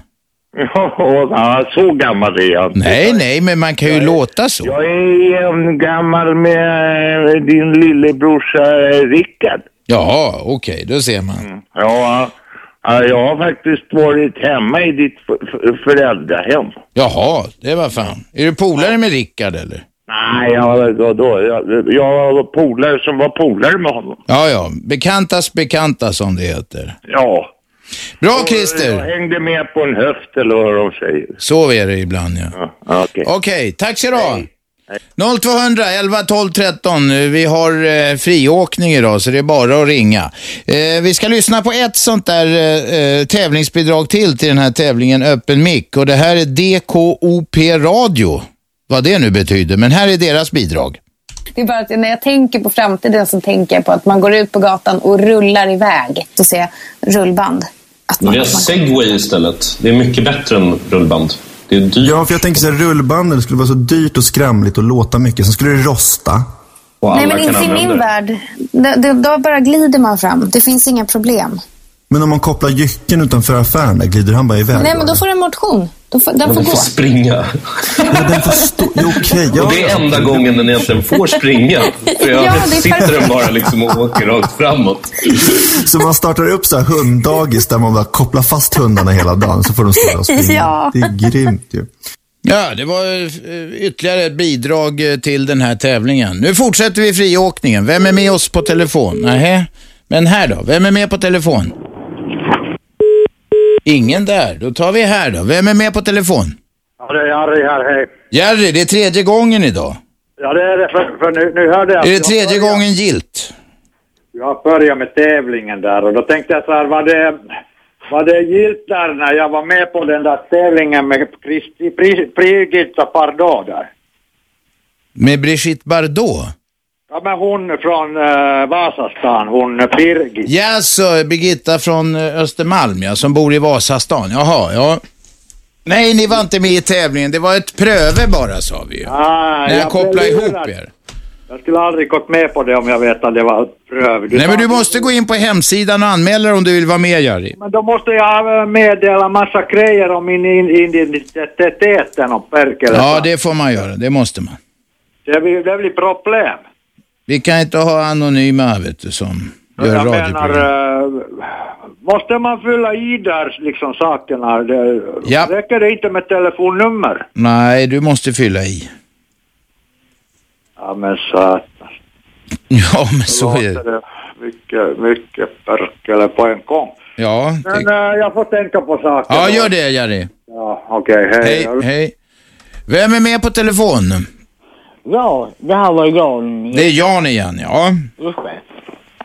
Ja, så gammal är jag inte.
Nej, nej, men man kan ju låta så.
Jag är jämngammal gammal med eh, din lillebrorsa eh, Rickard.
Jaha, okej, då ser man.
Ja, ja, jag har faktiskt varit hemma i ditt f- f- föräldrahem.
Jaha, det var fan. Är du polare med Rickard eller?
Nej, jag, vadå? Jag, jag var polare som var polare med honom.
Ja, ja. Bekantas bekanta som det heter.
Ja.
Bra
Jag
Christer!
hängde med på en höft eller vad de säger.
Så är det ibland ja.
Okej,
tack så du ha. 0200 11 12 13. Vi har eh, friåkning idag så det är bara att ringa. Eh, vi ska lyssna på ett sånt där eh, eh, tävlingsbidrag till till den här tävlingen Öppen mick och det här är DKOP radio. Vad det nu betyder, men här är deras bidrag.
Det är bara att när jag tänker på framtiden så tänker jag på att man går ut på gatan och rullar iväg. Så ser jag rullband.
Vi har segway istället. Det är mycket bättre än rullband. Det är dyrt.
Ja, för jag tänker så här, rullbanden skulle vara så dyrt och skramligt och låta mycket. Sen skulle det rosta.
Nej, men inte i min värld. Det, det, då bara glider man fram. Det finns inga problem.
Men om man kopplar jycken utanför affären, där glider han bara iväg.
Nej, men då får den motion. Då får, den får gå.
springa. Ja, den får stå. Jo, okej. ja.
Och det är enda gången den egentligen får
[laughs]
springa. För jag
Ja, det är
sitter den
perfekt.
bara liksom och åker rakt framåt.
Så man startar upp så här hunddagis där man bara kopplar fast hundarna hela dagen så får de stå där
[laughs]
och springa.
Ja.
Det är grymt ju.
Ja, det var eh, ytterligare ett bidrag eh, till den här tävlingen. Nu fortsätter vi friåkningen. Vem är med oss på telefon? Nähä. Men här då, vem är med på telefon? Ingen där. Då tar vi här då. Vem är med på telefon?
Ja, det är Harry här, hej.
Jerry, det är tredje gången idag.
Ja, det är det, för, för nu, nu hörde jag...
Är det tredje gången gilt?
Jag började med tävlingen där och då tänkte jag så här, var det, var det gilt där när jag var med på den där tävlingen med Christi, Pri, Brigitta Bardot där?
Med Brigitte Bardot?
Ja, men hon från eh, Vasastan, hon Birgit.
Ja, så Birgitta från eh, Östermalm, ja, som bor i Vasastan. Jaha, ja. Nej, ni var inte med i tävlingen. Det var ett pröve bara, sa vi ju.
Ah,
När jag kopplar
blev
ihop
lurad.
er.
Jag skulle aldrig gått med på det om jag vet att det var pröv.
Nej, men du måste gå in på hemsidan och anmäla dig om du vill vara med, Jari.
Men då måste jag eh, meddela massa grejer om min in- in- identiteten och perkele.
Ja, det får man göra. Det måste man.
Det blir, det blir problem.
Vi kan inte ha anonyma, vet du, som gör
jag
radioprogram.
menar, eh, måste man fylla i där liksom sakerna? Det,
Ja.
Räcker det inte med telefonnummer?
Nej, du måste fylla i.
Ja men satan.
Ja, men så är det.
Låter det. Mycket, mycket perkele på en gång.
Ja,
Men eh, jag får tänka på saker.
ja gör det, Jari.
Ja, okej, hej.
Hej, hej. Vem är med på telefon?
Ja, det här var Jan.
Det är Jan igen, ja.
Just det.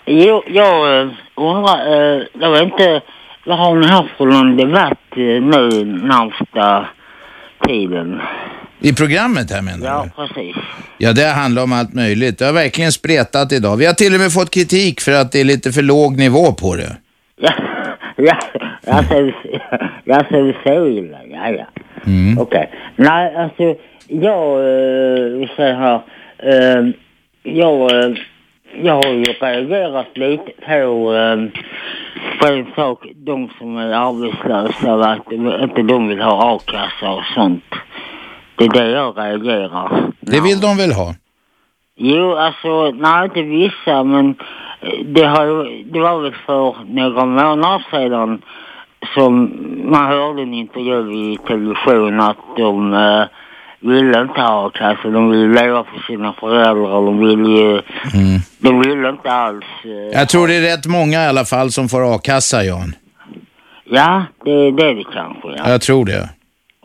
Jo, jag eh, undrar, eh, jag vet inte, vad har ni haft för någon debatt eh, nu närmsta tiden?
I programmet här menar
Ja, precis.
Ja, det handlar om allt möjligt. Det har verkligen spretat idag. Vi har till och med fått kritik för att det är lite för låg nivå på det.
Ja, ja, jag ser, jag ser fel. Ja, ja.
Mm.
Okej. Nej, alltså, jag, eh, vi säger här, eh, jag, eh, jag har ju reagerat lite på, eh, på en sak, de som är arbetslösa, va, att inte de vill ha a-kassa och sånt. Det är det jag reagerar.
Det vill de väl ha?
Jo, alltså, nej inte vissa, men eh, det, har, ju- det var väl för några månader sedan som man hörde en intervju i television att de eh, ville inte ha a-kassa, de ville leva för sina föräldrar, de ville ju, de ville inte alls. eh,
Mm. Jag tror det är rätt många i alla fall som får a-kassa, Jan.
Ja, det, det är det kanske. Ja.
Jag tror det.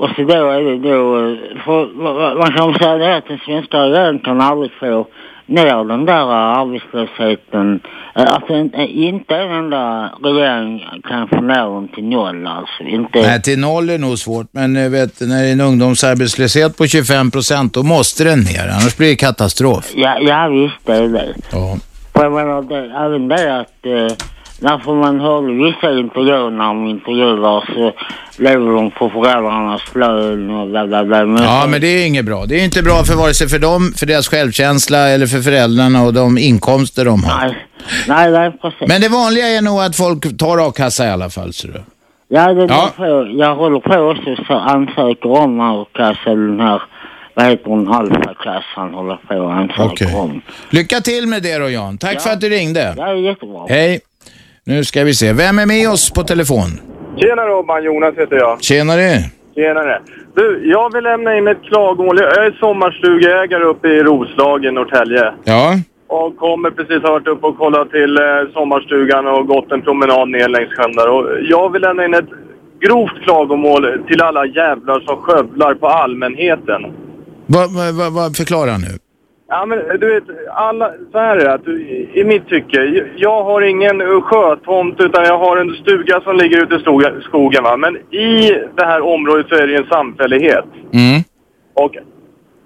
Och så då är det då, eh, för, va- va- man kan väl säga det att den svenska regeringen kan aldrig få ner den där eh, arbetslösheten. Eh, Alltså inte, inte en enda regering kan få ner den till noll alltså. Inte,
Nej, till noll är nog svårt, men eh, vet, du, när det är en ungdomsarbetslöshet på 25 procent, då måste den ner, annars blir det katastrof.
ja, ja visst det är det.
Ja.
För jag menar det, även det att eh, därför man hörde vissa intervjuer när de intervjuar så lever de på föräldrarnas lön och bla bla bla. Men-
Ja, men det är inget bra. Det är inte bra för vare sig för dem, för deras självkänsla eller för föräldrarna och de inkomster de har. Nej,
nej, nej precis.
Men det vanliga är nog att folk tar a-kassa i alla fall, ser du.
Ja, det är
Ja.
därför jag håller på också så ansöker om a-kassa, den här, vad heter hon, alfakassan håller på och ansöker om.
Lycka till med det då, Jan. Tack för att du ringde.
Ja, jättebra.
Hej. Nu ska vi se. Vem är med oss på telefon?
Tjena Robban, Jonas heter jag.
Tjenare.
Tjenare. Du, jag vill lämna in ett klagomål. Jag är sommarstugägare uppe i Roslagen, Norrtälje.
Ja.
Och kommer precis ha varit uppe och kollat till eh, sommarstugan och gått en promenad ner längs sjön där. Och jag vill lämna in ett grovt klagomål till alla jävlar som skövlar på allmänheten.
Vad va, va, va, förklara nu.
Ja, men du vet, alla, så här är det, att, i- i mitt tycke. j- Jag har ingen eh, sjötomt utan jag har en stuga som ligger ute i stoga- skogen. Va? Men i det här området så är det ju en samfällighet.
Mm.
Och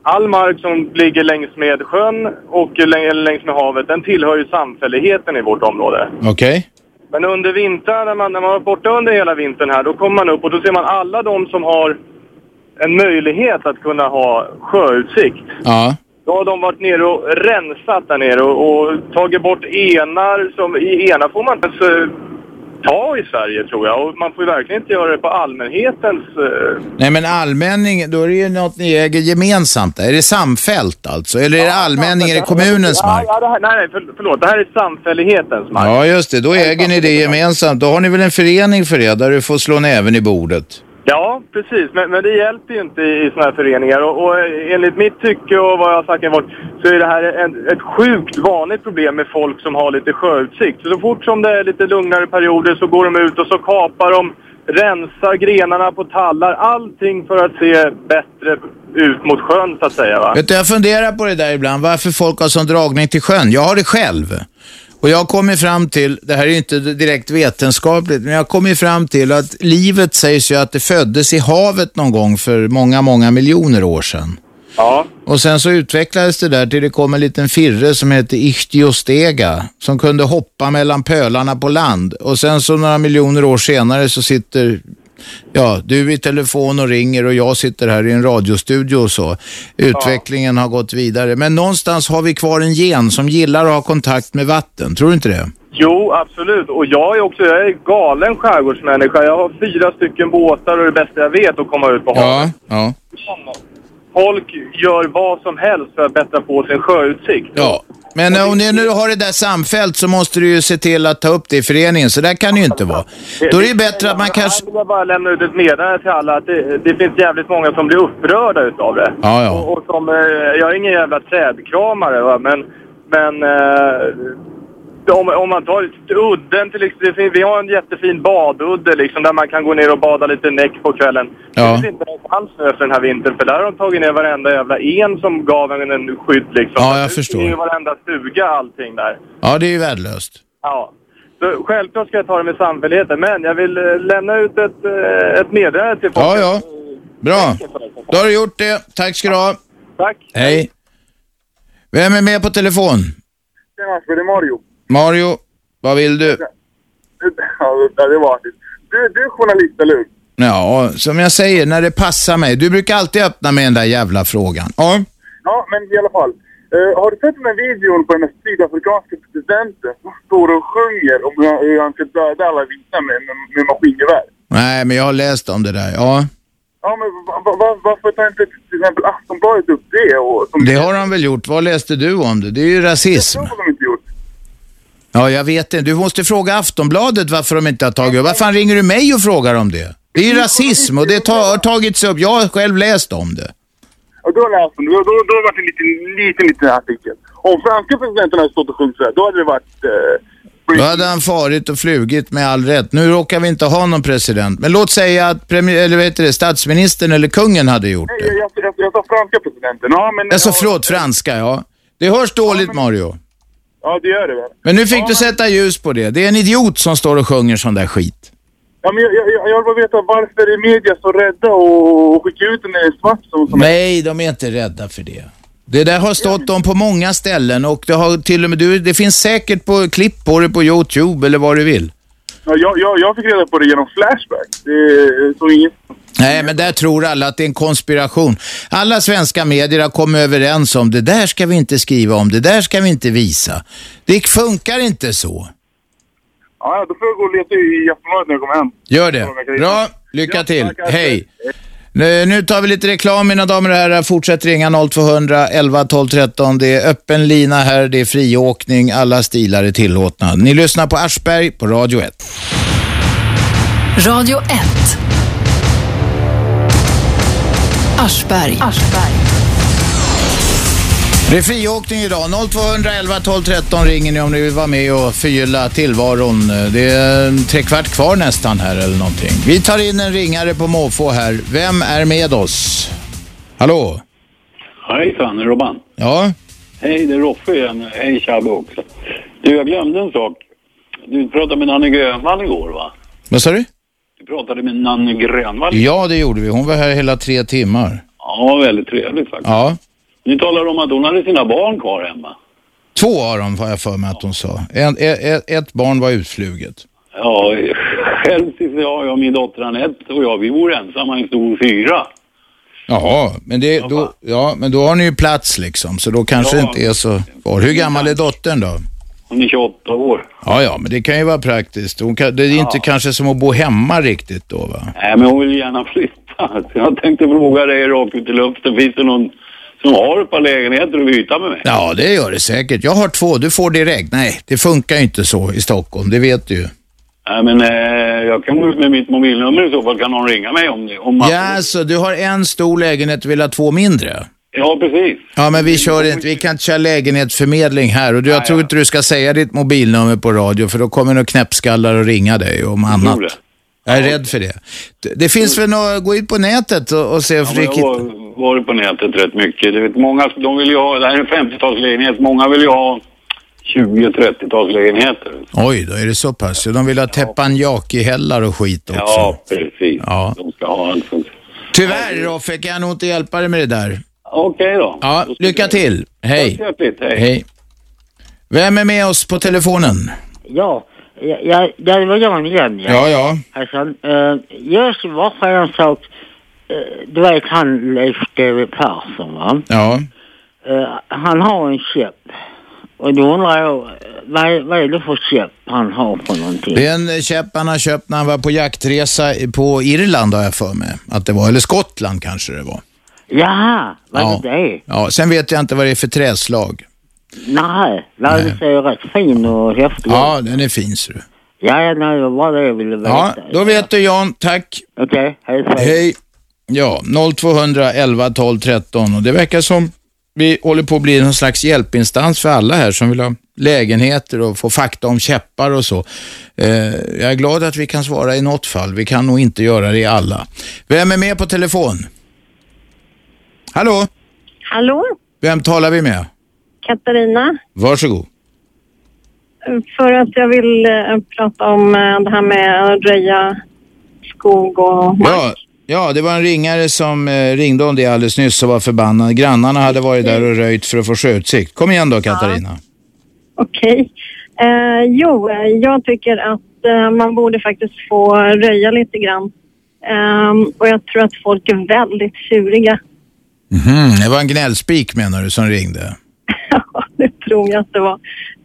all mark som ligger längs med sjön och läng- eller längs med havet, den tillhör ju samfälligheten i vårt område.
Okej.
Men under vintern, när man, när man var borta under hela vintern här, då kommer man upp och då ser man alla de som har en möjlighet att kunna ha sjöutsikt.
Ja.
Då har de varit nere och rensat där nere och, och tagit bort enar. Som, I enar får man inte ens eh, ta i Sverige tror jag. Och man får ju verkligen inte göra det på allmänhetens... eh,
Nej, men allmänning, då är det ju något ni äger gemensamt. där. Är det samfällt alltså? Eller är det allmänning, är det kommunens
ja,
mark?
Ja, det här, nej, nej, för, förlåt. Det här är samfällighetens mark.
Ja, just det. Då äger ni det gemensamt. Då har ni väl en förening för det, där du får slå näven i bordet.
Ja, precis. Men, men det hjälper ju inte i sådana här föreningar. Och, och enligt mitt tycke och vad jag har sagt innan så är det här en, ett sjukt vanligt problem med folk som har lite sjöutsikt. Så, så fort som det är lite lugnare perioder så går de ut och så kapar de, rensar grenarna på tallar, allting för att se bättre ut mot sjön så att säga. Va?
Vet du, jag funderar på det där ibland, varför folk har sån dragning till sjön. Jag har det själv. Och jag har kommit fram till, det här är ju inte direkt vetenskapligt, men jag har kommit fram till att livet sägs ju att det föddes i havet någon gång för många, många miljoner år sedan.
Ja.
Och sen så utvecklades det där till det kom en liten firre som hette Ichthyostega som kunde hoppa mellan pölarna på land. Och sen så några miljoner år senare så sitter Ja, du i telefon och ringer och jag sitter här i en radiostudio och så. Utvecklingen har gått vidare. Men någonstans har vi kvar en gen som gillar att ha kontakt med vatten. Tror du inte det?
Jo, absolut. Och jag är också jag är galen skärgårdsmänniska. Jag har fyra stycken båtar och det bästa jag vet att komma ut på havet.
Ja, ja.
Folk gör vad som helst för att bättra på sin sjöutsikt.
ja. Men om ni nu har det där samfällt så måste du ju se till att ta upp det i föreningen. Så där kan det ju inte vara. Då är det ju bättre att man kanske...
Här vill jag bara lämna ut ett meddelande till alla att det, det finns jävligt många som blir upprörda utav det.
Ja, ja.
Och, och som, eh, jag är ingen jävla trädkramare va, men, men eh, om, om man tar udden till exempel. det finns- Vi har en jättefin badudde liksom där man kan gå ner och bada lite näck på kvällen.
Ja.
Det finns inte ens inte alls nu efter den här vintern för där har de tagit ner varenda jävla en som gav en en skydd liksom.
Ja, jag
Nu
förstår.
är ju varenda stuga allting där.
Ja, det är ju värdelöst.
Ja. Så självklart ska jag ta det med samfälligheten, men jag vill eh, lämna ut ett, eh, ett meddelande till folk.
Ja, ja. Bra. Då har du gjort det. Tack ska du ha.
Tack.
Hej. Vem är med på telefon?
Tjena Asper, det är Mario. [laughs]
Mario, vad vill du?
Ja, det var artigt. Du, du är journalist, eller hur?
Ja, som jag säger, när det passar mig. Du brukar alltid öppna med den där jävla frågan. Ja.
Ja, men i alla fall. Eh, har du sett den här videon på den här sydafrikanska presidenten som står och sjunger om hur han- hur han ska döda alla vita med, med, med maskingevär?
Nej, men jag har läst om det där. Ja,
Ja, men va, va, va, varför tar inte till exempel Aftonbladet upp det? Och, som
det har han väl gjort. Vad läste du om det? Det är ju rasism.
Det har de inte gjort.
Ja, jag vet inte. Du måste fråga Aftonbladet varför de inte har tagit upp. Vad fan ringer du mig och frågar om det? Det är ju rasism och det ta- har tagits upp. Jag har själv läst om det.
Och då läste de, då, då, då var det en liten, liten, liten artikel. Om franska presidenten hade stått och sjungit så här, då hade det varit... Eh,
Då hade han farit och flugit med all rätt. Nu råkar vi inte ha någon president. Men låt säga att premi- eller vad heter det, statsministern eller kungen hade gjort
nej,
det.
jag, jag, jag, jag sa franska presidenten. Ja, men...
Alltså förlåt, franska ja. Det hörs dåligt Mario.
Ja, det gör det väl.
Men nu fick du sätta ljus på det. Det är en idiot som står och sjunger sån där skit.
Ja, men jag, jag, jag- jag vill bara veta varför är media så rädda och, och skickar ut den i svart som... som
Nej, de är inte rädda för det. Det där har stått om på många ställen och det, har till och med, du, det finns säkert på klipp på det på YouTube eller vad du vill.
Ja, jag, jag, jag fick reda på det genom Flashback. Det är så inget...
Nej, men där tror alla att det är en konspiration. Alla svenska medier har kommit överens om det där ska vi inte skriva om, det där ska vi inte visa. Det funkar inte så.
Ja, ja, då får jag gå och leta i Aftonbladet när jag kommer hem.
Gör det. Bra, lycka till. Hej. Nu, nu tar vi lite reklam mina damer och herrar. Fortsätt ringa 0200 11 12 13. Det är öppen lina här, det är friåkning, alla stilar är tillåtna. Ni lyssnar på Aschberg på Radio 1.
Radio 1. Aschberg.
Det är friåkning idag. 0211 12 13 ringer ni om ni vill vara med och förgylla tillvaron. Det är en trekvart kvar nästan här eller någonting. Vi tar in en ringare på måfå här. Vem är med oss? Hallå?
Hejsan, Robban.
Ja?
Hej, det är Roffe igen. Hej, Chabbe också. Du, jag glömde en sak. Du pratade med Nanne Grönvall igår, va?
Vad sa du?
Du pratade med Nanne Grönvall.
Ja, det gjorde vi. Hon var här hela tre timmar.
Ja, väldigt trevligt faktiskt.
Ja.
Ni talar om att hon hade sina barn kvar hemma.
Två av dem var jag för mig att hon sa. En, ett, ett barn var utfluget.
Ja, själv sitter jag och min dotter Anette och jag, vi bor ensamma i en stor fyra.
Jaha, men, det, då, ja, men då har ni ju plats liksom, så då kanske det
Ja.
inte är så kvar. Hur gammal är dottern då?
Hon är 28 år.
Ja, ja, men det kan ju vara praktiskt. Hon kan, det är inte kanske som att bo hemma riktigt då, va?
Nej, men hon vill gärna [laughs] flytta. Så jag tänkte fråga dig rakt ut i luften, finns det någon som har ett par lägenheter att byta med mig?
Ja, det gör det säkert. Jag har två, du får direkt. Nej, det funkar ju inte så i Stockholm, det vet du ju.
Nej, men eh, jag kan gå ut med mitt mobilnummer i så fall. Kan någon ringa mig om det? Om man...
Ja, så du har en stor lägenhet och vill ha två mindre?
Ja, precis.
Ja, men vi kör inte, vi kan inte köra lägenhetsförmedling här och du, jag tror inte du ska säga ditt mobilnummer på radio för då kommer några knäppskallar och ringa dig om annat. Jag är rädd för det. Det- Det finns väl något, gå in på nätet och, och se
Ja, men jag
riktigt.
har varit på nätet rätt mycket. Du vet, många, de vill ju ha, det här är en 50-talslägenhet, många vill ju ha 20-30-talslägenheter.
Oj, då är det så pass. De vill ha teppanyaki-hällar och skit också.
Ja, precis. De ska ha allt sånt.
Tyvärr Roffe, kan jag nog inte hjälpa dig med det där.
Okej då.
Ja, lycka till. Hej.
Tack så hjärtligt. Hej.
Vem är med oss på telefonen?
Ja, jag, jag, det var Jan igen.
Ja, ja.
Hejsan. Eh, just varför en sak. Eh, du vet han Leif GW Persson va?
Ja.
Eh, han har en käpp. Och då undrar jag, eh, vad, vad är det för käpp han har för någonting?
Det är en eh, käpp han har köpt när han var på jaktresa i- på Irland har jag för mig att det var. Eller Skottland kanske det var.
Jaha, vad
Ja.
är det?
Ja, sen vet jag inte vad det är för träslag.
Nej, Leif ser ju rätt fin och häftig
Ja, den är fin ser du.
Ja, ja, nej, det var det jag ville veta.
Ja, då vet du Jan. Tack.
Okej, hej.
Hej. Ja, 0200 11 12 13 och det verkar som vi håller på att bli någon slags hjälpinstans för alla här som vill ha lägenheter och få fakta om käppar och så. Eh, jag är glad att vi kan svara i något fall. Vi kan nog inte göra det i alla. Vem är med på telefon? Hallå?
Hallå,
Vem talar vi med?
Katarina.
Varsågod.
För att jag vill eh, prata om eh, det här med att röja skog och...
Ja, ja, det var en ringare som eh, ringde om det alldeles nyss och var förbannad. Grannarna hade varit där och röjt för att få sjöutsikt. Kom igen då Katarina.
Okej. Eh, jo, eh, jag tycker att eh, man borde faktiskt få röja lite grann. Ehm, och jag tror att folk är väldigt tjuriga, [laughs]
Mhm, det var en gnällspik menar du som ringde.
tror jag att det var.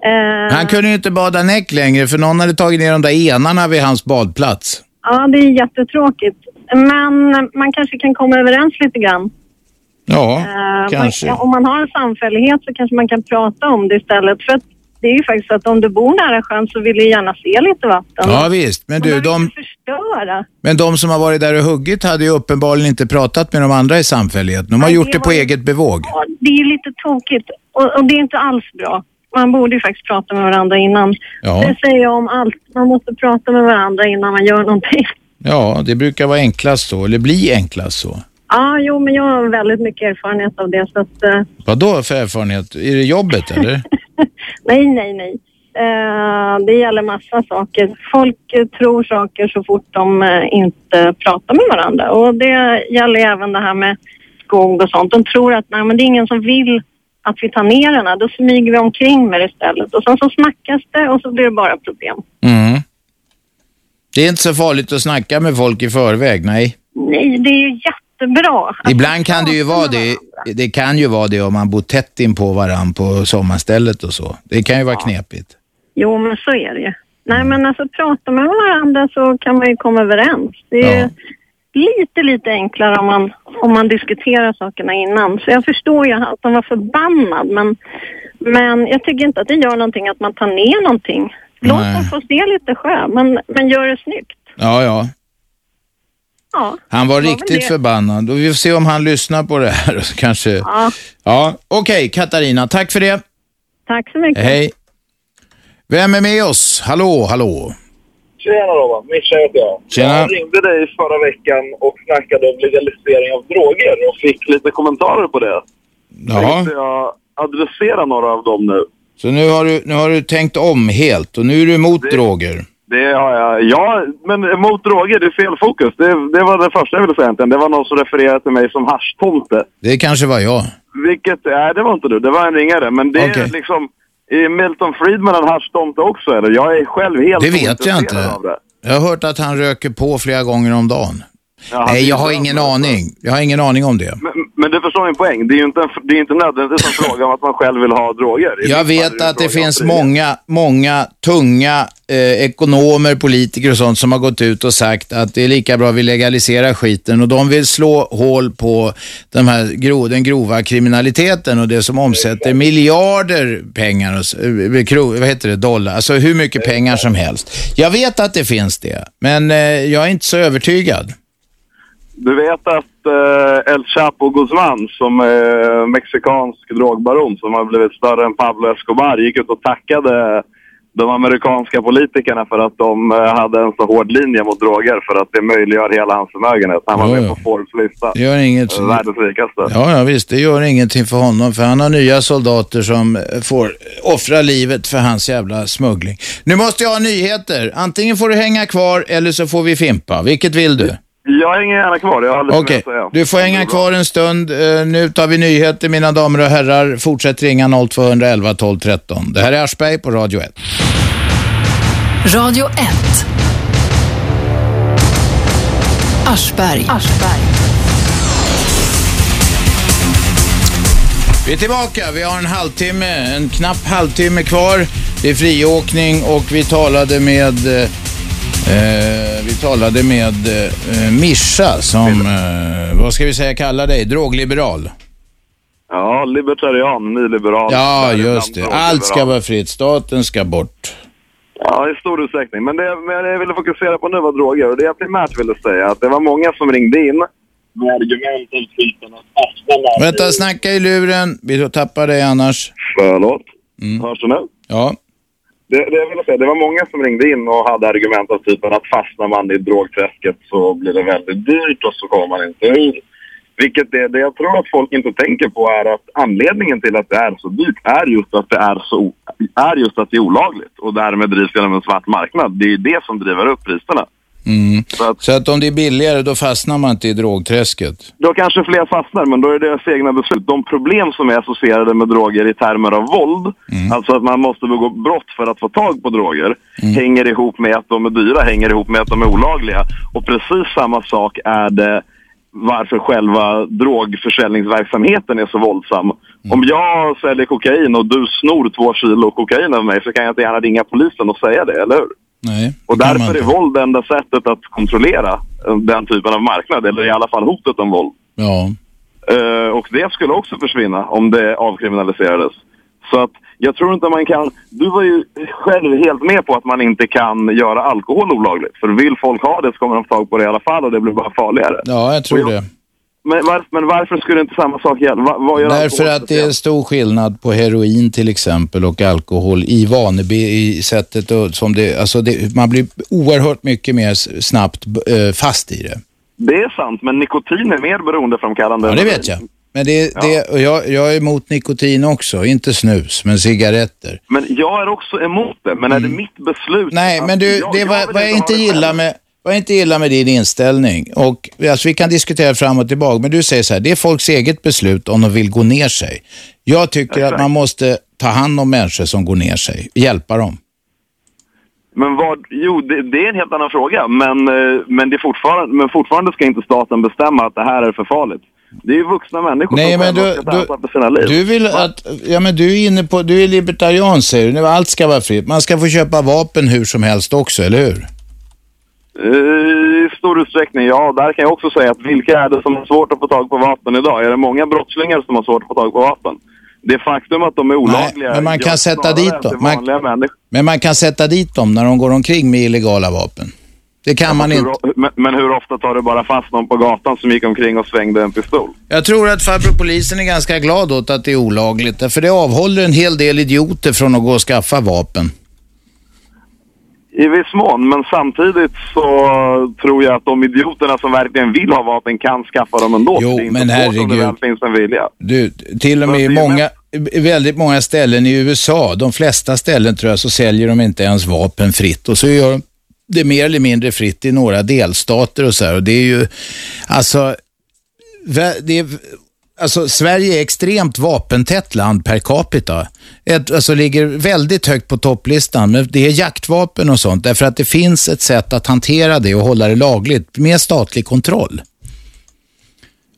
Ehm,
Han kunde ju inte bada näck längre för någon hade tagit ner de där enarna vid hans badplats.
Ja, det är jättetråkigt. Men eh, man kanske kan komma överens lite grann.
Ja,
Eh,
kanske.
Man, om man har en samfällighet så kanske man kan prata om det istället. För att det är ju faktiskt så att om du bor nära sjön så vill du gärna se lite vatten.
Ja, visst. Men du, de,
Förstöra.
men de som har varit där och huggit hade ju uppenbarligen inte pratat med de andra i samfälligheten. De har
Nej,
gjort
det
det på
var-
eget bevåg.
Ja, det är ju lite tokigt och, och det är inte alls bra. Man borde ju faktiskt prata med varandra innan.
Ja.
Det säger jag om allt. Man måste prata med varandra innan man gör någonting. [laughs]
Ja, det brukar vara enklast så, eller bli enklast så.
Ja, jo, men jag har väldigt mycket erfarenhet av det. Så att, eh,
Vad då för erfarenhet? Är det jobbet
[laughs]
eller?
nej, nej, nej. Eh, det gäller massa saker. Folk eh, tror saker så fort de eh, inte pratar med varandra. Och det gäller ju även det här med skog och sånt. De tror att nej, men det är ingen som vill att vi tar ner den här. Då smyger vi omkring med det istället. Och sen så snackas det och så blir det bara problem.
Mm. Det är inte så farligt att snacka med folk i förväg, nej.
Nej, det är ju jättebra.
Ibland kan det ju vara det. Det kan ju vara det om man bor tätt in på varann på sommarstället och så. Det kan ju vara knepigt.
Jo, men så är det ju. Nej, men alltså prata med varandra så kan man ju komma överens. Det är ju lite, lite enklare om man, om man diskuterar sakerna innan. Så jag förstår ju att han var förbannad, men, men jag tycker inte att det gör någonting att man tar ner någonting. Låt
Nej.
dem få se lite sjö, men, men gör det snyggt.
Ja, ja.
Ja,
Han var
det väl
riktigt
det.
förbannad. Och vi får se om han lyssnar på det här [laughs] och så kanske...
Ja,
Ja, okej Katarina. Tack för det.
tack så mycket.
Hej. Vem är med oss? Hallå, hallå.
Tjena Robban, Mischa heter jag.
Tjena.
Jag ringde dig förra veckan och snackade om legalisering av droger och fick lite kommentarer på det.
Jaha.
Tänkte jag adressera några av dem nu.
Så nu har, du, nu har du tänkt om helt och nu är du emot droger.
Det har jag. Ja, men mot droger, det är fel fokus. Det, det var det första jag ville säga egentligen. Det var någon som refererade till mig som haschtomte.
Det kanske var jag.
Vilket, nej det var inte du, det var en ringare. Men det är
Okej.
liksom, är Milton Friedman en haschtomte också eller? Jag är själv helt
Det vet jag
ointresserad
inte.
av det.
Jag har hört att han röker på flera gånger om dagen.
Ja, han
Nej, jag
är
har
inte
ingen aning. Jag har ingen aning om det.
Men, men du förstår min poäng. Det är ju inte, en, det är inte nödvändigtvis en fråga om att man själv vill ha droger. I
Jag
mitt fall är
vet
en
att det
fråga om
finns
frihet.
många, många tunga eh, ekonomer, politiker och sånt som har gått ut och sagt att det är lika bra vi legaliserar skiten och de vill slå hål på den här gro, den grova kriminaliteten och det som omsätter miljarder pengar, och, s- eh, kro, vad heter det, dollar, alltså hur mycket pengar som helst. Jag vet att det finns det, men eh, jag är inte så övertygad.
Du vet att eh, El Chapo Guzman, som är mexikansk drogbaron som har blivit större än Pablo Escobar, gick ut och tackade de amerikanska politikerna för att de eh, hade en så hård linje mot droger för att det möjliggör hela hans förmögenhet. Han var
Ja,
med
ja.
på Forbes lista.
Det gör inget.
Eh, Världens rikaste.
Ja, ja, visst. Det gör ingenting för honom, för han har nya soldater som eh, får offra livet för hans jävla smuggling. Nu måste jag ha nyheter. Antingen får du hänga kvar eller så får vi fimpa. Vilket vill du?
Jag hänger gärna kvar. Jag har lite mer
Okej,
att säga.
du får hänga kvar en stund. Eh, Nu tar vi nyheter, mina damer och herrar. Fortsätt ringa 0211 12 13. Det här är Aschberg på Radio 1.
Radio 1. Aschberg. Aschberg.
Vi är tillbaka. Vi har en halvtimme, en knapp halvtimme kvar. Det är friåkning och vi talade med eh, eh, vi talade med eh, Mischa som, eh, vad ska vi säga kalla dig, drogliberal.
Ja, libertarian, nyliberal.
Ja,
Däribland
just det. Allt ska
drogliberal.
vara fritt. Staten ska bort.
Ja, i stor utsträckning. Men det, men det jag ville fokusera på nu var droger. Och det jag primärt ville säga är att det var många som ringde in med argument av typen att
Vänta, snacka i luren. Vi tappar dig annars.
Förlåt? Hörs du nu?
Ja.
Det, det, vill jag säga, det var många som ringde in och hade argument av typen att fastnar man i drogträsket så blir det väldigt dyrt och så kommer man inte ur. Vilket det, det jag tror att folk inte tänker på är att anledningen till att det är så dyrt är just att det är, så, är, just att det är olagligt och därmed drivs genom en svart marknad. Det är det som driver upp priserna.
Mm. Så, att, så att om det är billigare då fastnar man inte i drogträsket?
Då kanske fler fastnar, men då är det deras egna beslut. De problem som är associerade med droger i termer av våld, alltså att man måste begå brott för att få tag på droger, hänger ihop med att de är dyra, hänger ihop med att de är olagliga. Och precis samma sak är det varför själva drogförsäljningsverksamheten är så våldsam. Om jag säljer kokain och du snor två kilo kokain av mig så kan jag inte gärna ringa polisen och säga det, eller hur?
Nej.
Och därför är våld det enda sättet att kontrollera eh, den typen av marknad, eller i alla fall hotet om våld.
Ja.
Eh, och det skulle också försvinna om det avkriminaliserades. Så att jag tror inte man kan... Du var ju själv helt med på att man inte kan göra alkohol olagligt. För vill folk ha det så kommer de få tag på det i alla fall och det blir bara farligare.
Ja, jag tror det.
Men, var, men varför skulle inte samma sak gälla? Va, vad gör
Därför
alkohol
att det är stor skillnad på heroin till exempel och alkohol i vanebe, i sättet och, som det, alltså det, man blir oerhört mycket mer s- snabbt eh, fast i det.
Det är sant, men nikotin är mer beroendeframkallande.
Ja,
än
det
heroin.
vet jag. Men det, det, och jag, jag är emot nikotin också, inte snus, men cigaretter.
Men jag är också emot det. Men
Mm.
är det mitt beslut?
Nej,
att-
men du,
jag-
det
jag vill
var, vad jag
ha
inte
det själv.
gillar med vad jag inte gillar med din inställning, och alltså, vi kan diskutera fram och tillbaka, men du säger så här, det är folks eget beslut om de vill gå ner sig. Jag tycker att man måste ta hand om människor som går ner sig, hjälpa dem.
Men vad, jo, det, det är en helt annan fråga. Men, eh, men, det är fortfarande, men fortfarande ska inte staten bestämma att det här är för farligt. Det är ju vuxna människor
Nej,
som
men
själva
du,
ska ta ansvar för sina
du,
liv.
du vill att, ja men du är inne på, du är libertarian säger du, nu allt ska vara fritt. Man ska få köpa vapen hur som helst också, eller hur?
Eh, I stor utsträckning, ja. Där kan jag också säga att vilka är det som har svårt att få tag på vapen idag? Är det många brottslingar som har svårt att få tag på vapen? Det faktum att de är olagliga
men man
gör
kan sätta
snarare
dit
att
dem.
det är
Man-
Vanliga människor.
Men man kan sätta dit dem när de går omkring med illegala vapen. Det kan man inte.
Hur, o- men, men hur ofta tar du bara fast någon på gatan som gick omkring och svängde en pistol?
Jag tror att farbror polisen är ganska glad åt att det är olagligt, för det avhåller en hel del idioter från att gå och skaffa vapen.
I viss mån, men samtidigt så tror jag att de idioterna som verkligen vill ha vapen kan skaffa dem ändå. Jo, det är inte
men
svårt om det
herregud.
väl finns en vilja.
Du, till och med i många, i väldigt många ställen i USA, de flesta ställen tror jag, så säljer de inte ens vapen fritt. Och så gör de det mer eller mindre fritt i några delstater och så här. Och det är ju, alltså, vä- det är, alltså Sverige är extremt vapentätt land per capita. Ett, alltså ligger väldigt högt på topplistan, men det är jaktvapen och sånt. Därför att det finns ett sätt att hantera det och hålla det lagligt med statlig kontroll.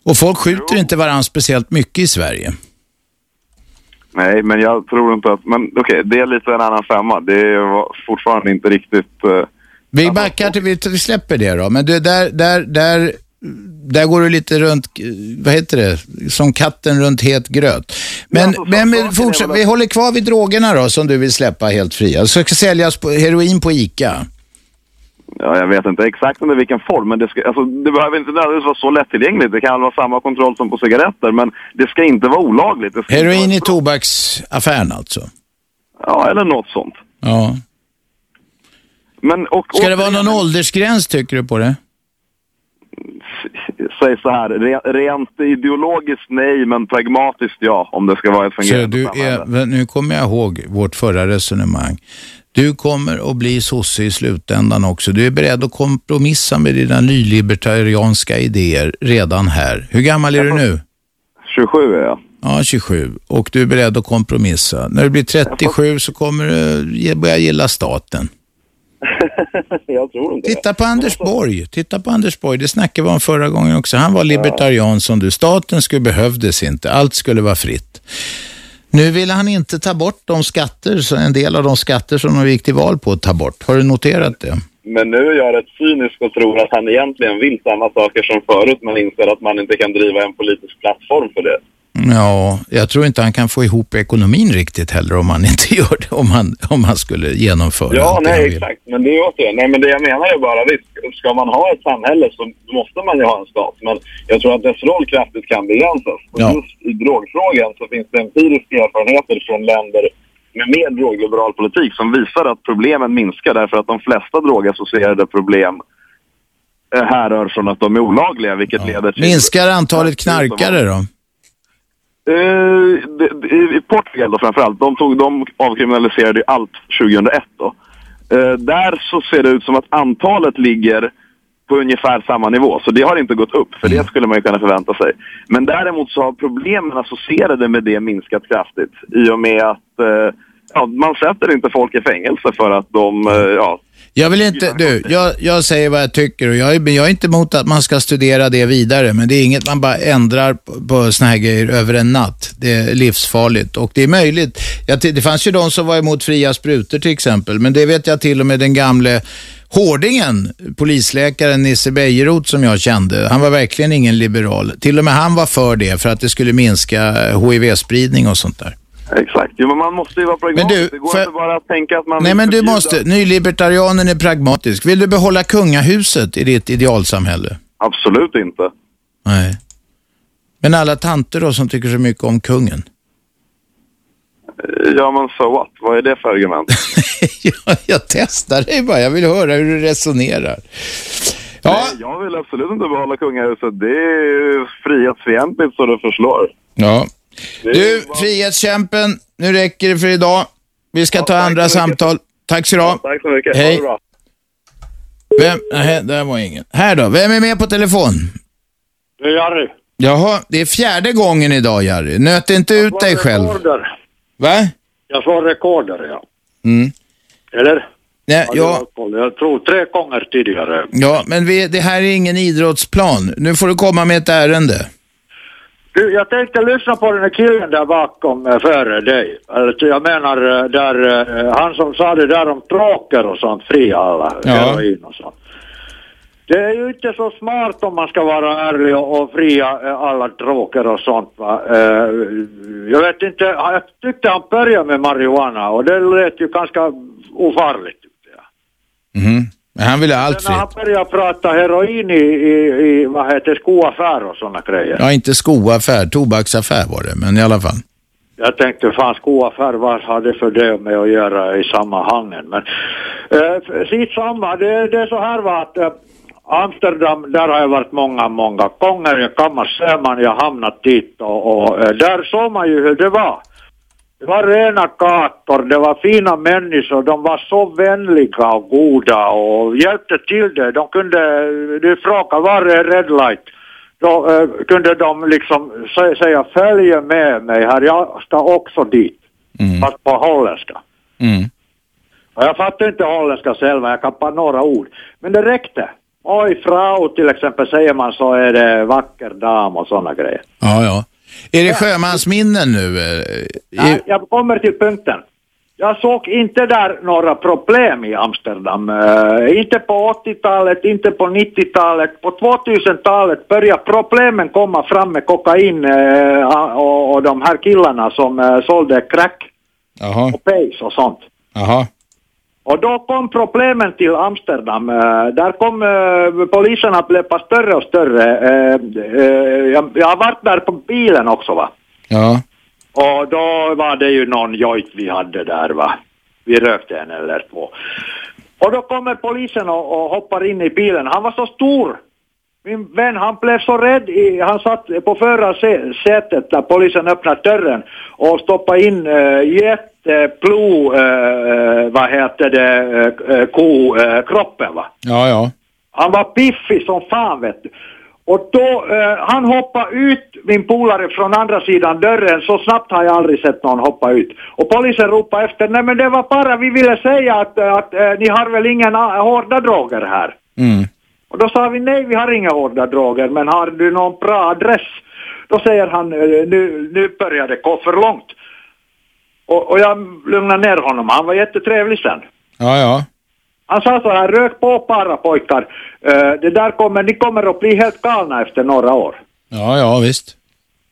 Och folk skjuter inte varandra speciellt mycket i Sverige.
Nej, men jag tror inte att... Men okej, det är lite en annan femma. Det är fortfarande inte riktigt... eh,
Vi backar till, vi vi släpper det då. Men du, där, där, där, där går du lite runt, eh, vad heter det, som katten runt het gröt. Men, men, men fortsätt, vi håller kvar vid drogerna då som du vill släppa helt fria. Så ska säljas på, heroin på ICA.
Ja, jag vet inte exakt under vilken form, men det, ska, alltså, det behöver inte nödvändigtvis vara så lättillgängligt. Det kan vara samma kontroll som på cigaretter, men det ska inte vara olagligt. Det ska,
Heroin i tobaksaffären alltså.
ja, eller något sånt.
Ja.
Men, och,
Ska det vara någon åldersgräns tycker du på det?
Säg så här, re, rent ideologiskt nej, men pragmatiskt ja, om det ska vara ett
Så
fungerande
du är, nu kommer jag ihåg vårt förra resonemang. Du kommer att bli sosse i slutändan också. Du är beredd att kompromissa med dina nylibertarianska idéer redan här. Hur gammal är du nu?
27 är jag.
Ja, 27. Och du är beredd att kompromissa. När du blir 37 så kommer du ge- börja gilla staten.
jag tror inte
Titta på Anders Borg. Titta på Anders Borg. Det snackade vi om förra gången också. Han var libertarian som du. Staten skulle behövdes inte. Allt skulle vara fritt. Nu vill han inte ta bort de skatter, så en del av de skatter som de gick till val på att ta bort. Har du noterat det?
Men nu är jag rätt cynisk och tror att han egentligen vill samma saker som förut, men inser att man inte kan driva en politisk plattform för det.
Ja, jag tror inte han kan få ihop ekonomin riktigt heller om han inte [laughs] gör det, om han, om han skulle genomföra
Ja,
allt det han
nej,
vill.
exakt. Men det är återigen, nej, men det jag menar är bara visst, ska man ha ett samhälle så måste man ju ha en stat. Men jag tror att dess roll kraftigt kan begränsas. Och
Ja.
just i drogfrågan så finns det empiriska erfarenheter från länder med mer drogliberal politik som visar att problemen minskar därför att de flesta drogassocierade problem eh, härrör från att de är olagliga, vilket leder till...
Minskar antalet knarkare då?
Eh, det- det- I Portugal då framförallt, de, tog, de avkriminaliserade ju allt 2001 då. Eh, där så ser det ut som att antalet ligger på ungefär samma nivå, så det har inte gått upp,
Mm.
för det skulle man ju kunna förvänta sig. Men däremot så har problemen associerade med det minskat kraftigt i och med att eh, ja, man sätter inte folk i fängelse för att de, eh, ja,
Jag vill inte, du, jag, jag säger vad jag tycker och jag, är- men jag är inte emot att man ska studera det vidare, men det är inget man bara ändrar på, på såna här grejer över en natt. Det är livsfarligt och det är möjligt. Jag, t- det fanns ju de som var emot fria sprutor till exempel, men det vet jag till och med den gamle Hårdingen, polisläkaren Nisse Bejerot som jag kände, han var verkligen ingen liberal. Till och med han var för det, för att det skulle minska HIV-spridning och sånt där.
exakt. Jo, men man måste ju vara pragmatisk.
Men du,
det går inte bara att tänka att man...
Nej,
vill
men du
förbjuda-
måste, nylibertarianen är pragmatisk. Vill du behålla kungahuset i ditt idealsamhälle?
Absolut inte.
Nej. Men alla tanter då som tycker så mycket om kungen? [laughs]
Eh, Ja, men so what? Vad är det för argument?
Jag testar dig bara, jag vill höra hur du resonerar. Ja.
Jag vill absolut inte behålla kungahuset. Det är ju frihetsfientligt så det förslår.
Ja. Du, frihetskämpen, nu räcker det för idag. Vi ska ta andra samtal. Tack så du ha.
Tack så mycket.
Hej. Vem, nej, där var ingen. Här då, vem är med på telefon?
Det är Jari.
Jaha, det är fjärde gången idag Jari. Nöt inte ut dig själv.
Rekorder.
Va?
Jag slår rekorder, ja.
Mm.
Eller?
Nej,
det
ja.
var koll. Jag tror tre gånger tidigare.
Ja, men vi, det här är ingen idrottsplan. Nu får du komma med ett ärende.
Du, jag tänkte lyssna på den här killen där bakom eh, före dig. Alltså, jag menar eh, där, eh, han som sa det där om tråkar och sånt, frialla,
Ja.
heroin och sånt. Det är ju inte så smart om man ska vara ärlig och och fria eh, alla droger och sånt va. Eh, Jag vet inte, jag tyckte han började med marijuana och det lät ju ganska ofarligt.
Mhm. Men han vill ha allt
När
fritt.
han började prata heroin i, i, i vad heter det, skoaffär och såna grejer.
Ja, inte skoaffär, tobaksaffär var det, men i alla fall.
Jag tänkte fan skoaffär, vad har det för det med att göra i sammanhangen? Men eh, sitt samma, det, det är så här va att eh, Amsterdam, där har jag varit många, många gånger. Jag kan man säga man, jag har hamnat dit och, och eh, där såg man ju hur det var. Det var rena gator, det var fina människor, de var så vänliga och goda och hjälpte till det. De kunde, eh, du frågade var är red light? Då eh, kunde de liksom sä- säga följ med mig här, jag ska också dit. Fast på holländska.
Mm.
Och jag fattar inte holländska själv, jag kan bara några ord. Men det räckte. Oj, frau till exempel säger man så är det vacker dam och sådana grejer.
Ja, ja. Är det sjömansminnen nu? eh,
Nej, jag kommer till punkten. Jag såg inte där några problem i Amsterdam. Eh, inte på 80-talet, inte på 90-talet. På 2000-talet började problemen komma fram med kokain eh, och, och de här killarna som eh, sålde crack
Jaha,
och pace och sånt.
jaha.
Och då kom problemen till Amsterdam. Eh, där kom eh, polisen att löpa större och större. Eh, eh, jag, jag har varit där på bilen också va.
Ja.
Och då var det ju någon joint vi hade där va. Vi rökte en eller två. Och då kommer polisen och, och hoppar in i bilen. Han var så stor. Min vän han blev så rädd. I, han satt på förarsätet där polisen öppnade dörren och stoppade in uh, jätteplo, eh, vad heter det, uh, ko, eh, kroppen va.
Ja, ja.
Han var piffig som fan vet du. Och då, eh, han hoppade ut, min polare, från andra sidan dörren. Så snabbt har jag aldrig sett någon hoppa ut. Och polisen ropade efter, nej men det var bara, vi ville säga att, eh, att eh, ni har väl inga na- hårda droger här?
Mm.
Och då sa vi, nej vi har inga hårda droger, men har du någon bra adress? Då säger han, eh, nu, nu börjar det gå för långt. Och, och jag lugnade ner honom, han var jättetrevlig sen.
Ja, ja.
Han sa så här, rök på bara pojkar. Eh, det där kommer, ni kommer att bli helt galna efter några år.
Ja, ja, visst.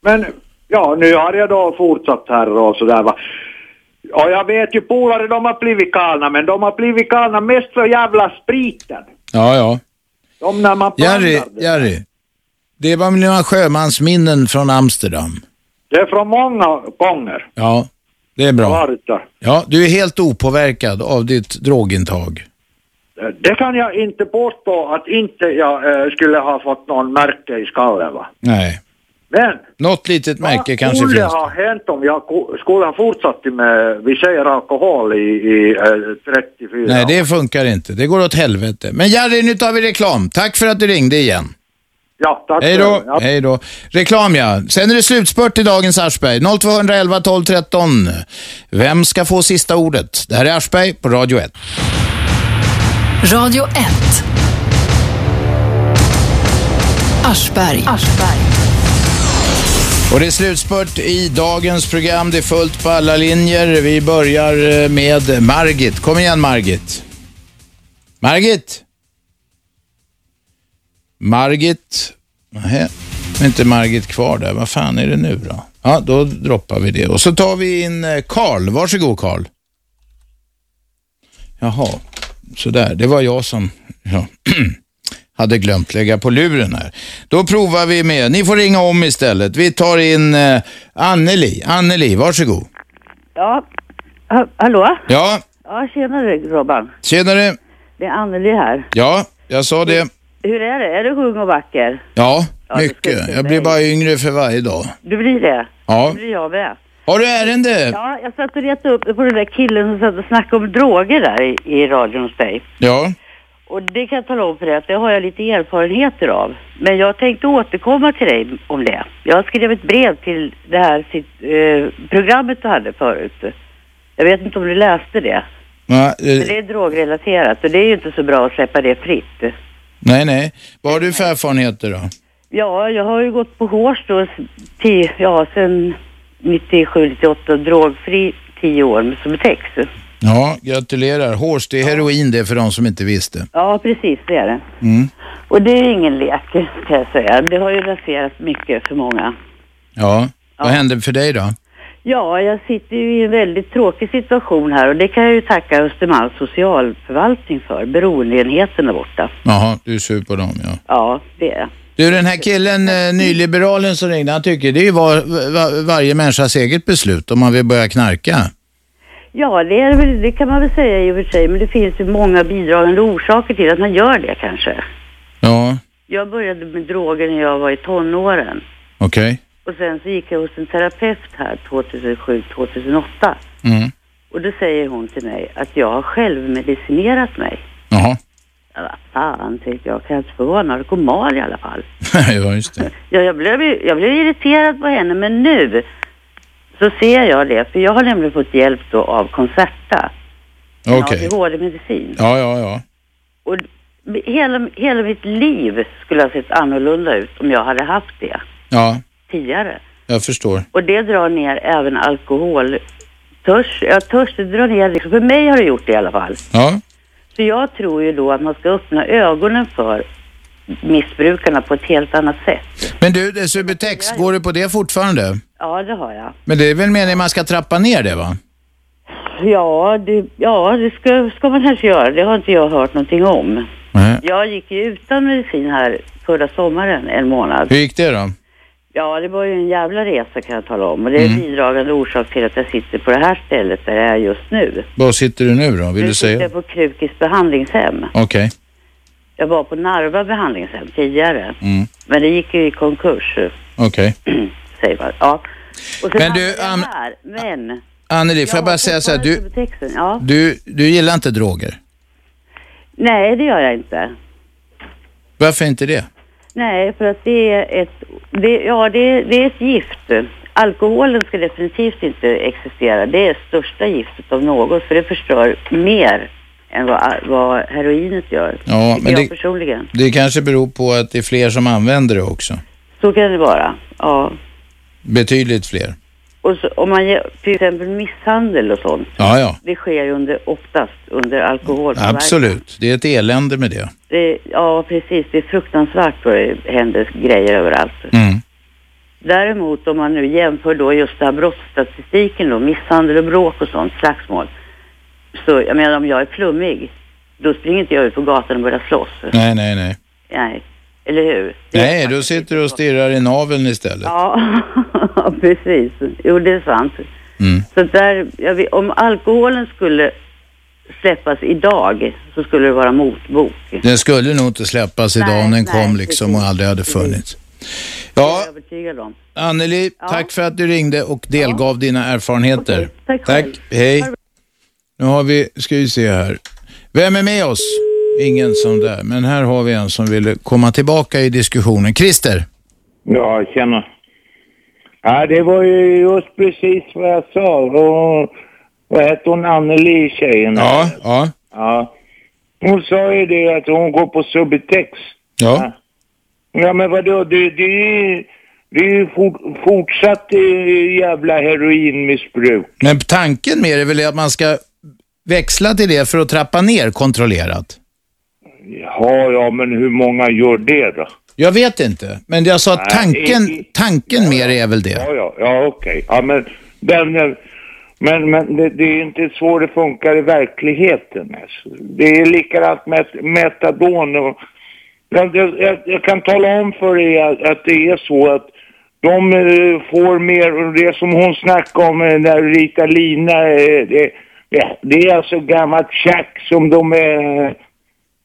Men ja, nu har jag då fortsatt här och sådär va. Och jag vet ju polare, de har blivit galna, men de har blivit galna mest för jävla spriten.
Ja, ja.
De när man
Jerry, Jerry. Det var mina sjömansminnen från Amsterdam.
Det är från många gånger.
Ja. Det är bra.
Svarta.
Ja, du är helt opåverkad av ditt drogintag.
Eh, Det kan jag inte påstå att inte jag eh, skulle ha fått någon märke i skallen va.
Nej.
Men
Något litet märke kanske
skulle
finns.
ha hänt om jag ko- skulle ha fortsatt med, vi säger alkohol i, i eh, 34
Nej, det funkar inte. Det går åt helvete. Men Jerry, nu tar vi reklam. Tack för att du ringde igen.
Ja, tack.
Hej då,
Ja.
hej då. Reklam ja. Sen är det slutspurt i dagens Aschberg. 0211 12 13. Vem ska få sista ordet? Det här är Aschberg på Radio 1.
Radio 1. Aschberg.
Och det är slutspurt i dagens program. Det är fullt på alla linjer. Vi börjar eh, med Margit. Kom igen Margit. Margit? Margit? Nähä, är inte Margit kvar där. Vad fan är det nu då? Ja, då droppar vi det. Och så tar vi in eh, Karl. Varsågod Karl. Jaha, sådär. Det var jag som... Ja. [clears throat] hade glömt lägga på luren här. Då provar vi med, ni får ringa om istället. Vi tar in eh, Anneli. Anneli, varsågod.
Ja, ha- hallå?
Ja,
Ja, tjenare Robban.
tjenare.
Det är Anneli här.
Ja, jag sa det.
Hur är det? Är du ung och vacker?
Ja, mycket. Jag blir bara yngre för varje dag.
Du blir det?
Ja. Eh.
Det blir jag med.
Har du ärende?
Ja, jag satt och retade upp mig på den där killen som satt och snackade om droger där i, i radion hos dig.
Ja.
Och det kan jag tala om för dig att det har jag lite erfarenheter av. Men jag tänkte återkomma till dig om det. Jag skrev ett brev till det här sitt, eh, programmet du hade förut. Jag vet inte om du läste det.
Nej,
Men
eh,
det är drogrelaterat och det är ju inte så bra att släppa det fritt.
nej, nej. Vad har du för erfarenheter då?
Ja, jag har ju gått på hårs då, s- tio, ja, sen 97, 98, drogfri tio år med Subutex.
Ja, gratulerar. Hårs, det är heroin det för de som inte visste.
Ja, precis, det är det.
Mm.
Och det är ingen lek, kan jag säga. Det har ju raserat mycket för många.
Ja. Vad hände för dig då?
Ja, jag sitter ju i en väldigt tråkig situation här och det kan jag ju tacka Östermalms socialförvaltning för, beroendeenheten där borta.
Jaha, du är sur på dem ja.
Ja, det är jag.
Du, den här killen, eh, nyliberalen som ringde, han tycker det är ju var, var, varje människas eget beslut om man vill börja knarka.
Ja, det, är väl, det kan man väl säga i och för sig, men det finns ju många bidragande orsaker till att man gör det kanske.
Ja,
Jag började med droger när jag var i tonåren.
okej.
Och sen så gick jag hos en terapeut här 2007, 2008.
Mm.
Och då säger hon till mig att jag har självmedicinerat mig.
Jaha.
Ja, vad fan, tänkte jag. Kan jag inte få vara narkoman i alla fall?
ja, just det.
Ja, jag blev, ju- jag blev irriterad på henne, men nu så ser jag det. För jag har nämligen fått hjälp då av Concerta. en
Okej.
ADHD-medicin.
Ja, ja, ja.
Och hela, hela mitt liv skulle ha sett annorlunda ut om jag hade haft det
Ja,
tidigare.
jag förstår.
Och det drar ner även alkoholtörs. Ja, törs, det drar ner liksom. För mig har det gjort det i alla fall.
Ja.
Så jag tror ju då att man ska öppna ögonen för missbrukarna på ett helt annat sätt.
Men du, det är Subutex, går du på det fortfarande?
Ja, det har jag.
Men det är väl meningen man ska trappa ner det va?
Ja, det, ja, det ska, ska man kanske göra. Det har inte jag hört någonting om.
Nej.
Jag gick ju utan medicin här förra sommaren en månad.
Hur gick det då?
Ja, det var ju en jävla resa kan jag tala om. Och det är
Mm.
en bidragande orsak till att jag sitter på det här stället där jag är just nu.
Var sitter du nu då? Vill
nu
du
sitter
säga?
jag på Krukis behandlingshem.
Okej.
Jag var på Narva behandlingshem tidigare.
Mm.
Men det gick ju i konkurs,
Okej.
[clears throat] säger man. Ja. Och sen
Men du,
hamnade jag
Ann-
här. Men,
Anneli, får jag bara säga så här, du,
texten, ja.
du, du gillar inte droger.
Nej, det gör jag inte.
Varför inte det?
Nej, för att det är ett, det, ja, det, det är ett gift. Alkoholen ska definitivt inte existera. Det är största giftet av något, för det förstör mer än vad, vad heroinet gör.
Ja,
tycker
men
jag
det-
personligen.
Det kanske beror på att det är fler som använder det också.
Så kan det vara, ja.
Betydligt fler.
Och så, om man ger, till exempel misshandel och sånt,
Ja, ja.
det sker ju under, oftast under alkoholpåverkan.
Absolut. Det är ett elände med det.
Det, ja, precis. Det är fruktansvärt vad det händer grejer överallt.
Mm.
Däremot om man nu jämför då just den här brottsstatistiken då, misshandel och bråk och sånt, slagsmål. Så jag menar om jag är flummig, då springer inte jag ut på gatan och börjar slåss.
Nej, nej, nej.
Nej, eller hur?
Nej,
[laughs]
då sitter du och stirrar i naveln istället.
Ja, precis. Jo, det är sant. Så att där, jag vet, om alkoholen skulle släppas idag så skulle det vara motbok.
Den skulle nog inte släppas idag om den kom liksom och aldrig hade funnits. Ja,
Övertygad om.
Anneli, tack för att du ringde och delgav dina erfarenheter.
Tack
tack,
själv.
hej. Nu har vi, ska vi se här. Vem är med oss? Ingen som där, men här har vi en som ville komma tillbaka i diskussionen. Christer,
Ja, tjena. Ja, det var ju just precis vad jag sa. Och, vad hette hon, Anneli, tjejen? Ja,
ja.
ja. Hon sa ju det att hon går på Subutex.
Ja.
Ja, men vadå, det, det är ju det är ju fort, fortsatt eh, jävla heroinmissbruk.
men tanken med det är väl att man ska växla till det för att trappa ner kontrollerat?
Ja, ja, men hur många gör det då?
Jag vet inte, men jag sa att
Nej,
tanken, tanken med det är väl det.
Ja, ja, ja okej. Ja, men den, den- men, men det, det är inte så det funkar i verkligheten. Alltså. Det är likadant med metadon. Och, jag, jag, jag- jag kan tala om för er att, att det är så att de eh, får mer, och det som hon snackade om, eh, när Ritalina, eh, det, det, det är alltså gammalt tjack som de, eh,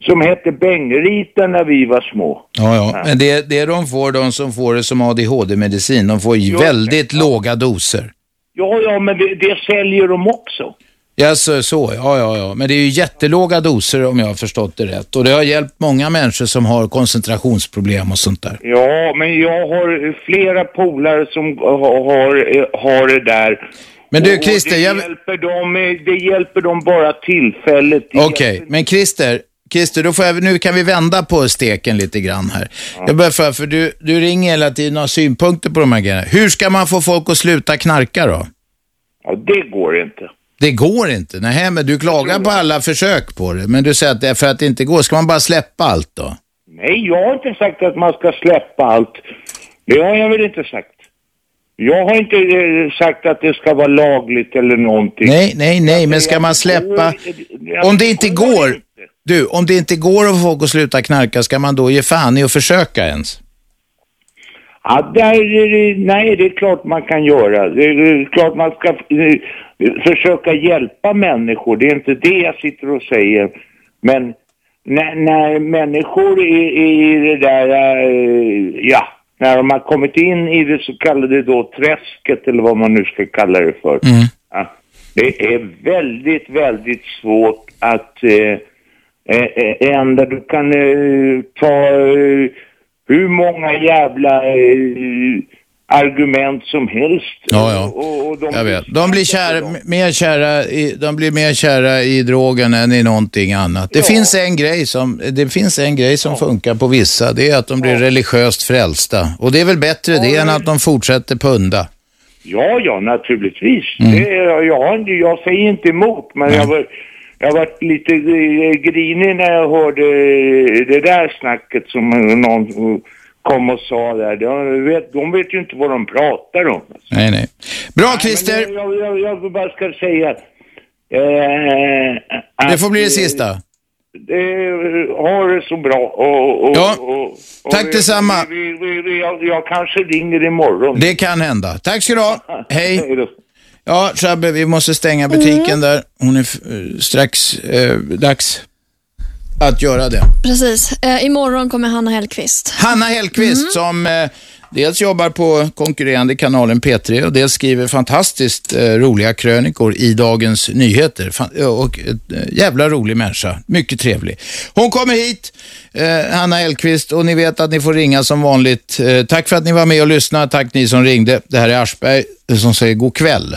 som hette Bengrita när vi var små.
Ja, ja. Men det, det de får, de som får det som ADHD-medicin, de får ju väldigt låga doser.
Ja, ja, men det, det säljer de också.
Ja, så, så. Ja, ja, ja. Men det är ju jättelåga doser om jag har förstått det rätt. Och det har hjälpt många människor som har koncentrationsproblem och sånt där.
Ja, men jag har flera polare som har, har, eh, har det där.
Men du,
Och
Christer,
det,
jag-
hjälper dem, eh, det hjälper dem bara tillfälligt. Det
Okej, men Christer, Christer då får jag, nu kan vi vända på steken lite grann här. Jag börjar för, för du, du ringer hela tiden och har synpunkter på de här grejerna. Hur ska man få folk att sluta knarka då?
Ja, det går inte.
Det går inte. Nej, men du klagar på alla försök på det. Men du säger att det är för att det inte går. Ska man bara släppa allt då?
Nej, jag har inte sagt att man ska släppa allt. Det har jag väl inte sagt. Jag har inte eh, sagt att det ska vara lagligt eller någonting.
Nej, nej, nej, men ska man släppa... Om det inte går... Du, om det inte går att få folk att sluta knarka, ska man då ge fan i att försöka ens?
Ja, där, är det- nej, det är klart man kan göra. Det är klart man ska eh, försöka hjälpa människor. Det är inte det jag sitter och säger. Men när, när människor är, är i det där, eh, ja, när de har kommit in i det så kallade då träsket eller vad man nu ska kalla det för. Ja, det är väldigt, väldigt svårt att eh, eh, eh, ändra. Du kan eh, ta eh, hur många jävla eh, argument som helst.
Ja, ja.
Och, och de,
Jag vet. De blir, kära, m- mer kära i, de blir mer kära i drogen än i någonting annat. Det, finns, en grej som, det finns en grej som funkar på vissa. Det är att de blir religiöst frälsta. Och det är väl bättre det än att de fortsätter punda.
Ja, ja, naturligtvis.
Mm.
Det, jag, jag, jag säger inte emot, men jag var, jag var lite eh, grinig när jag hörde eh, det där snacket som eh, någon eh, kom och sa där. De vet, de vet ju inte vad de pratar om.
Nej, nej. Bra,
Christer! Jag, jag, jag, jag bara ska säga... Eh,
Det får bli det
att, eh,
sista.
eh, ha det så bra. Och, och,
Ja.
och, och,
Tack
vi-
detsamma.
Vi, vi, vi, jag, jag kanske ringer imorgon.
Det kan hända. Tack ska du ha. Hej. Ja, Shabbe, vi måste stänga butiken där. Hon är f- eh, strax eh, dags att göra det.
Precis. Eh, imorgon kommer Hanna Hellqvist.
Hanna Hellqvist
Mm.
som eh, dels jobbar på konkurrerande kanalen P3 och dels skriver fantastiskt eh, roliga krönikor i Dagens Nyheter. Fan, ja, och ett eh, jävla rolig människa. Mycket trevlig. Hon kommer hit, eh, Hanna Hellqvist, och ni vet att ni får ringa som vanligt. Eh, tack för att ni var med och lyssnade. Tack ni som ringde. Det här är Aschberg eh, som säger god kväll